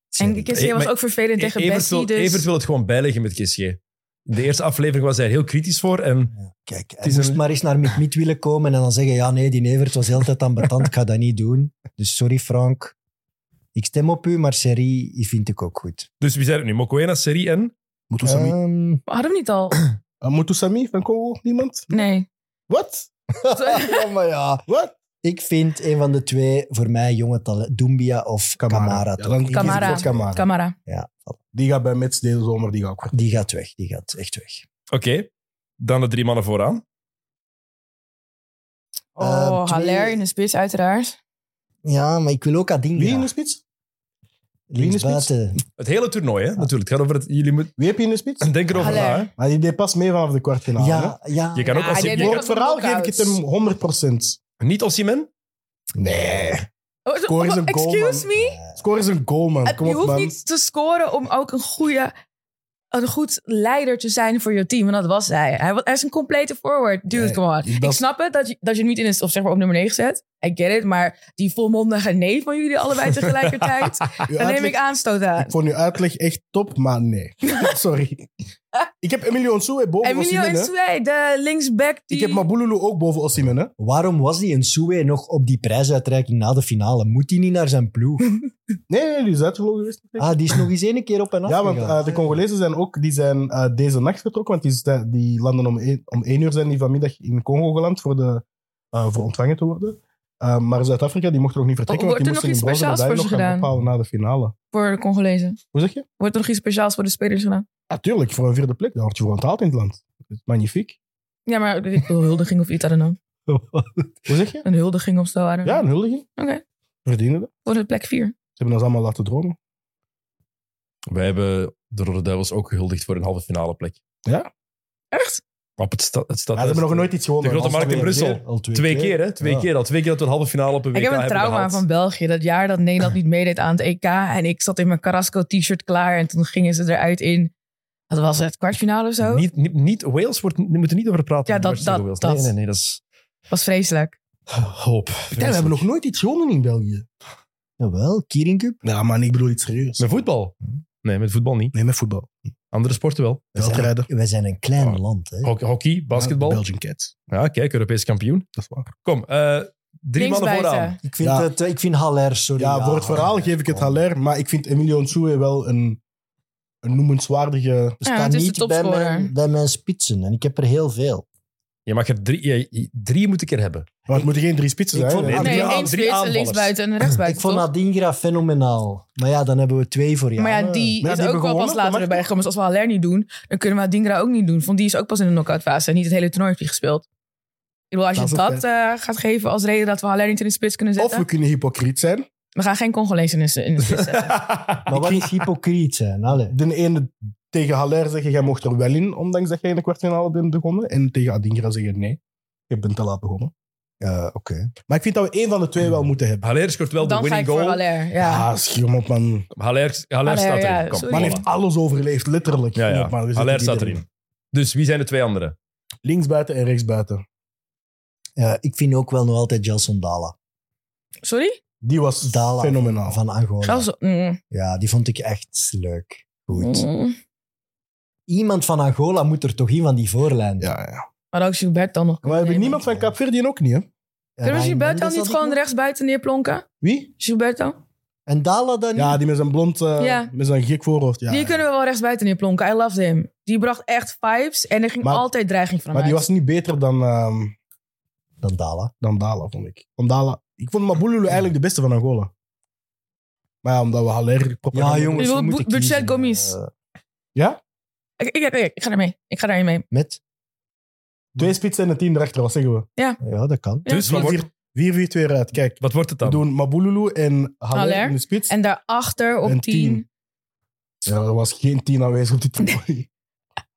[SPEAKER 4] Sorry.
[SPEAKER 5] en Kessier was
[SPEAKER 2] Maar
[SPEAKER 3] Eh,
[SPEAKER 5] ook vervelend tegen
[SPEAKER 3] E-
[SPEAKER 2] E- Evert
[SPEAKER 5] Bessie,
[SPEAKER 2] wil,
[SPEAKER 5] dus...
[SPEAKER 2] Evert wil het gewoon bijleggen met Kessier. In de eerste aflevering was hij er heel kritisch voor. En
[SPEAKER 4] Kijk, hij
[SPEAKER 2] Het is
[SPEAKER 4] moest
[SPEAKER 2] een-
[SPEAKER 4] maar eens naar Miet Miet willen komen en dan zeggen, ja nee, die Evert was altijd aan betand, ik ga dat niet doen. Dus sorry Frank, ik stem op u, maar serie vind ik ook goed.
[SPEAKER 2] dus wie zijn het nu? Mokoena, Seri en...
[SPEAKER 3] Mutusami.
[SPEAKER 4] Ehm,
[SPEAKER 5] We hadden hem niet al.
[SPEAKER 3] Ah, Eh, Mutusami van Congo? Niemand?
[SPEAKER 5] Nee.
[SPEAKER 3] Wat?
[SPEAKER 4] ja, maar ja.
[SPEAKER 3] Wat?
[SPEAKER 4] Ik vind een van de twee, voor mij, jonge talent, Dumbia of Kamara.
[SPEAKER 3] Ja,
[SPEAKER 4] toch?
[SPEAKER 3] dan kies ik
[SPEAKER 5] Kamara.
[SPEAKER 3] voor Kamara.
[SPEAKER 5] Camara.
[SPEAKER 3] Die gaat bij Mets deze zomer, die gaat ook weg.
[SPEAKER 4] Die gaat weg, die gaat echt weg.
[SPEAKER 2] Oké, dan de drie mannen vooraan.
[SPEAKER 3] Eh,
[SPEAKER 5] Oh,
[SPEAKER 4] Ehm, twee-
[SPEAKER 5] Haller in de spits, uiteraard.
[SPEAKER 4] Ja, maar ik wil ook
[SPEAKER 3] Wie in
[SPEAKER 4] Adingra.
[SPEAKER 3] de spits? wie in de
[SPEAKER 4] Links buiten.
[SPEAKER 2] Het hele toernooi, hè? natuurlijk. Het gaat over het... Jullie moeten
[SPEAKER 3] Wie heb je in de spits?
[SPEAKER 2] denken over na,
[SPEAKER 5] Haller.
[SPEAKER 2] hè?
[SPEAKER 3] Maar die deed pas mee vanaf de kwartfinale.
[SPEAKER 4] Ja, ja.
[SPEAKER 2] Je kan ook
[SPEAKER 5] Ja,
[SPEAKER 2] als
[SPEAKER 5] ik denk
[SPEAKER 3] Voor
[SPEAKER 5] dat
[SPEAKER 3] het
[SPEAKER 5] we
[SPEAKER 3] verhaal geef ik
[SPEAKER 5] knockouts.
[SPEAKER 3] het hem 100%.
[SPEAKER 2] Niet Osimhen?
[SPEAKER 3] Nee.
[SPEAKER 5] Oh,
[SPEAKER 3] Score is een goal,
[SPEAKER 5] excuse
[SPEAKER 3] man.
[SPEAKER 5] me?
[SPEAKER 3] Score is een goal, man.
[SPEAKER 5] Het-
[SPEAKER 3] Kom
[SPEAKER 5] Eh, je
[SPEAKER 3] op,
[SPEAKER 5] hoeft
[SPEAKER 3] man.
[SPEAKER 5] niet te scoren om ook een goede een goed leider te zijn voor je team. En dat was hij. Hij, wa- hij is een complete forward. Dude,
[SPEAKER 3] Ja,
[SPEAKER 5] come on.
[SPEAKER 3] dat-
[SPEAKER 5] Ik snap het dat je, dat je hem niet in een, of zeg maar op nummer 9 zet. I get it. Maar die volmondige nee van jullie allebei tegelijkertijd.
[SPEAKER 3] Uw
[SPEAKER 5] daar neem
[SPEAKER 3] uitleg-
[SPEAKER 5] ik aanstoot aan.
[SPEAKER 3] Ik vond uw uitleg echt top, maar nee. Sorry. Ik heb Emilio Nsue boven
[SPEAKER 5] Emilio
[SPEAKER 3] Osimhen, hè.
[SPEAKER 5] Ensue, de linksback. Die...
[SPEAKER 3] Ik heb Mabululu ook boven Osimhen, hè.
[SPEAKER 4] Waarom was die Nsue nog op die prijsuitreiking na de finale? Moet hij niet naar zijn ploeg?
[SPEAKER 3] Nee, nee, die is uitgevlogen geweest.
[SPEAKER 4] Ah, die is nog eens één keer op en af
[SPEAKER 3] Ja, want
[SPEAKER 4] gegaan.
[SPEAKER 3] eh, de Congolezen zijn ook die zijn, eh, deze nacht vertrokken, want die, zijn- die landen om één, om één uur zijn die vanmiddag in Congo geland voor, de, eh, voor ontvangen te worden. Eh, maar Zuid-Afrika die mocht er ook niet vertrekken,
[SPEAKER 5] Wordt
[SPEAKER 3] want die
[SPEAKER 5] er
[SPEAKER 3] moesten
[SPEAKER 5] nog
[SPEAKER 3] in
[SPEAKER 5] iets
[SPEAKER 3] bronzen
[SPEAKER 5] speciaals
[SPEAKER 3] medaille nog
[SPEAKER 5] voor
[SPEAKER 3] gaan
[SPEAKER 5] ze gedaan?
[SPEAKER 3] ophalen na de finale.
[SPEAKER 5] Voor de Congolezen.
[SPEAKER 3] Hoe zeg je?
[SPEAKER 5] Wordt er nog iets speciaals voor de spelers gedaan?
[SPEAKER 3] Natuurlijk, voor een vierde plek, daar word je voor onthaald in het land. Dat is magnifiek.
[SPEAKER 5] Ja, maar ik bedoel, huldiging of iets, I don't know.
[SPEAKER 3] Hoe zeg je?
[SPEAKER 5] Een huldiging of zo, I don't
[SPEAKER 3] Ja,
[SPEAKER 5] know.
[SPEAKER 3] een huldiging.
[SPEAKER 5] Oké.
[SPEAKER 3] Verdienen dat.
[SPEAKER 5] Voor de plek 4.
[SPEAKER 3] Ze hebben ons allemaal laten dromen.
[SPEAKER 2] Wij hebben de Rode Duivels ook gehuldigd voor een halve finale plek.
[SPEAKER 5] Echt?
[SPEAKER 2] Op het, sta, het
[SPEAKER 3] Ja, ze hebben nog nooit iets gewonnen.
[SPEAKER 2] De grote
[SPEAKER 3] Als-
[SPEAKER 2] markt in Brussel.
[SPEAKER 4] Al twee,
[SPEAKER 2] Twee keer, hè? Twee
[SPEAKER 4] Ja.
[SPEAKER 2] keer al. Twee keer dat we een halve finale op een WK
[SPEAKER 5] Ik heb een
[SPEAKER 2] hebben
[SPEAKER 5] trauma
[SPEAKER 2] gehaald.
[SPEAKER 5] van België. Dat jaar dat Nederland niet meedeed aan het EK. En ik zat in mijn Carrasco t-shirt klaar. En toen gingen ze eruit in. Wat was het? Kwartfinale of zo?
[SPEAKER 2] Niet, niet, niet, Wales wordt, we moeten niet over praten.
[SPEAKER 5] Ja,
[SPEAKER 2] met
[SPEAKER 5] dat-
[SPEAKER 2] Wales tegen Wales.
[SPEAKER 5] dat- dat.
[SPEAKER 2] Nee, nee, nee, dat is
[SPEAKER 5] was vreselijk.
[SPEAKER 2] hoop.
[SPEAKER 3] Ja, we hebben nog nooit iets gewonnen in België.
[SPEAKER 4] Jawel, Kiering Cup.
[SPEAKER 3] Ja, maar ik bedoel iets serieus.
[SPEAKER 2] Met voetbal? Nee, met voetbal niet.
[SPEAKER 3] Nee, met voetbal.
[SPEAKER 2] Andere sporten wel.
[SPEAKER 4] We zijn,
[SPEAKER 3] Veldrijden.
[SPEAKER 4] wij zijn een klein
[SPEAKER 2] Oh.
[SPEAKER 4] land. Hè.
[SPEAKER 2] Hock- Hockey, basketbal.
[SPEAKER 3] Belgian Cats.
[SPEAKER 2] Ja, kijk, Europees kampioen.
[SPEAKER 3] Dat is waar.
[SPEAKER 2] Kom, eh, drie mannen
[SPEAKER 5] Linksbuiten.
[SPEAKER 2] vooraan.
[SPEAKER 4] Ik, vind
[SPEAKER 3] Ja.
[SPEAKER 4] het, eh, ik vind Haller, sorry. Ah,
[SPEAKER 3] Ja, voor het verhaal geef ik het Haller, maar ik vind Emilio Nsue wel een, een noemenswaardige...
[SPEAKER 4] Het
[SPEAKER 5] Ja,
[SPEAKER 4] staat
[SPEAKER 5] het is de
[SPEAKER 4] niet bij
[SPEAKER 5] topscorer.
[SPEAKER 4] mijn, bij mijn spitsen. En ik heb er heel veel.
[SPEAKER 2] Je mag er drie, je- je- drie moet ik er hebben.
[SPEAKER 3] Want het moeten geen drie spitsen
[SPEAKER 4] Ik
[SPEAKER 3] zijn.
[SPEAKER 4] vond-
[SPEAKER 3] hè.
[SPEAKER 2] Ja,
[SPEAKER 5] nee,
[SPEAKER 2] drie aan-
[SPEAKER 5] één
[SPEAKER 2] drie
[SPEAKER 5] spits, een
[SPEAKER 2] aanvallers.
[SPEAKER 5] linksbuiten en een rechtsbuiten.
[SPEAKER 4] ik vond
[SPEAKER 5] toch?
[SPEAKER 4] Adingra fenomenaal. Maar ja, dan hebben we twee voor jou.
[SPEAKER 5] maar ja, die
[SPEAKER 3] Maar ja,
[SPEAKER 5] is
[SPEAKER 3] die hebben
[SPEAKER 5] ook wel
[SPEAKER 3] gewonnen,
[SPEAKER 5] pas
[SPEAKER 3] dat mag
[SPEAKER 5] later erbij gekomen. Dus als we Haller niet doen, dan kunnen we Adingra ook niet doen. Want die is ook pas in de knock-out fase. En niet het hele toernooi heeft hij gespeeld. Ik bedoel, als
[SPEAKER 3] Dat
[SPEAKER 5] je
[SPEAKER 3] is een
[SPEAKER 5] dat eh, gaat geven als reden dat we Haller niet in de spits kunnen
[SPEAKER 3] Of
[SPEAKER 5] zetten.
[SPEAKER 3] we kunnen hypocriet zijn.
[SPEAKER 5] We gaan geen Congolezen in de, in de spits zetten.
[SPEAKER 4] Maar wat is hypocriet zijn? Allee.
[SPEAKER 3] De ene tegen Haller zeggen, jij mocht er wel in, ondanks dat jij in de kwartfinale bent begonnen. En tegen Adingra zeggen, nee, je bent te laat begonnen.
[SPEAKER 4] Ja, Oké.
[SPEAKER 3] Maar ik vind dat we één van de twee wel moeten hebben.
[SPEAKER 2] Haller scoort wel
[SPEAKER 5] Dan
[SPEAKER 2] de
[SPEAKER 5] ga ik
[SPEAKER 2] winning
[SPEAKER 5] voor
[SPEAKER 2] goal.
[SPEAKER 5] Haller. Ja.
[SPEAKER 3] Ja, schium op, man.
[SPEAKER 2] Haller, Haller
[SPEAKER 5] Haller,
[SPEAKER 2] staat erin.
[SPEAKER 5] ja,
[SPEAKER 2] Kom,
[SPEAKER 5] sorry.
[SPEAKER 3] Man
[SPEAKER 5] Voilà.
[SPEAKER 3] heeft alles overleefd, letterlijk.
[SPEAKER 2] Ja,
[SPEAKER 3] Schium
[SPEAKER 2] ja.
[SPEAKER 3] op, man. We zitten
[SPEAKER 2] Haller
[SPEAKER 3] niet
[SPEAKER 2] staat erin. Dus wie zijn de twee anderen?
[SPEAKER 3] Linksbuiten en rechtsbuiten.
[SPEAKER 4] Ja, ik vind ook wel nog altijd Jelson Dala.
[SPEAKER 5] Sorry?
[SPEAKER 3] Die was
[SPEAKER 4] Dala
[SPEAKER 3] fenomenaal.
[SPEAKER 4] van Angola.
[SPEAKER 5] Zelfs, mm,
[SPEAKER 4] Ja, die vond ik echt leuk. Goed.
[SPEAKER 5] mm.
[SPEAKER 4] Iemand van Angola moet er toch in van die voorlijn.
[SPEAKER 3] ja, ja.
[SPEAKER 5] Maar ook Gilbert dan nog.
[SPEAKER 3] Maar we hebben niemand van Kaapverdië ook niet, hè?
[SPEAKER 5] Kunnen we Gilbert dan niet gewoon
[SPEAKER 4] recht?
[SPEAKER 5] rechtsbuiten neerplonken?
[SPEAKER 3] Wie?
[SPEAKER 5] Gilbert dan?
[SPEAKER 4] En Dala dan
[SPEAKER 3] Ja,
[SPEAKER 4] niet?
[SPEAKER 3] die met zijn blond, eh,
[SPEAKER 5] Ja.
[SPEAKER 3] met zijn gek voorhoofd. Ja,
[SPEAKER 5] die
[SPEAKER 3] ja.
[SPEAKER 5] kunnen we wel rechtsbuiten neerplonken. I loved him. Die bracht echt vibes en er ging
[SPEAKER 3] Maar-
[SPEAKER 5] altijd dreiging van
[SPEAKER 3] Maar
[SPEAKER 5] hem
[SPEAKER 3] die
[SPEAKER 5] uit.
[SPEAKER 3] was niet beter dan, ehm,
[SPEAKER 4] Dan Dala.
[SPEAKER 3] dan Dala, vond ik. Van Dala. Ik vond Mabululu eigenlijk de beste van Angola. Maar ja, omdat we Haller...
[SPEAKER 4] Ja, jongens,
[SPEAKER 5] Ik wil
[SPEAKER 4] we moeten
[SPEAKER 5] Bu- Budget
[SPEAKER 4] kiezen.
[SPEAKER 5] Gomis.
[SPEAKER 4] Eh,
[SPEAKER 5] Ik, ik, ik, ik ga ermee. Ik ga daarin mee.
[SPEAKER 4] met?
[SPEAKER 3] Twee spitsen en een tien erachter, wat zeggen we?
[SPEAKER 4] Ja, dat kan.
[SPEAKER 5] Ja.
[SPEAKER 2] Dus wat wordt,
[SPEAKER 3] 4-4-2 eruit, kijk.
[SPEAKER 2] wat wordt het
[SPEAKER 3] We
[SPEAKER 2] dan?
[SPEAKER 3] doen Mabululu en Haller,
[SPEAKER 5] Haller.
[SPEAKER 3] in de spits.
[SPEAKER 5] En daarachter op
[SPEAKER 3] En
[SPEAKER 5] 10.
[SPEAKER 3] tien. Ja, er was geen tien aanwezig op dit toernooi.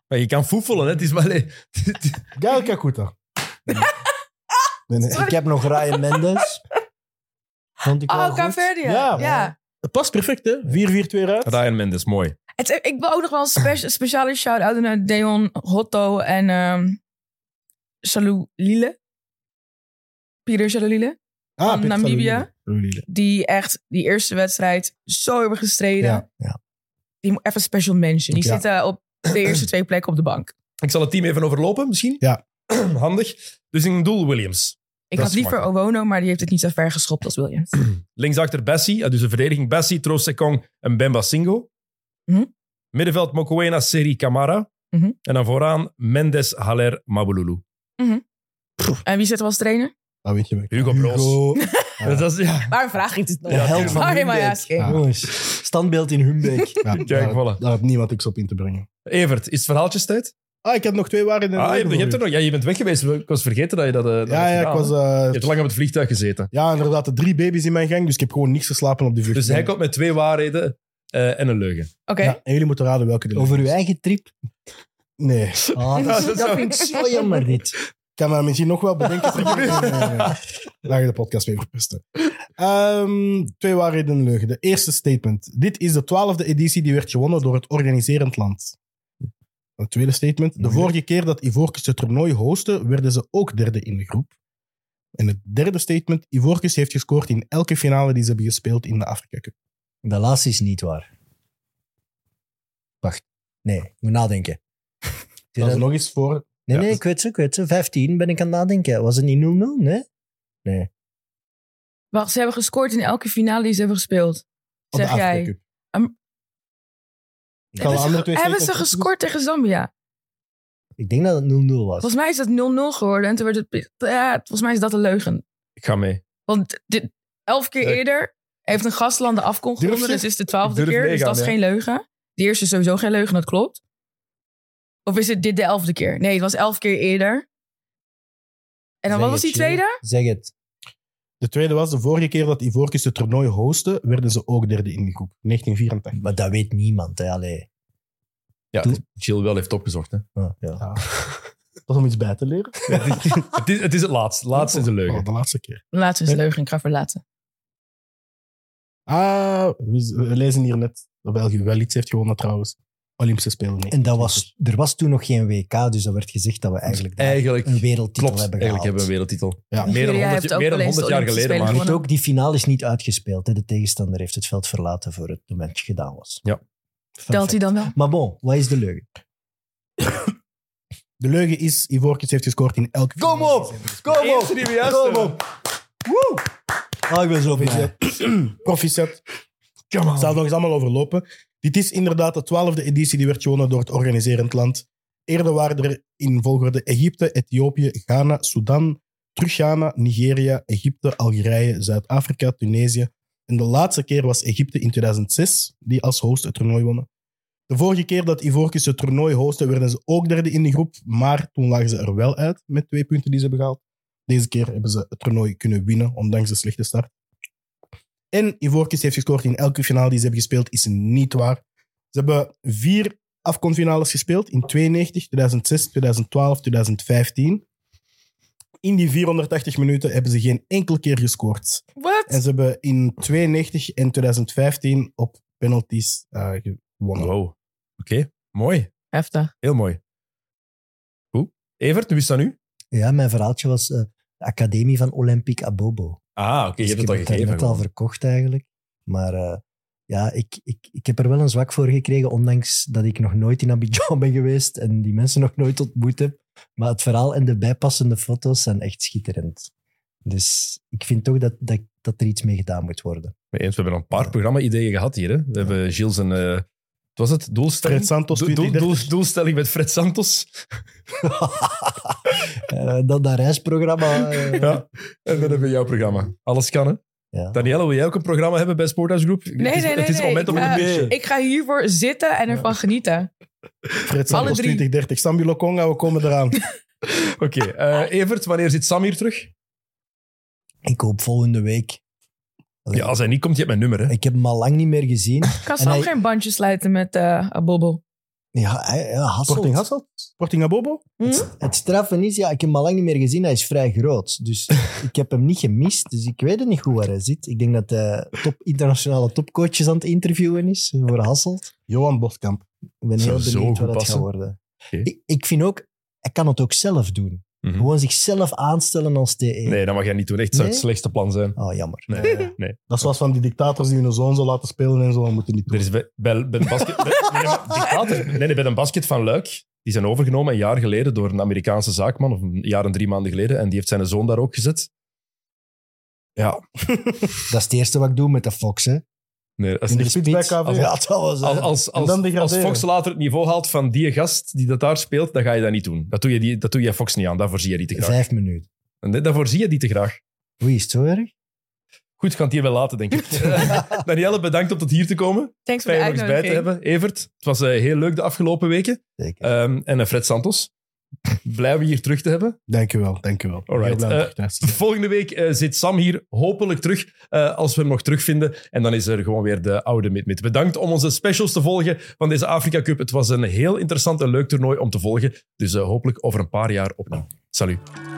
[SPEAKER 2] Maar je kan foefelen, hè? het is maar...
[SPEAKER 3] Gael Kakuta. Nee, nee.
[SPEAKER 4] Ik heb nog Ryan Mendes. Vond ik wel
[SPEAKER 5] Oh,
[SPEAKER 4] goed.
[SPEAKER 5] Caverdia.
[SPEAKER 3] Ja,
[SPEAKER 5] Ja. ja.
[SPEAKER 3] Het past perfect, hè? 4-4-2 eruit.
[SPEAKER 2] Ryan Mendes, mooi.
[SPEAKER 5] Het, ik wil ook nog wel een spe- speciale shout-out naar Deon Hotto en ehm Salou Lille. Pieter Salou Lille. van
[SPEAKER 3] Peter
[SPEAKER 5] Namibia.
[SPEAKER 3] Salulile.
[SPEAKER 5] Die echt die eerste wedstrijd zo hebben gestreden.
[SPEAKER 3] Ja,
[SPEAKER 4] ja.
[SPEAKER 5] Die moet even special mention. Die
[SPEAKER 3] Ja.
[SPEAKER 5] zitten op de eerste twee plekken op de bank.
[SPEAKER 2] Ik zal het team even overlopen, misschien.
[SPEAKER 3] Ja.
[SPEAKER 2] Handig. Dus in doel Williams.
[SPEAKER 5] Ik
[SPEAKER 2] Dat
[SPEAKER 5] had
[SPEAKER 2] is
[SPEAKER 5] liever Owono, maar die heeft het niet zo ver geschopt als Williams.
[SPEAKER 2] Linksachter Bessie, eh, dus de verdediging Bessie, Troost Sekong en Bemba Singo.
[SPEAKER 5] Mhm.
[SPEAKER 2] Middenveld Mokoena, Seri, Kamara.
[SPEAKER 5] Mhm.
[SPEAKER 2] En dan vooraan Mendes, Haller, Mabululu.
[SPEAKER 5] En wie zit er als trainer?
[SPEAKER 3] Dat weet je wel.
[SPEAKER 2] Hugo Broos.
[SPEAKER 3] Ja.
[SPEAKER 2] Dat is, ja.
[SPEAKER 5] Waarom vraag ik dit nou
[SPEAKER 2] Ja,
[SPEAKER 5] nog?
[SPEAKER 4] held van
[SPEAKER 5] Why am I
[SPEAKER 4] Humbeek.
[SPEAKER 5] asking?
[SPEAKER 3] Ja.
[SPEAKER 4] Jongens, standbeeld in Humbeek.
[SPEAKER 3] Ja,
[SPEAKER 2] Kijk,
[SPEAKER 3] daar,
[SPEAKER 2] voilà.
[SPEAKER 3] daar had niemand niks op in te brengen.
[SPEAKER 2] Evert, is het verhaaltjes tijd?
[SPEAKER 3] Ah, ik heb nog twee waarheden. en
[SPEAKER 2] Ah, je,
[SPEAKER 3] een
[SPEAKER 2] hebt, je, hebt er
[SPEAKER 3] neven
[SPEAKER 2] nog, ja, je bent weg geweest. Ik was vergeten dat je dat, eh, dat
[SPEAKER 3] voor u. Ja,
[SPEAKER 2] had
[SPEAKER 3] ja,
[SPEAKER 2] gedaan,
[SPEAKER 3] ik was...
[SPEAKER 2] hè?
[SPEAKER 3] eh,
[SPEAKER 2] Je hebt lang op het vliegtuig gezeten.
[SPEAKER 3] ja, inderdaad, de drie baby's in mijn gang, dus ik heb gewoon niks geslapen op de vlucht.
[SPEAKER 2] Dus hij komt met twee waarheden eh, en een leugen.
[SPEAKER 5] Oké.
[SPEAKER 3] Ja, en jullie moeten raden welke de
[SPEAKER 4] Over uw
[SPEAKER 3] leugen is.
[SPEAKER 4] eigen trip.
[SPEAKER 3] Nee.
[SPEAKER 4] Ah,
[SPEAKER 2] Ja,
[SPEAKER 4] dat,
[SPEAKER 2] dat
[SPEAKER 4] dat,
[SPEAKER 2] zou-
[SPEAKER 4] vind ik zo jammer, dit.
[SPEAKER 3] Ik kan me misschien nog wel bedenken. Nee, nee, nee. Laat je de podcast mee verpesten. Ehm, twee waarheden en een leugen. De eerste statement. Dit is de twaalfde editie die werd gewonnen door het organiserend land. Het tweede statement. De vorige keer dat Ivorcus het toernooi hostte, werden ze ook derde in de groep. En het derde statement. Ivorcus heeft gescoord in elke finale die ze hebben gespeeld in de Afrika Cup.
[SPEAKER 4] De laatste is niet waar. Wacht. Nee, ik moet nadenken.
[SPEAKER 3] Dat is nog eens voor...
[SPEAKER 4] Nee,
[SPEAKER 3] Ja,
[SPEAKER 4] nee,
[SPEAKER 3] dus-
[SPEAKER 4] ik weet ze, ik weet ze. 15 ben ik aan het nadenken. Was het niet 0-0? Nee?
[SPEAKER 5] Wacht, ze hebben gescoord in elke finale die ze hebben gespeeld.
[SPEAKER 3] op de
[SPEAKER 5] Zeg
[SPEAKER 3] Afrika
[SPEAKER 5] jij.
[SPEAKER 3] Cup.
[SPEAKER 5] Am-
[SPEAKER 3] Ik kan de andere twee
[SPEAKER 5] Hebben
[SPEAKER 3] statements
[SPEAKER 5] ze
[SPEAKER 3] opzoeken.
[SPEAKER 5] gescoord tegen Zambia?
[SPEAKER 4] Ik denk dat het 0-0 was.
[SPEAKER 5] Volgens mij is dat 0-0 geworden. En toen werd het... Ja, volgens mij is dat een leugen.
[SPEAKER 2] Ik ga mee.
[SPEAKER 5] Want dit, elf keer
[SPEAKER 2] Nee.
[SPEAKER 5] eerder heeft een gastland de afkom
[SPEAKER 2] Durf
[SPEAKER 5] gewonnen.
[SPEAKER 2] je?
[SPEAKER 5] Dus het is de twaalfde
[SPEAKER 2] Durf
[SPEAKER 5] keer. dus
[SPEAKER 2] meegaan,
[SPEAKER 5] dat is
[SPEAKER 2] ja.
[SPEAKER 5] geen leugen. De eerste is sowieso geen leugen, dat klopt. Of is het dit de elfde keer? Nee, het was elf keer eerder. En dan
[SPEAKER 4] Zeg
[SPEAKER 5] wat
[SPEAKER 4] het,
[SPEAKER 5] was die tweede?
[SPEAKER 4] Jill. Zeg het.
[SPEAKER 3] De tweede was de vorige keer dat Ivorcus het toernooi hostte, werden ze ook derde in de groep. 1984.
[SPEAKER 4] Maar dat weet niemand, hè. Allee.
[SPEAKER 2] Ja,
[SPEAKER 4] Doe.
[SPEAKER 2] Jill wel heeft opgezocht. Hè.
[SPEAKER 4] Ah, ja.
[SPEAKER 3] Dat om iets bij te leren.
[SPEAKER 2] het, is, het is het laatste. Laatste is een leugen.
[SPEAKER 3] Oh, de laatste keer.
[SPEAKER 5] De laatste is leugen, ik ga verlaten.
[SPEAKER 3] Ah, we, we lezen hier net dat België wel iets heeft gewonnen trouwens. Olympische Spelen.
[SPEAKER 4] En dat was, er was toen nog geen WK, dus dat werd gezegd dat we eigenlijk daar
[SPEAKER 2] Dus Eigenlijk
[SPEAKER 4] een wereldtitel
[SPEAKER 2] klopt.
[SPEAKER 4] hebben
[SPEAKER 2] Eigenlijk
[SPEAKER 4] gehaald.
[SPEAKER 2] hebben we een wereldtitel.
[SPEAKER 3] Ja.
[SPEAKER 2] Meer dan
[SPEAKER 5] Nigeria
[SPEAKER 2] 100,
[SPEAKER 5] heeft ook
[SPEAKER 2] meer dan
[SPEAKER 5] wel
[SPEAKER 2] 100
[SPEAKER 5] eens de
[SPEAKER 2] jaar
[SPEAKER 5] Olympische
[SPEAKER 2] geleden. Maar.
[SPEAKER 5] Spelen
[SPEAKER 4] Heeft ook die finale is niet uitgespeeld. Hè. De tegenstander heeft het veld verlaten voor het moment dat gedaan was.
[SPEAKER 2] Ja.
[SPEAKER 4] Fun
[SPEAKER 5] Telt hij
[SPEAKER 4] fact.
[SPEAKER 5] dan wel?
[SPEAKER 4] Maar bon, wat is de leugen?
[SPEAKER 3] De leugen is, Ivorcus heeft gescoord in elk...
[SPEAKER 4] Kom op! Kom
[SPEAKER 2] Eerste
[SPEAKER 4] op!
[SPEAKER 2] die we juist
[SPEAKER 4] Kom
[SPEAKER 2] hebben.
[SPEAKER 4] op! Woe! Ah, ik ben zo blij.
[SPEAKER 3] Proficiat. Het zal nog eens allemaal overlopen. Dit is inderdaad de twaalfde editie die werd gewonnen door het organiserend land. Eerder waren er in volgorde Egypte, Ethiopië, Ghana, Sudan, terug Ghana, Nigeria, Egypte, Algerije, Zuid-Afrika, Tunesië. En de laatste keer was Egypte in 2006, die als host het toernooi wonnen. De vorige keer dat Ivorcus het toernooi hostte, werden ze ook derde in de groep, maar toen lagen ze er wel uit met twee punten die ze hebben gehaald. Deze keer hebben ze het toernooi kunnen winnen, ondanks de slechte start. En Ivorcus heeft gescoord in elke finale die ze hebben gespeeld, is niet waar. Ze hebben vier afkomfinales gespeeld in 92, 2006, 2012, 2015. In die 480 minuten hebben ze geen enkele keer gescoord. En
[SPEAKER 5] Wat?
[SPEAKER 3] ze hebben in 92 en 2015 op penalties eh, gewonnen.
[SPEAKER 2] Wow. Oké, mooi.
[SPEAKER 5] Heftig.
[SPEAKER 2] Heel mooi. Goed. Evert, wie is dat nu?
[SPEAKER 4] Ja, mijn verhaaltje was eh, de Academie van Olympic Abobo.
[SPEAKER 2] Ah, oké, je
[SPEAKER 4] Dus
[SPEAKER 2] hebt het al
[SPEAKER 4] ik heb het
[SPEAKER 2] gegeven.
[SPEAKER 4] net al verkocht eigenlijk. Maar eh, ja, ik, ik, ik heb er wel een zwak voor gekregen, ondanks dat ik nog nooit in Abidjan ben geweest en die mensen nog nooit ontmoet heb. Maar het verhaal en de bijpassende foto's zijn echt schitterend. Dus ik vind toch dat, dat, dat er iets mee gedaan moet worden.
[SPEAKER 2] Mee eens, we hebben al een paar programma-ideeën gehad hier. Hè. We hebben Gilles zijn... eh, wat was het? Doelstelling?
[SPEAKER 3] Fred Santos,
[SPEAKER 2] Doel- doel-
[SPEAKER 3] 2030.
[SPEAKER 2] doel- doelstelling met Fred Santos.
[SPEAKER 4] Eh, dan dat reisprogramma. eh,
[SPEAKER 2] Ja. En dan hebben we jouw programma. Alles kan, hè?
[SPEAKER 4] ja.
[SPEAKER 2] Danielle, wil jij ook een programma hebben bij Sporthouse Group?
[SPEAKER 5] Nee,
[SPEAKER 2] het is,
[SPEAKER 5] nee, nee,
[SPEAKER 2] Het is het
[SPEAKER 5] nee.
[SPEAKER 2] moment om
[SPEAKER 5] Ik,
[SPEAKER 2] het
[SPEAKER 5] eh,
[SPEAKER 2] te pitchen.
[SPEAKER 5] Ik ga hiervoor zitten en ervan genieten.
[SPEAKER 3] Fred
[SPEAKER 5] Alle
[SPEAKER 3] Santos,
[SPEAKER 5] drie.
[SPEAKER 3] 2030. Sambi Lokonga, we komen eraan.
[SPEAKER 2] Oké, eh, Evert, wanneer zit Sam hier terug?
[SPEAKER 4] Ik hoop volgende week. Allee,
[SPEAKER 2] Ja, als hij niet komt, je hebt mijn nummer, hè?
[SPEAKER 4] Ik heb hem al lang niet meer gezien.
[SPEAKER 5] Kan
[SPEAKER 4] En
[SPEAKER 5] Sam
[SPEAKER 4] hij-
[SPEAKER 5] geen bandje sluiten met eh Abobo?
[SPEAKER 4] Ja, hij- ja Hasselt.
[SPEAKER 3] Sporting Hasselt? Sporting Abobo?
[SPEAKER 4] Hm? Het straffen is, ja, ik heb hem al lang niet meer gezien. Hij is vrij groot. Dus ik heb hem niet gemist. Dus ik weet het niet goed waar hij zit. Ik denk dat hij top, internationale topcoaches aan het interviewen is voor Hasselt.
[SPEAKER 3] Johan Boskamp.
[SPEAKER 4] Ik ben
[SPEAKER 2] Zou
[SPEAKER 4] heel
[SPEAKER 2] zo goed
[SPEAKER 4] benieuwd wat dat
[SPEAKER 2] passen.
[SPEAKER 4] gaat worden.
[SPEAKER 2] Oké.
[SPEAKER 4] Ik, ik vind ook, hij kan het ook zelf doen.
[SPEAKER 2] Mhm.
[SPEAKER 4] Gewoon zichzelf aanstellen als TE.
[SPEAKER 2] Nee, dat mag jij niet doen. Echt, dat zou het
[SPEAKER 4] Nee?
[SPEAKER 2] slechtste plan zijn.
[SPEAKER 4] Oh, jammer.
[SPEAKER 2] Nee, nee.
[SPEAKER 3] Dat is zoals van die dictators die hun zoon zo laten spelen en zo, dat moeten die niet
[SPEAKER 2] Er
[SPEAKER 3] doen.
[SPEAKER 2] is bij, bij, bij een basket... bij- nee, maar dictator- nee, nee, bij een basket van Luik. Die zijn overgenomen een jaar geleden door een Amerikaanse zaakman. Of een jaar en drie maanden geleden. En die heeft zijn zoon daar ook gezet. Ja.
[SPEAKER 4] Dat is het eerste wat ik doe met de Fox, hè.
[SPEAKER 2] Nee, als,
[SPEAKER 3] In de
[SPEAKER 4] die
[SPEAKER 3] spits bij
[SPEAKER 4] spits.
[SPEAKER 3] KV.
[SPEAKER 4] Ja, dat was... eh,
[SPEAKER 2] als, als,
[SPEAKER 3] En
[SPEAKER 2] als,
[SPEAKER 3] dan
[SPEAKER 2] als
[SPEAKER 3] degraderen.
[SPEAKER 2] Fox later het niveau haalt van die gast die dat daar speelt, dan ga je dat niet doen. Dat doe je, die, dat doe je Fox niet aan. Daarvoor zie je die te graag.
[SPEAKER 4] Vijf minuten.
[SPEAKER 2] En dit- Daarvoor zie je die te graag.
[SPEAKER 4] Oei, is het zo erg?
[SPEAKER 2] Goed, ik kan het hier wel laten, denk ik. Danielle, bedankt om tot hier te komen.
[SPEAKER 5] Thanks voor
[SPEAKER 2] Fijn
[SPEAKER 5] de
[SPEAKER 2] om er eens bij te
[SPEAKER 5] uitnodiging.
[SPEAKER 2] hebben. Evert, het was eh, heel leuk de afgelopen weken.
[SPEAKER 4] Zeker.
[SPEAKER 2] Ehm, en eh, Fred Santos, blij om je hier terug te hebben.
[SPEAKER 3] Dank je wel, dank je wel.
[SPEAKER 2] Alright,
[SPEAKER 3] Heel blij om
[SPEAKER 2] eh,
[SPEAKER 3] terug te zijn.
[SPEAKER 2] Volgende week eh, zit Sam hier, hopelijk terug, eh, als we hem nog terugvinden. En dan is er gewoon weer de oude Mid-Mid. Bedankt om onze specials te volgen van deze Afrika Cup. Het was een heel interessant en leuk toernooi om te volgen. Dus eh, hopelijk over een paar jaar opnieuw. Salut.